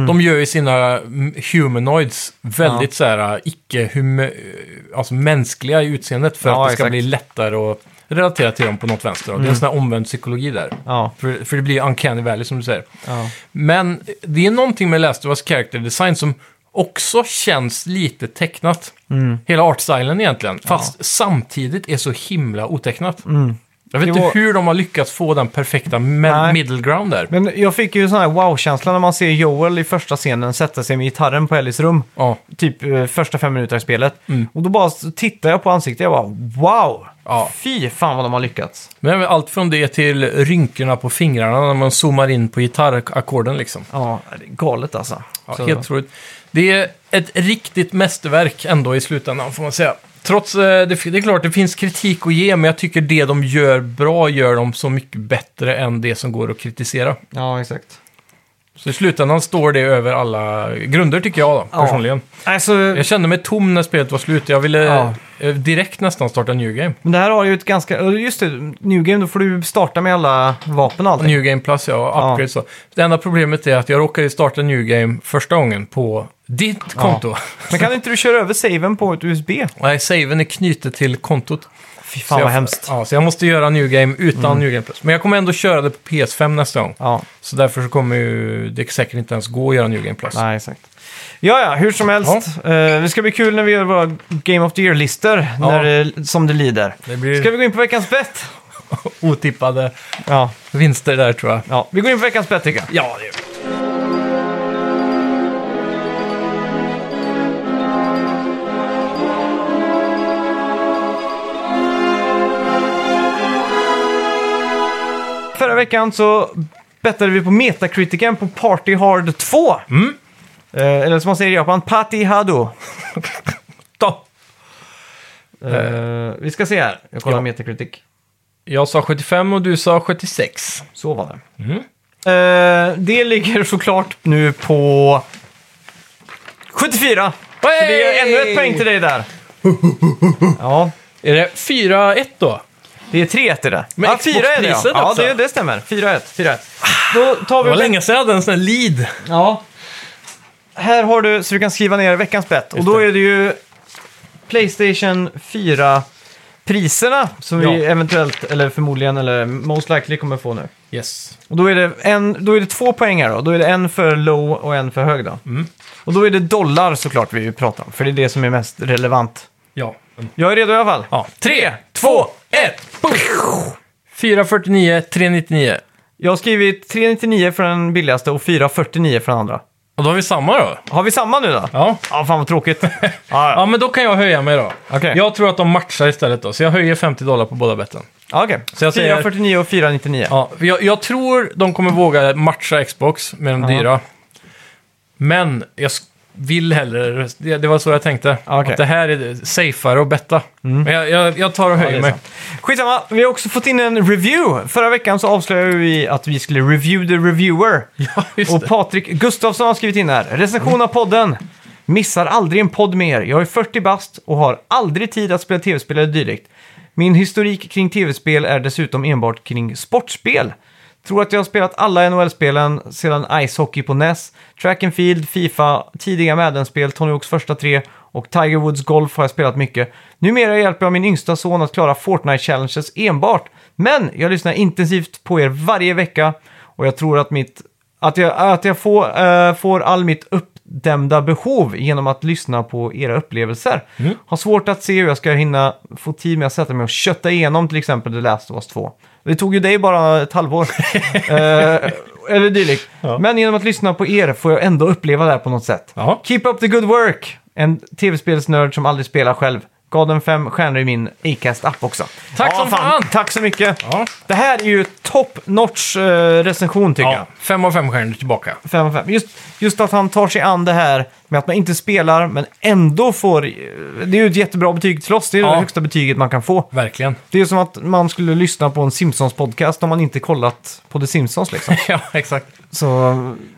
Speaker 1: de gör ju sina mm, humanoids väldigt så här icke hume, alltså mänskliga i utseendet för
Speaker 2: Ja,
Speaker 1: att det ska
Speaker 2: exakt. Mm.
Speaker 1: bli lättare att relatera till dem på något vänster. då. Det är en sån här omvänd psykologi där.
Speaker 2: Ja,
Speaker 1: För, för det blir uncanny valley som du säger.
Speaker 2: ja.
Speaker 1: Men det är någonting med Last of Us character design som också känns lite tecknat.
Speaker 2: Mm.
Speaker 1: Hela artstylen egentligen. Fast samtidigt är så himla otecknat. Jag vet
Speaker 2: Det
Speaker 1: inte
Speaker 2: var-
Speaker 1: hur de har lyckats få den perfekta me-
Speaker 2: Mm. Nej.
Speaker 1: middle ground där.
Speaker 2: Men jag fick ju sån här wow-känsla när man ser Joel i första scenen sätta sig med gitarren på Ellis rum.
Speaker 1: Ja,
Speaker 2: Typ eh, första fem minuter i spelet.
Speaker 1: Mm.
Speaker 2: Och då bara s- tittar jag på ansiktet och jag bara wow!
Speaker 1: Ja.
Speaker 2: Fy fan vad de har lyckats.
Speaker 1: men det är väl allt från det till rynkorna på fingrarna när man zoomar in på gitarrackorden liksom.
Speaker 2: Ja, det är galet alltså.
Speaker 1: Ja,
Speaker 2: Så-
Speaker 1: helt otroligt. Det är ett riktigt mästerverk ändå i slutändan får man säga. Trots, eh, det, fi- det är klart det finns kritik att ge, men jag tycker det de gör bra gör de så mycket bättre än det som går att kritisera.
Speaker 2: ja, exakt.
Speaker 1: Så i slutändan står det över alla grunder tycker jag då,
Speaker 2: Ja.
Speaker 1: personligen.
Speaker 2: Alltså,
Speaker 1: Jag kände mig tom när spelet var slut. Jag ville
Speaker 2: Ja.
Speaker 1: eh, direkt nästan starta New Game.
Speaker 2: men det här har ju ett ganska... eh, Just det, New Game, då får du starta med alla vapen och allting.
Speaker 1: New Game Plus, ja, och upgrade så. Det enda problemet är att jag råkade starta New Game första gången på ditt konto.
Speaker 2: Men kan inte du köra över saven på ett USB?
Speaker 1: Nej, saven är knutet till kontot.
Speaker 2: Fy
Speaker 1: Så
Speaker 2: fan
Speaker 1: jag,
Speaker 2: vad hemskt. Mm.
Speaker 1: Ja, så jag måste göra New Game utan New Game Plus. Men jag kommer ändå köra det på PS5 nästa gång.
Speaker 2: Ja,
Speaker 1: Så därför så kommer ju det säkert inte ens gå att göra New Game Plus.
Speaker 2: nej exakt. Ja, ja, hur som helst. Eh, det ska bli kul när vi gör våra Game of the Year-listor
Speaker 1: Ja.
Speaker 2: när det- som det lider.
Speaker 1: Det blir
Speaker 2: Ska vi gå in på veckans bett?
Speaker 1: otippade
Speaker 2: Ja,
Speaker 1: vinster där tror jag.
Speaker 2: ja, vi går in på veckans bett tycker jag.
Speaker 1: Ja, det gör
Speaker 2: Förra veckan så bettade vi på Metacriticen på Party Hard 2.
Speaker 1: Mm.
Speaker 2: Eh, eller som man säger i Japan, Pati Hado.
Speaker 1: Då.
Speaker 2: Eh, vi ska se här. Jag kollar
Speaker 1: Ja.
Speaker 2: Metacritic.
Speaker 1: Jag sa 75 och du sa 76.
Speaker 2: Så var det.
Speaker 1: Mm.
Speaker 2: Eh, det ligger såklart nu på 74. Så det är
Speaker 1: Hey!
Speaker 2: ännu ett poäng till dig där. ja,
Speaker 1: Är det 4-1 då?
Speaker 2: det är 3-1 i det.
Speaker 1: Men
Speaker 2: ja, 4 är det ja.
Speaker 1: Xbox-priset
Speaker 2: ja
Speaker 1: också.
Speaker 2: det, det stämmer. 4-1. 4-1. Då tar
Speaker 1: Det
Speaker 2: vi...
Speaker 1: var länge sedan jag hade en sån här lead.
Speaker 2: Ja. Här har du, så du kan skriva ner veckans bett. Och
Speaker 1: Just
Speaker 2: då
Speaker 1: det.
Speaker 2: är det ju Playstation 4-priserna som vi
Speaker 1: Ja.
Speaker 2: eventuellt, eller förmodligen, eller most likely kommer få nu.
Speaker 1: Yes.
Speaker 2: Och då är det, en, då är det två poäng här då. Då är det en för low och en för hög då.
Speaker 1: Mm.
Speaker 2: Och då är det dollar såklart vi pratar om, för det är det som är mest relevant.
Speaker 1: Ja.
Speaker 2: Jag är redo i alla fall.
Speaker 1: ja. 3, 2, 1! 449, 399.
Speaker 2: Jag har skrivit 399 för den billigaste och 449 för den andra.
Speaker 1: Och då har vi samma då?
Speaker 2: Har vi samma nu då?
Speaker 1: Ja.
Speaker 2: Ja, fan vad tråkigt. ja, ja.
Speaker 1: Ja, men då kan jag höja mig då.
Speaker 2: Okej.
Speaker 1: Jag tror att de matchar istället då, så jag höjer 50 dollar på båda betten.
Speaker 2: ja okej.
Speaker 1: Så jag säger-
Speaker 2: 449 och 499.
Speaker 1: Ja, för jag, jag tror de kommer våga matcha Xbox med de dyra. Men jag sk- vill hellre, det, det var så jag tänkte.
Speaker 2: Okej. Mm.
Speaker 1: Att det här är safeare att betta. Men jag, jag, jag tar
Speaker 2: Ja,
Speaker 1: och
Speaker 2: det
Speaker 1: höjer
Speaker 2: är
Speaker 1: mig.
Speaker 2: sant. Skitsamma, vi har också fått in en review. Förra veckan så avslöjade vi att vi skulle review the reviewer.
Speaker 1: Ja, just
Speaker 2: Och
Speaker 1: det.
Speaker 2: Patrik Gustafsson har skrivit in här. Recension av podden. Missar aldrig en podd med er. Jag är 40 bast och har aldrig tid att spela tv-spel eller dylikt. Min historik kring tv-spel är dessutom enbart kring sportspel. Tror att jag har spelat alla NHL-spelen sedan Ice Hockey på NES, Track and Field, Fifa, tidiga Madden-spel, Tony Hawks första tre och Tiger Woods Golf har jag spelat mycket. Numera hjälper jag min yngsta son att klara Fortnite-challenges enbart. Men jag lyssnar intensivt på er varje vecka och jag tror att mitt att jag, att jag får, eh, får all mitt uppdämda behov genom att lyssna på era upplevelser.
Speaker 1: Mm.
Speaker 2: Har svårt att se hur jag ska hinna få tid med att sätta mig och kötta igenom till exempel The Last of Us 2. Det tog ju dig bara ett halvår. eh, eller dylikt. Men genom att lyssna på er får jag ändå uppleva det här på något sätt.
Speaker 1: Ja.
Speaker 2: Keep up the good work! En tv-spelsnörd som aldrig spelar själv. Gav den fem stjärnor i min Acast-app också.
Speaker 1: Tack som fan!
Speaker 2: Tack så mycket!
Speaker 1: Ja.
Speaker 2: Det här är ju top notch eh, recension tycker jag.
Speaker 1: Ja, fem av fem stjärnor tillbaka.
Speaker 2: Fem av fem. Just, just att han tar sig an det här med att man inte spelar, men ändå får... eh, Det är ju ett jättebra betyg till oss. Det är
Speaker 1: Ja.
Speaker 2: det högsta betyget man kan få.
Speaker 1: Verkligen.
Speaker 2: Det är som att man skulle lyssna på en Simpsons-podcast om man inte kollat på The Simpsons liksom.
Speaker 1: ja, exakt.
Speaker 2: Så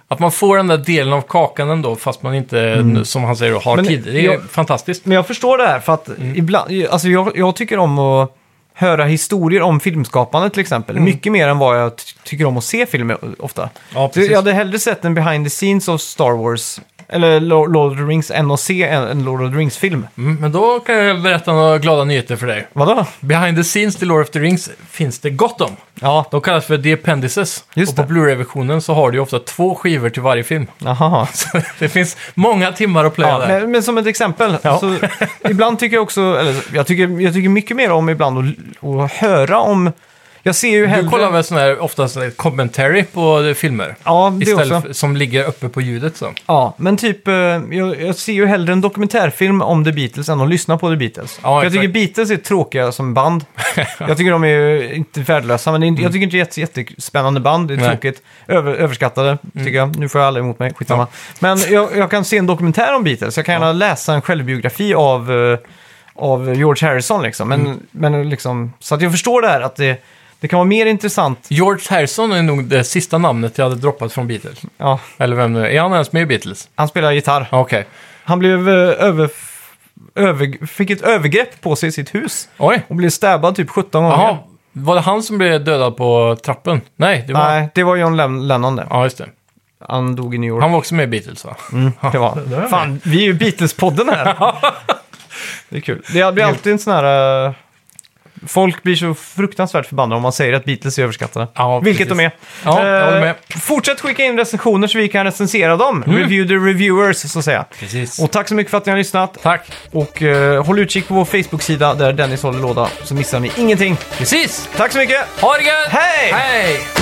Speaker 1: Att man får den där delen av kakan ändå, fast man inte, som han säger, då, har
Speaker 2: Mm. Men
Speaker 1: tid. Det är
Speaker 2: jag-
Speaker 1: fantastiskt.
Speaker 2: Men jag förstår det här, för att
Speaker 1: Mm.
Speaker 2: ibland, alltså jag, jag tycker om att höra historier om filmskapande till exempel. Mycket mer än vad jag ty- tycker om att se film eh, ofta.
Speaker 1: Mm. Ja,
Speaker 2: Så
Speaker 1: precis.
Speaker 2: jag hade hellre sett en behind the scenes av Star Wars, eller Lo- Lord of the Rings, än att se en, en Lord of the Rings-film.
Speaker 1: Mm, men då kan jag berätta några glada nyheter för dig.
Speaker 2: Vadå?
Speaker 1: Behind the scenes till Lord of the Rings finns det gott om.
Speaker 2: Ja,
Speaker 1: De kallas för The Appendices.
Speaker 2: Just
Speaker 1: och på
Speaker 2: det.
Speaker 1: Blu-ray-versionen så har du ju ofta två skivor till varje film.
Speaker 2: aha.
Speaker 1: Så det finns många timmar att playa
Speaker 2: Ja,
Speaker 1: där.
Speaker 2: men, men som ett exempel,
Speaker 1: Ja.
Speaker 2: så ibland tycker jag också, eller jag tycker, jag tycker mycket mer om ibland att, att höra om, jag ser ju hellre...
Speaker 1: Du kollar väl sån här, ofta sån här commentary på eh, filmer?
Speaker 2: Ja, det
Speaker 1: Istället
Speaker 2: också.
Speaker 1: för, som ligger uppe på ljudet så.
Speaker 2: Ja, men typ, eh, jag, jag ser ju hellre en dokumentärfilm om The Beatles än att lyssna på The Beatles.
Speaker 1: Ja,
Speaker 2: För jag
Speaker 1: exakt.
Speaker 2: tycker Beatles är tråkiga som band. jag tycker de är ju inte värdelösa, men det är inte, jag tycker inte det är ett jättespännande band. Det är
Speaker 1: Mm. Nej. Mm.
Speaker 2: tråkigt. Över, överskattade, tycker jag. Nu får jag alla emot mig, skitsamma. Men jag, jag kan se en dokumentär om Beatles. Jag kan gärna läsa en självbiografi av, eh, av George Harrison liksom. Men,
Speaker 1: Mm.
Speaker 2: men liksom, så att jag förstår det här att det, det kan vara mer intressant.
Speaker 1: George Harrison är nog det sista namnet jag hade droppat från Beatles.
Speaker 2: Ja,
Speaker 1: Eller vem nu är. Är han ens med i Beatles?
Speaker 2: han spelar gitarr.
Speaker 1: Ja, Okej.
Speaker 2: Han blev eh, över, över, fick ett övergrepp på sig i sitt hus
Speaker 1: Oj.
Speaker 2: och blev stabbad typ 17 gånger.
Speaker 1: Jaha. Var det han som blev dödad på trappen? Nej, det var...
Speaker 2: Nej, det var John Len- Lennon det.
Speaker 1: Ja, just det.
Speaker 2: Han dog i New York.
Speaker 1: Han var också med i Beatles va?
Speaker 2: Det var. Fan, vi är ju Beatles-podden här. det är kul. Det blir alltid en sån här... eh, folk blir så fruktansvärt förbannade om man säger att Beatles är överskattade.
Speaker 1: Ja,
Speaker 2: Vilket
Speaker 1: precis.
Speaker 2: de är.
Speaker 1: Ja, jag håller med. Mm.
Speaker 2: Eh, Fortsätt skicka in recensioner så vi kan recensera dem. Review the reviewers, så att säga.
Speaker 1: Precis.
Speaker 2: Och tack så mycket för att ni har lyssnat.
Speaker 1: Tack.
Speaker 2: Och eh, håll utkik på vår Facebook-sida där Dennis håller låda så missar ni ingenting.
Speaker 1: Precis!
Speaker 2: Tack så mycket!
Speaker 1: Ha det gött!
Speaker 2: Hej!
Speaker 1: Hej!